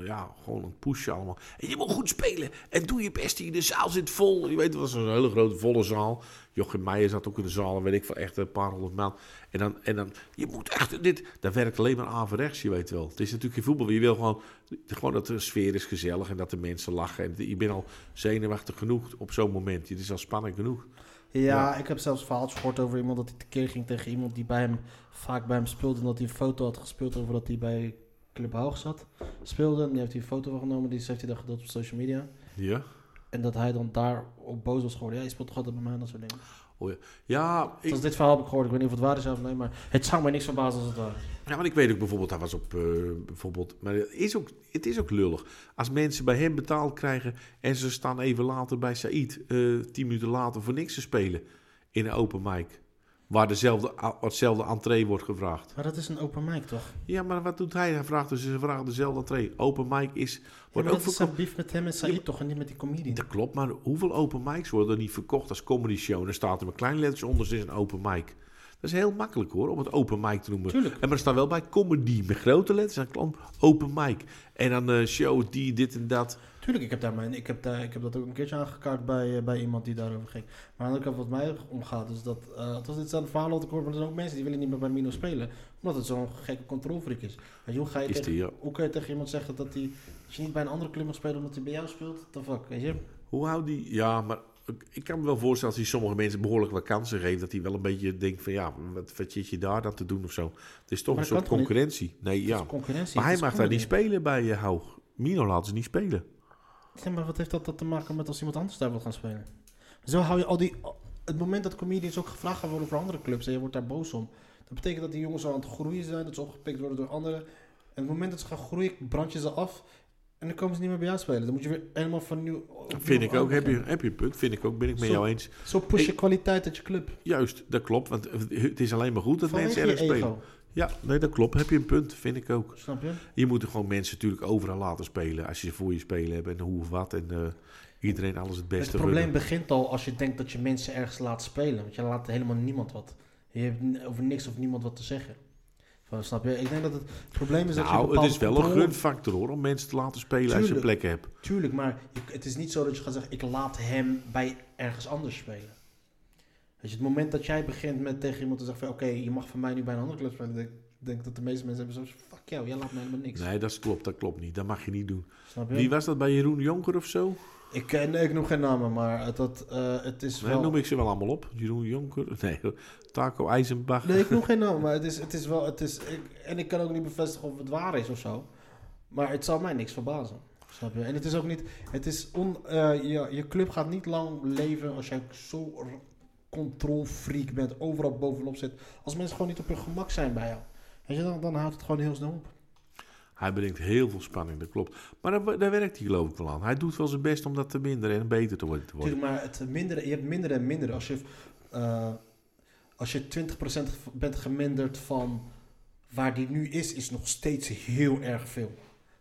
[SPEAKER 3] Ja, gewoon een pushen allemaal. En je moet goed spelen. En doe je best hier. De zaal zit vol. Je weet, het was een hele grote volle zaal. Jochem Meijer zat ook in de zaal. en Weet ik van echt een paar honderd man. En dan, en dan je moet echt dit. Dat werkt alleen maar averechts, je weet wel. Het is natuurlijk in voetbal. Je wil gewoon, gewoon dat de sfeer is gezellig. En dat de mensen lachen. En je bent al zenuwachtig genoeg op zo'n moment. Het is al spannend genoeg.
[SPEAKER 2] Ja, ik heb zelfs verhaaltjes gehoord over iemand dat hij tekeer ging tegen iemand die bij hem vaak bij hem speelde. En dat hij een foto had gespeeld over dat hij bij Club Hoog zat. Speelde. En die heeft hij een foto van genomen. Die heeft hij dan gedeeld op social media.
[SPEAKER 3] Ja.
[SPEAKER 2] En dat hij dan daar op boos was geworden. Ja, je speelt toch altijd bij mij en dat soort dingen. Dus
[SPEAKER 3] Oh ja. Ja, ik,
[SPEAKER 2] Als dit verhaal heb ik gehoord. Ik weet niet of het waar is ja of nee, maar het zou mij niks verbazen als het waar.
[SPEAKER 3] ja, maar ik weet ook bijvoorbeeld, hij was op eh, bijvoorbeeld. Maar het is, ook, het is ook lullig. Als mensen bij hem betaald krijgen en ze staan even later bij Said, eh, tien minuten later voor niks te spelen in een open mic. Waar dezelfde, a- hetzelfde entree wordt gevraagd.
[SPEAKER 2] Maar dat is een open mic toch?
[SPEAKER 3] Ja, maar wat doet hij? Hij vraagt dus ze vragen dezelfde entree. Open mic is.
[SPEAKER 2] Ja,
[SPEAKER 3] Wordt
[SPEAKER 2] maar
[SPEAKER 3] ook
[SPEAKER 2] dat is
[SPEAKER 3] verko-
[SPEAKER 2] zijn beef met hem en Said toch en niet met die comedian.
[SPEAKER 3] Dat klopt, maar hoeveel open mics worden er niet verkocht als comedy show? En dan staat er met kleine letters onder, het is een open mic. Dat is heel makkelijk hoor, om het open mic te noemen.
[SPEAKER 2] Tuurlijk.
[SPEAKER 3] En maar er staan wel bij comedy met grote letters en klant open mic. En dan eh, show die, dit en dat.
[SPEAKER 2] Tuurlijk, ik heb, daar mijn, ik, heb daar, ik heb dat ook een keertje aangekaart bij, eh, bij iemand die daarover ging. Maar aan de andere kant wat mij omgaat, is dat... eh het was dit aan het verhaal dat ik hoor, maar er zijn ook mensen die willen niet meer bij Mino spelen. Omdat het zo'n gekke controlfreak is. Weet je, hoe, ga je
[SPEAKER 3] Is
[SPEAKER 2] tegen,
[SPEAKER 3] die, ja.
[SPEAKER 2] hoe kan je tegen iemand zeggen dat hij... Als je niet bij een andere club mag spelen omdat hij bij jou speelt, what the fuck, weet je?
[SPEAKER 3] Hoe houdt die... Ja, maar ik- ik kan me wel voorstellen als hij sommige mensen behoorlijk wat kansen geeft... dat hij wel een beetje denkt van ja, wat, wat zit je daar dan te doen of zo. Het is toch
[SPEAKER 2] Maar
[SPEAKER 3] een
[SPEAKER 2] dat kan
[SPEAKER 3] soort
[SPEAKER 2] toch niet?
[SPEAKER 3] concurrentie. Nee,
[SPEAKER 2] Ja.
[SPEAKER 3] ja.
[SPEAKER 2] concurrentie.
[SPEAKER 3] Maar
[SPEAKER 2] het
[SPEAKER 3] hij
[SPEAKER 2] is
[SPEAKER 3] mag daar niet
[SPEAKER 2] comedy.
[SPEAKER 3] spelen bij je Hoog. Mino laat ze niet spelen.
[SPEAKER 2] Ja, maar wat heeft dat, dat te maken met als iemand anders daar wil gaan spelen? Zo hou je al die... Het moment dat comedians ook gevraagd gaan worden voor andere clubs en je wordt daar boos om. Dat betekent dat die jongens al aan het groeien zijn, dat ze opgepikt worden door anderen. En het moment dat ze gaan groeien, brand je ze af. En dan komen ze niet meer bij jou spelen. Dan moet je weer helemaal van nieuw... opnieuw
[SPEAKER 3] Vind ik ook. Heb je,
[SPEAKER 2] beginnen.
[SPEAKER 3] heb je een punt. Vind ik ook. Ben ik met
[SPEAKER 2] Zo-
[SPEAKER 3] jou eens.
[SPEAKER 2] Zo push je
[SPEAKER 3] Ik-
[SPEAKER 2] kwaliteit uit je club.
[SPEAKER 3] Juist, dat klopt. Want het is alleen maar goed dat
[SPEAKER 2] Vanwege
[SPEAKER 3] mensen
[SPEAKER 2] je
[SPEAKER 3] ergens
[SPEAKER 2] ego.
[SPEAKER 3] spelen. Ja, nee, dat klopt. Heb je een punt, vind ik ook.
[SPEAKER 2] Snap je?
[SPEAKER 3] Je moet er gewoon mensen natuurlijk overal laten spelen. Als je ze voor je spelen hebt en hoe of wat. En eh, iedereen alles het beste
[SPEAKER 2] Het probleem
[SPEAKER 3] gunnen.
[SPEAKER 2] begint al als je denkt dat je mensen ergens laat spelen. Want je laat helemaal niemand wat. Je hebt n- over niks of niemand wat te zeggen. Van, snap je? Ik denk dat het probleem is dat je
[SPEAKER 3] Nou,
[SPEAKER 2] bepaalde
[SPEAKER 3] het is wel een
[SPEAKER 2] controle-
[SPEAKER 3] gunfactor hoor, om mensen te laten spelen als je
[SPEAKER 2] Tuurlijk.
[SPEAKER 3] plek hebt.
[SPEAKER 2] Tuurlijk, maar je- het is niet zo dat je gaat zeggen: ik laat hem bij ergens anders spelen. Weet je, het moment dat jij begint met tegen iemand te zeggen: van, oké, je mag van mij nu bij een andere club spelen. Ik denk dat de meeste mensen hebben zoiets: van, fuck jou, jij laat mij helemaal niks.
[SPEAKER 3] Nee, dat is- klopt, dat klopt niet. Dat mag je niet doen.
[SPEAKER 2] Snap je?
[SPEAKER 3] Wie was dat bij Jeroen Jonker of zo?
[SPEAKER 2] Ik, eh, nee, ik noem geen namen, maar het, dat, eh, het is
[SPEAKER 3] Nee,
[SPEAKER 2] wel.
[SPEAKER 3] noem ik ze wel allemaal op. Jeroen Jonker, nee, Taco IJzenbach.
[SPEAKER 2] Nee, ik noem geen naam, maar het is, het is wel. Het is, ik- en ik kan ook niet bevestigen of het waar is of zo. Maar het zal mij niks verbazen. Snap je? En het is ook niet. Het is on, eh, je, je club gaat niet lang leven als jij zo r- controlfreak bent, overal bovenop zit. Als mensen gewoon niet op hun gemak zijn bij jou. Weet je, dan, dan houdt het gewoon heel snel op.
[SPEAKER 3] Hij brengt heel veel spanning, dat klopt. Maar daar, daar werkt hij geloof ik wel aan. Hij doet wel zijn best om dat te minderen en beter te worden. te worden.
[SPEAKER 2] Tuurlijk, maar het mindere, je hebt minder en minder. Als je, eh, als je 20% v- bent geminderd van waar die nu is, is nog steeds heel erg veel.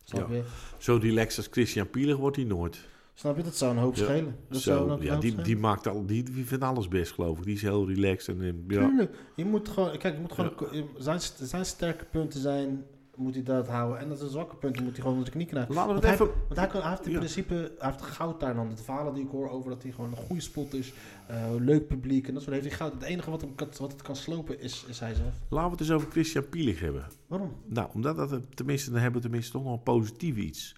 [SPEAKER 2] Snap
[SPEAKER 3] Ja.
[SPEAKER 2] je?
[SPEAKER 3] Zo relaxed als Christian Pielig wordt hij nooit.
[SPEAKER 2] Snap je? Dat zou een hoop
[SPEAKER 3] Ja.
[SPEAKER 2] schelen. Dat zou een
[SPEAKER 3] Zo,
[SPEAKER 2] hoop
[SPEAKER 3] ja, die,
[SPEAKER 2] schelen.
[SPEAKER 3] die, maakt al, die, die vindt alles best, geloof ik. Die is heel relaxed. En, eh, ja.
[SPEAKER 2] Tuurlijk. Je moet gewoon, kijk, je moet gewoon zijn, zijn sterke punten zijn, moet hij dat houden. En dat zijn zwakke punten moet hij gewoon onder de knie krijgen.
[SPEAKER 3] Laten we het
[SPEAKER 2] want
[SPEAKER 3] even-
[SPEAKER 2] Hij, want hij, kan, hij heeft in
[SPEAKER 3] Ja.
[SPEAKER 2] principe, hij heeft goud daar dan. De verhalen die ik hoor over dat hij gewoon een goede spot is, eh, leuk publiek en dat soort heeft hij goud. Het enige wat, hem kan, wat het kan slopen is, is hij zelf.
[SPEAKER 3] Laten we het eens over Christian Pielig hebben.
[SPEAKER 2] Waarom?
[SPEAKER 3] Nou, omdat dat, eh, tenminste, dan hebben we tenminste toch nog een positief iets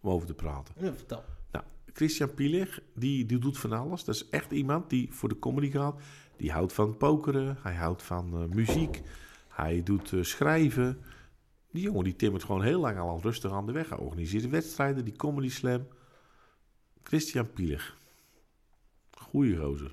[SPEAKER 3] om over te praten.
[SPEAKER 2] Ja, vertel.
[SPEAKER 3] Nou, Christian Pielig, die, die doet van alles. Dat is echt iemand die voor de comedy gaat. Die houdt van pokeren, hij houdt van eh, muziek, hij doet eh, schrijven. Die jongen die timmert gewoon heel lang al rustig aan de weg. Hij organiseert wedstrijden, die comedy slam. Christian Pielig. Goeie gozer.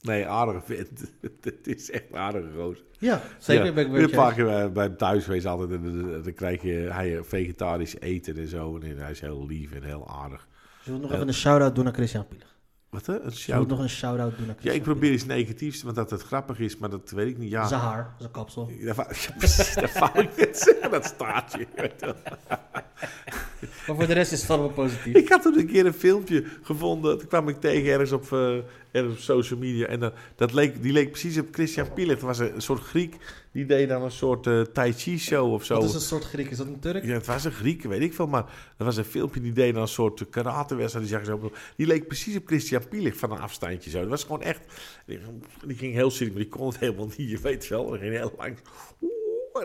[SPEAKER 3] Nee, aardige vent. Het is echt een aardige gozer.
[SPEAKER 2] Ja, zeker
[SPEAKER 3] Ja,
[SPEAKER 2] ben ik
[SPEAKER 3] ben
[SPEAKER 2] weer
[SPEAKER 3] een paar keer bij, bij hem thuis geweest altijd. En, dan- dan- dan krijg je hij eh, vegetarisch eten en zo. En hij is heel lief en heel aardig.
[SPEAKER 2] Je wilt nog even een shout-out doen naar Christian Pielig.
[SPEAKER 3] Wat hè? Een
[SPEAKER 2] Je wilt
[SPEAKER 3] shout
[SPEAKER 2] nog een shout-out doen naar
[SPEAKER 3] Ja,
[SPEAKER 2] Christian
[SPEAKER 3] ik probeer iets negatiefs, want dat het grappig is, maar dat weet ik niet. Ja,
[SPEAKER 2] Zijn haar, zijn kapsel.
[SPEAKER 3] dat wou- ja, precies, dat wou ik net zeggen, dat staat je. weet je wel.
[SPEAKER 2] Maar voor de rest is het allemaal positief.
[SPEAKER 3] Ik had toen een keer een filmpje gevonden. Toen kwam ik tegen ergens op, eh, ergens op social media. En dat, dat leek, die leek precies op Christian Pilet. Dat was een, een soort Griek. Die deed dan een soort eh, Tai Chi show of zo.
[SPEAKER 2] Wat is een soort Griek? Is dat een Turk?
[SPEAKER 3] Ja, het was een Griek, weet ik veel. Maar dat was een filmpje die deed dan een soort karatewedstrijd. Die, zag zo, die leek precies op Christian Pielig van een afstandje. Zo. Dat was gewoon echt... Die, die ging heel serieus, maar die kon het helemaal niet. Je weet wel, die ging heel lang... Oeh,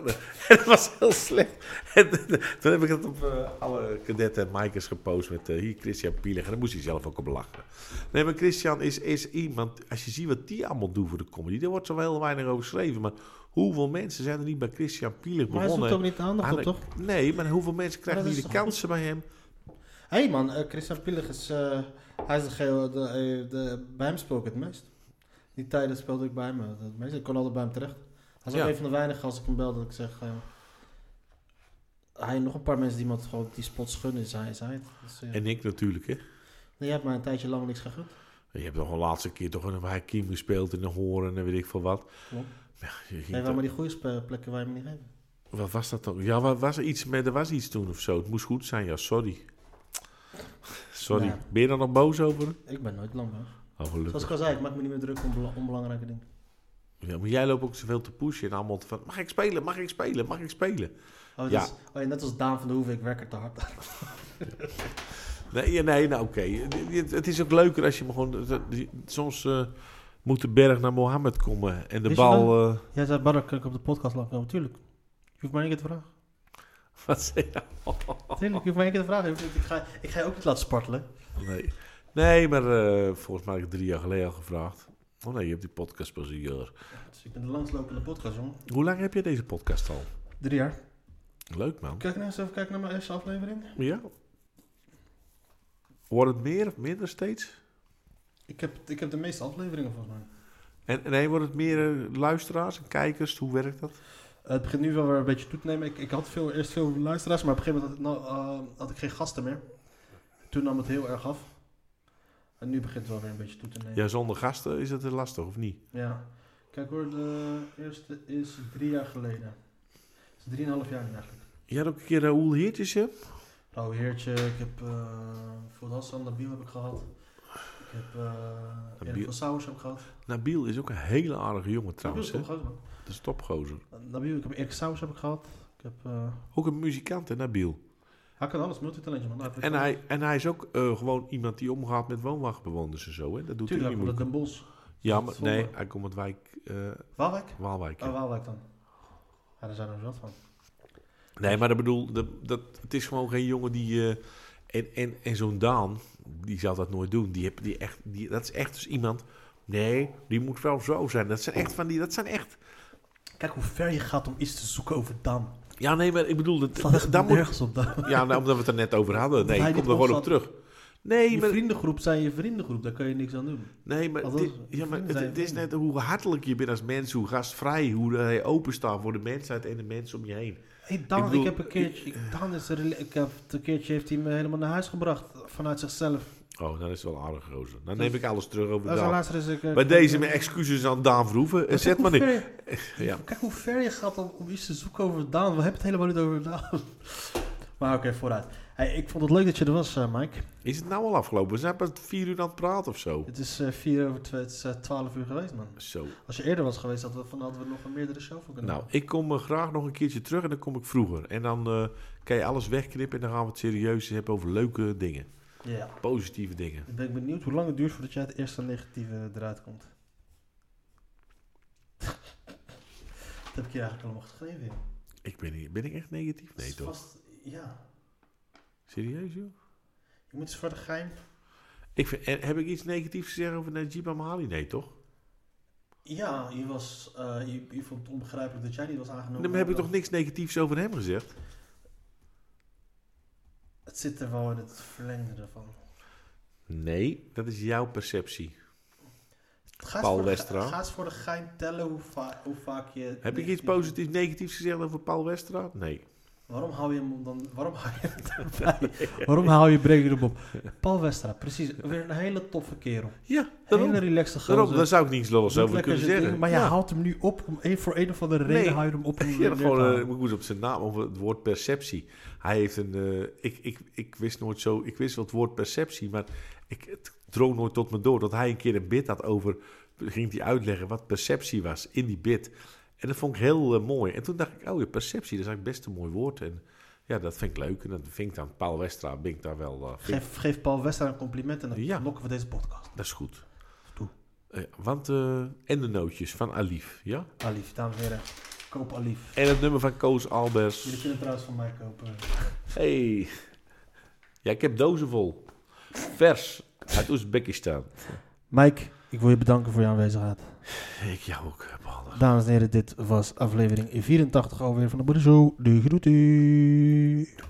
[SPEAKER 3] En, en dat was heel slecht. En, toen heb ik het op eh, alle kadetten en Mikers gepost met eh, hier Christian Pielig. En daar moest hij zelf ook op lachen. Nee, maar Christian is, is iemand... Als je ziet wat die allemaal doen voor de comedy... Daar wordt zo heel weinig over geschreven, maar... Hoeveel mensen zijn er niet bij Christian Pielig
[SPEAKER 2] Maar hij
[SPEAKER 3] begonnen?
[SPEAKER 2] zoekt ook niet de aandacht op,
[SPEAKER 3] Aan
[SPEAKER 2] toch?
[SPEAKER 3] de- Nee, maar hoeveel mensen krijgen
[SPEAKER 2] Maar
[SPEAKER 3] niet
[SPEAKER 2] dat
[SPEAKER 3] de
[SPEAKER 2] is toch
[SPEAKER 3] kansen bij hem?
[SPEAKER 2] Hé hey man, eh, Christian Pielig is... eh, hij is de, geo- de, eh, de, bij hem spook ik het meest. Die tijden speelde ik bij hem eh, het meest. Ik kon altijd bij hem terecht. Hij is ook
[SPEAKER 3] Ja.
[SPEAKER 2] een van de weinigen als ik hem bel dat ik zeg... eh, hij en nog een paar mensen die iemand gewoon die spots gunnen, is hij, is hij het. Dus, eh,
[SPEAKER 3] En ik natuurlijk, hè.
[SPEAKER 2] nee, je hebt mij een tijdje lang niks gegund.
[SPEAKER 3] Je hebt nog een laatste keer toch een Hakim gespeeld in de Horen en weet ik veel wat.
[SPEAKER 2] Klopt.
[SPEAKER 3] Ja, je ging
[SPEAKER 2] Nee, wel
[SPEAKER 3] toch-
[SPEAKER 2] maar die goede spe- plekken waar je me niet geeft.
[SPEAKER 3] Wat was dat toch? Ja, wa- was er, iets met, er was iets toen of zo. Het moest goed zijn, ja, sorry. Sorry.
[SPEAKER 2] Nou.
[SPEAKER 3] Ben je daar nog boos over?
[SPEAKER 2] Ik ben nooit lang hoor.
[SPEAKER 3] Oh, gelukkig.
[SPEAKER 2] Zoals ik al zei, ik maak me niet meer druk om bela- onbelangrijke dingen.
[SPEAKER 3] Ja, maar jij loopt ook zoveel te pushen en allemaal te van... Mag ik spelen? Mag ik spelen? Mag ik spelen?
[SPEAKER 2] Oh, dat
[SPEAKER 3] Ja.
[SPEAKER 2] is- oh, ja, net als Daan van de Hoeven, ik werk er te hard aan.
[SPEAKER 3] Nee, ja, nee nou oké. Het- Het is ook leuker als je me gewoon... Soms eh, moet de berg naar Mohammed komen en de
[SPEAKER 2] Is je
[SPEAKER 3] bal... eh,
[SPEAKER 2] Jij zei, Badder, kan ik op de podcast langskomen? Tuurlijk. Je hoeft mij niet te vragen.
[SPEAKER 3] eh, wat zei je?
[SPEAKER 2] Tuurlijk, je hoeft mij niet te vragen. Ik ga, ik ga je ook niet laten spartelen.
[SPEAKER 3] Nee, nee maar eh, volgens mij heb ik het drie jaar geleden al gevraagd. Oh nee, je hebt die podcast pas een jaar.
[SPEAKER 2] Dus ik ben de langslopende podcast, jongen.
[SPEAKER 3] Hoe lang heb je deze podcast al?
[SPEAKER 2] Drie jaar.
[SPEAKER 3] Leuk man.
[SPEAKER 2] Kijk nou eens even kijken naar mijn eerste aflevering.
[SPEAKER 3] Ja. Wordt het meer of minder steeds?
[SPEAKER 2] Ik heb, ik heb de meeste afleveringen volgens mij.
[SPEAKER 3] En, en nee, wordt het meer eh, luisteraars en kijkers? Hoe werkt dat?
[SPEAKER 2] Eh, het begint nu wel weer een beetje toe te nemen. Ik, ik had veel, eerst veel luisteraars, maar op een gegeven moment had, ik nou, eh, had ik geen gasten meer. Toen nam het heel erg af. En nu begint het wel weer een beetje toe te nemen.
[SPEAKER 3] Ja, zonder gasten is het eh, lastig of niet?
[SPEAKER 2] Ja. Kijk hoor, de eerste is drie jaar geleden. Dat is drieënhalf jaar nu eigenlijk.
[SPEAKER 3] Je had ook een keer Raoul Heertjes, hè?
[SPEAKER 2] Rauw Nou, Heertje, ik heb eh Volhassan Nabil heb ik gehad. Ik heb eh Erik
[SPEAKER 3] Nabil.
[SPEAKER 2] van Sauers heb ik gehad.
[SPEAKER 3] Nabil is ook een hele aardige jongen
[SPEAKER 2] Nabil
[SPEAKER 3] trouwens,
[SPEAKER 2] is
[SPEAKER 3] hè?
[SPEAKER 2] toch een gozer, man.
[SPEAKER 3] Dat is topgozer.
[SPEAKER 2] Nabil, ik heb Erik Sauers heb ik gehad. Ik heb, eh,
[SPEAKER 3] Ook een muzikant, hè, Nabil?
[SPEAKER 2] hij kan alles, multitalentje man.
[SPEAKER 3] En hij, en hij is ook eh, gewoon iemand die omgaat met woonwagenbewoners en zo, hè? Dat doet
[SPEAKER 2] Tuurlijk,
[SPEAKER 3] hij
[SPEAKER 2] hij
[SPEAKER 3] niet
[SPEAKER 2] komt uit
[SPEAKER 3] moeilijk.
[SPEAKER 2] Den Bosch.
[SPEAKER 3] Ja,
[SPEAKER 2] Dat
[SPEAKER 3] maar
[SPEAKER 2] is zonde.
[SPEAKER 3] nee, hij komt uit wijk, eh,
[SPEAKER 2] Waalwijk?
[SPEAKER 3] Waalwijk. ja.
[SPEAKER 2] Oh, Waalwijk dan. Ja, daar zijn er zat van.
[SPEAKER 3] Nee, maar dat bedoel, dat, dat, het is gewoon geen jongen die... eh, en en, en zo'n Daan, die zal dat nooit doen. Die heb, die echt, die, dat is echt dus iemand... Nee, die moet wel zo zijn. Dat zijn echt van die... Dat zijn echt...
[SPEAKER 2] Kijk hoe ver je gaat om iets te zoeken over Dam.
[SPEAKER 3] Ja, nee, maar ik bedoel... Dat,
[SPEAKER 2] Het slaat echt
[SPEAKER 3] daar moet,
[SPEAKER 2] nergens op Dam.
[SPEAKER 3] ja, nou, omdat we het er net over hadden. Nee,
[SPEAKER 2] hij
[SPEAKER 3] ik kom
[SPEAKER 2] dit
[SPEAKER 3] er gewoon op
[SPEAKER 2] opzat.
[SPEAKER 3] terug. Nee,
[SPEAKER 2] Je
[SPEAKER 3] maar,
[SPEAKER 2] vriendengroep zijn je vriendengroep, daar kan je niks aan doen.
[SPEAKER 3] nee, maar,
[SPEAKER 2] Althans,
[SPEAKER 3] dit-
[SPEAKER 2] je
[SPEAKER 3] ja, maar
[SPEAKER 2] vrienden
[SPEAKER 3] het,
[SPEAKER 2] zijn
[SPEAKER 3] het is net
[SPEAKER 2] vrienden.
[SPEAKER 3] hoe hartelijk je bent als mens. Hoe gastvrij, hoe hij openstaat voor de mensheid en de mensen om je heen.
[SPEAKER 2] Hey Dan, ik,
[SPEAKER 3] Ik bedoel,
[SPEAKER 2] heb een keertje, ik, Dan is er, ik heb, een keertje heeft hij me helemaal naar huis gebracht vanuit zichzelf.
[SPEAKER 3] Oh, dat is wel aardig, gozer. Dan neem ik alles terug over
[SPEAKER 2] Als
[SPEAKER 3] Daan.
[SPEAKER 2] een laatste Dus is ik, eh,
[SPEAKER 3] Bij deze mijn excuses aan Daan Verhoeven. Eh,
[SPEAKER 2] Kijk
[SPEAKER 3] Zet
[SPEAKER 2] hoe
[SPEAKER 3] maar neer.
[SPEAKER 2] ver je-
[SPEAKER 3] Ja.
[SPEAKER 2] Kijk hoe ver je gaat om, om iets te zoeken over Daan. We hebben het helemaal niet over Daan. Maar oké, vooruit. Hey, ik vond het leuk dat je er was, eh, Mike.
[SPEAKER 3] Is het nou al afgelopen? We zijn pas vier uur aan het praten of zo.
[SPEAKER 2] Het is eh, vier over twee, het is eh, twaalf uur geweest, man.
[SPEAKER 3] Zo.
[SPEAKER 2] Als je eerder was geweest, hadden we, van, hadden we nog een meerdere show voor kunnen
[SPEAKER 3] Nou,
[SPEAKER 2] doen.
[SPEAKER 3] ik kom eh, graag nog een keertje terug en dan kom ik vroeger. En dan eh, kan je alles wegknippen en dan gaan we het serieus hebben over leuke dingen.
[SPEAKER 2] Ja.
[SPEAKER 3] Positieve dingen.
[SPEAKER 2] Ik ben benieuwd hoe lang het duurt voordat jij het eerste negatieve eruit komt. Dat heb ik je eigenlijk allemaal geschreven. joh.
[SPEAKER 3] Ik ben, niet- ben ik echt negatief?
[SPEAKER 2] Het
[SPEAKER 3] Nee
[SPEAKER 2] is
[SPEAKER 3] toch?
[SPEAKER 2] vast- Ja.
[SPEAKER 3] Serieus joh?
[SPEAKER 2] Je moet eens voor de geheim.
[SPEAKER 3] Ik vind, en heb ik iets negatiefs gezegd over Najib Amali? Nee toch?
[SPEAKER 2] Ja, je, was, eh, je, je vond het onbegrijpelijk dat jij niet was aangenomen.
[SPEAKER 3] Dan heb ik toch niks negatiefs over hem gezegd?
[SPEAKER 2] Het zit er wel in het verlengde ervan.
[SPEAKER 3] Nee, dat is jouw perceptie.
[SPEAKER 2] Ga eens voor
[SPEAKER 3] Paul
[SPEAKER 2] de ge-
[SPEAKER 3] Westra.
[SPEAKER 2] Ga eens voor de geheim tellen hoe, va- hoe vaak je...
[SPEAKER 3] Heb ik iets positiefs, negatiefs gezegd over Paul Westra? Nee.
[SPEAKER 2] Waarom hou je hem dan? Waarom hou je hem erbij? Waarom hou je Brady erop op? Paul Westra, precies. Weer een hele toffe kerel.
[SPEAKER 3] Ja,
[SPEAKER 2] Een
[SPEAKER 3] daarom.
[SPEAKER 2] hele relaxte gozer.
[SPEAKER 3] daarom daar zou ik niets lolligs
[SPEAKER 2] Doet
[SPEAKER 3] over
[SPEAKER 2] lekker
[SPEAKER 3] kunnen
[SPEAKER 2] zijn
[SPEAKER 3] zeggen.
[SPEAKER 2] ding, maar je haalt hem nu op. Om een, voor een of andere reden
[SPEAKER 3] Nee.
[SPEAKER 2] hou je hem op. om hem
[SPEAKER 3] Ja,
[SPEAKER 2] neer te
[SPEAKER 3] gewoon, eh,
[SPEAKER 2] halen.
[SPEAKER 3] ik moet eens op zijn naam, over het woord perceptie. Hij heeft een, eh, ik, ik, ik wist nooit zo, ik wist wel het woord perceptie, maar ik, het drong nooit tot me door dat hij een keer een bit had over, ging hij uitleggen wat perceptie was in die bit. En dat vond ik heel eh, mooi. En toen dacht ik, oh ja, perceptie, dat is eigenlijk best een mooi woord. En ja, dat vind ik leuk. En dat vind ik dan, Paul Westra, ben ik daar wel, eh, vind ik-
[SPEAKER 2] geef, geef Paul Westra een compliment en dan
[SPEAKER 3] Ja.
[SPEAKER 2] lokken we deze podcast.
[SPEAKER 3] dat is goed.
[SPEAKER 2] Doe.
[SPEAKER 3] Eh, want, eh, en de nootjes van Alif, ja?
[SPEAKER 2] Alief, dames en heren. Koop Alief.
[SPEAKER 3] En het nummer van Koos Albers.
[SPEAKER 2] Jullie kunnen trouwens van eh. mij kopen.
[SPEAKER 3] Hey. Ja, ik heb dozen vol. Vers uit Oezbekistan.
[SPEAKER 2] Mike, ik wil je bedanken voor je aanwezigheid.
[SPEAKER 3] Ik jou ook, Paul.
[SPEAKER 2] Dames en heren, dit was aflevering 84 alweer van de Boede Show. De groeten.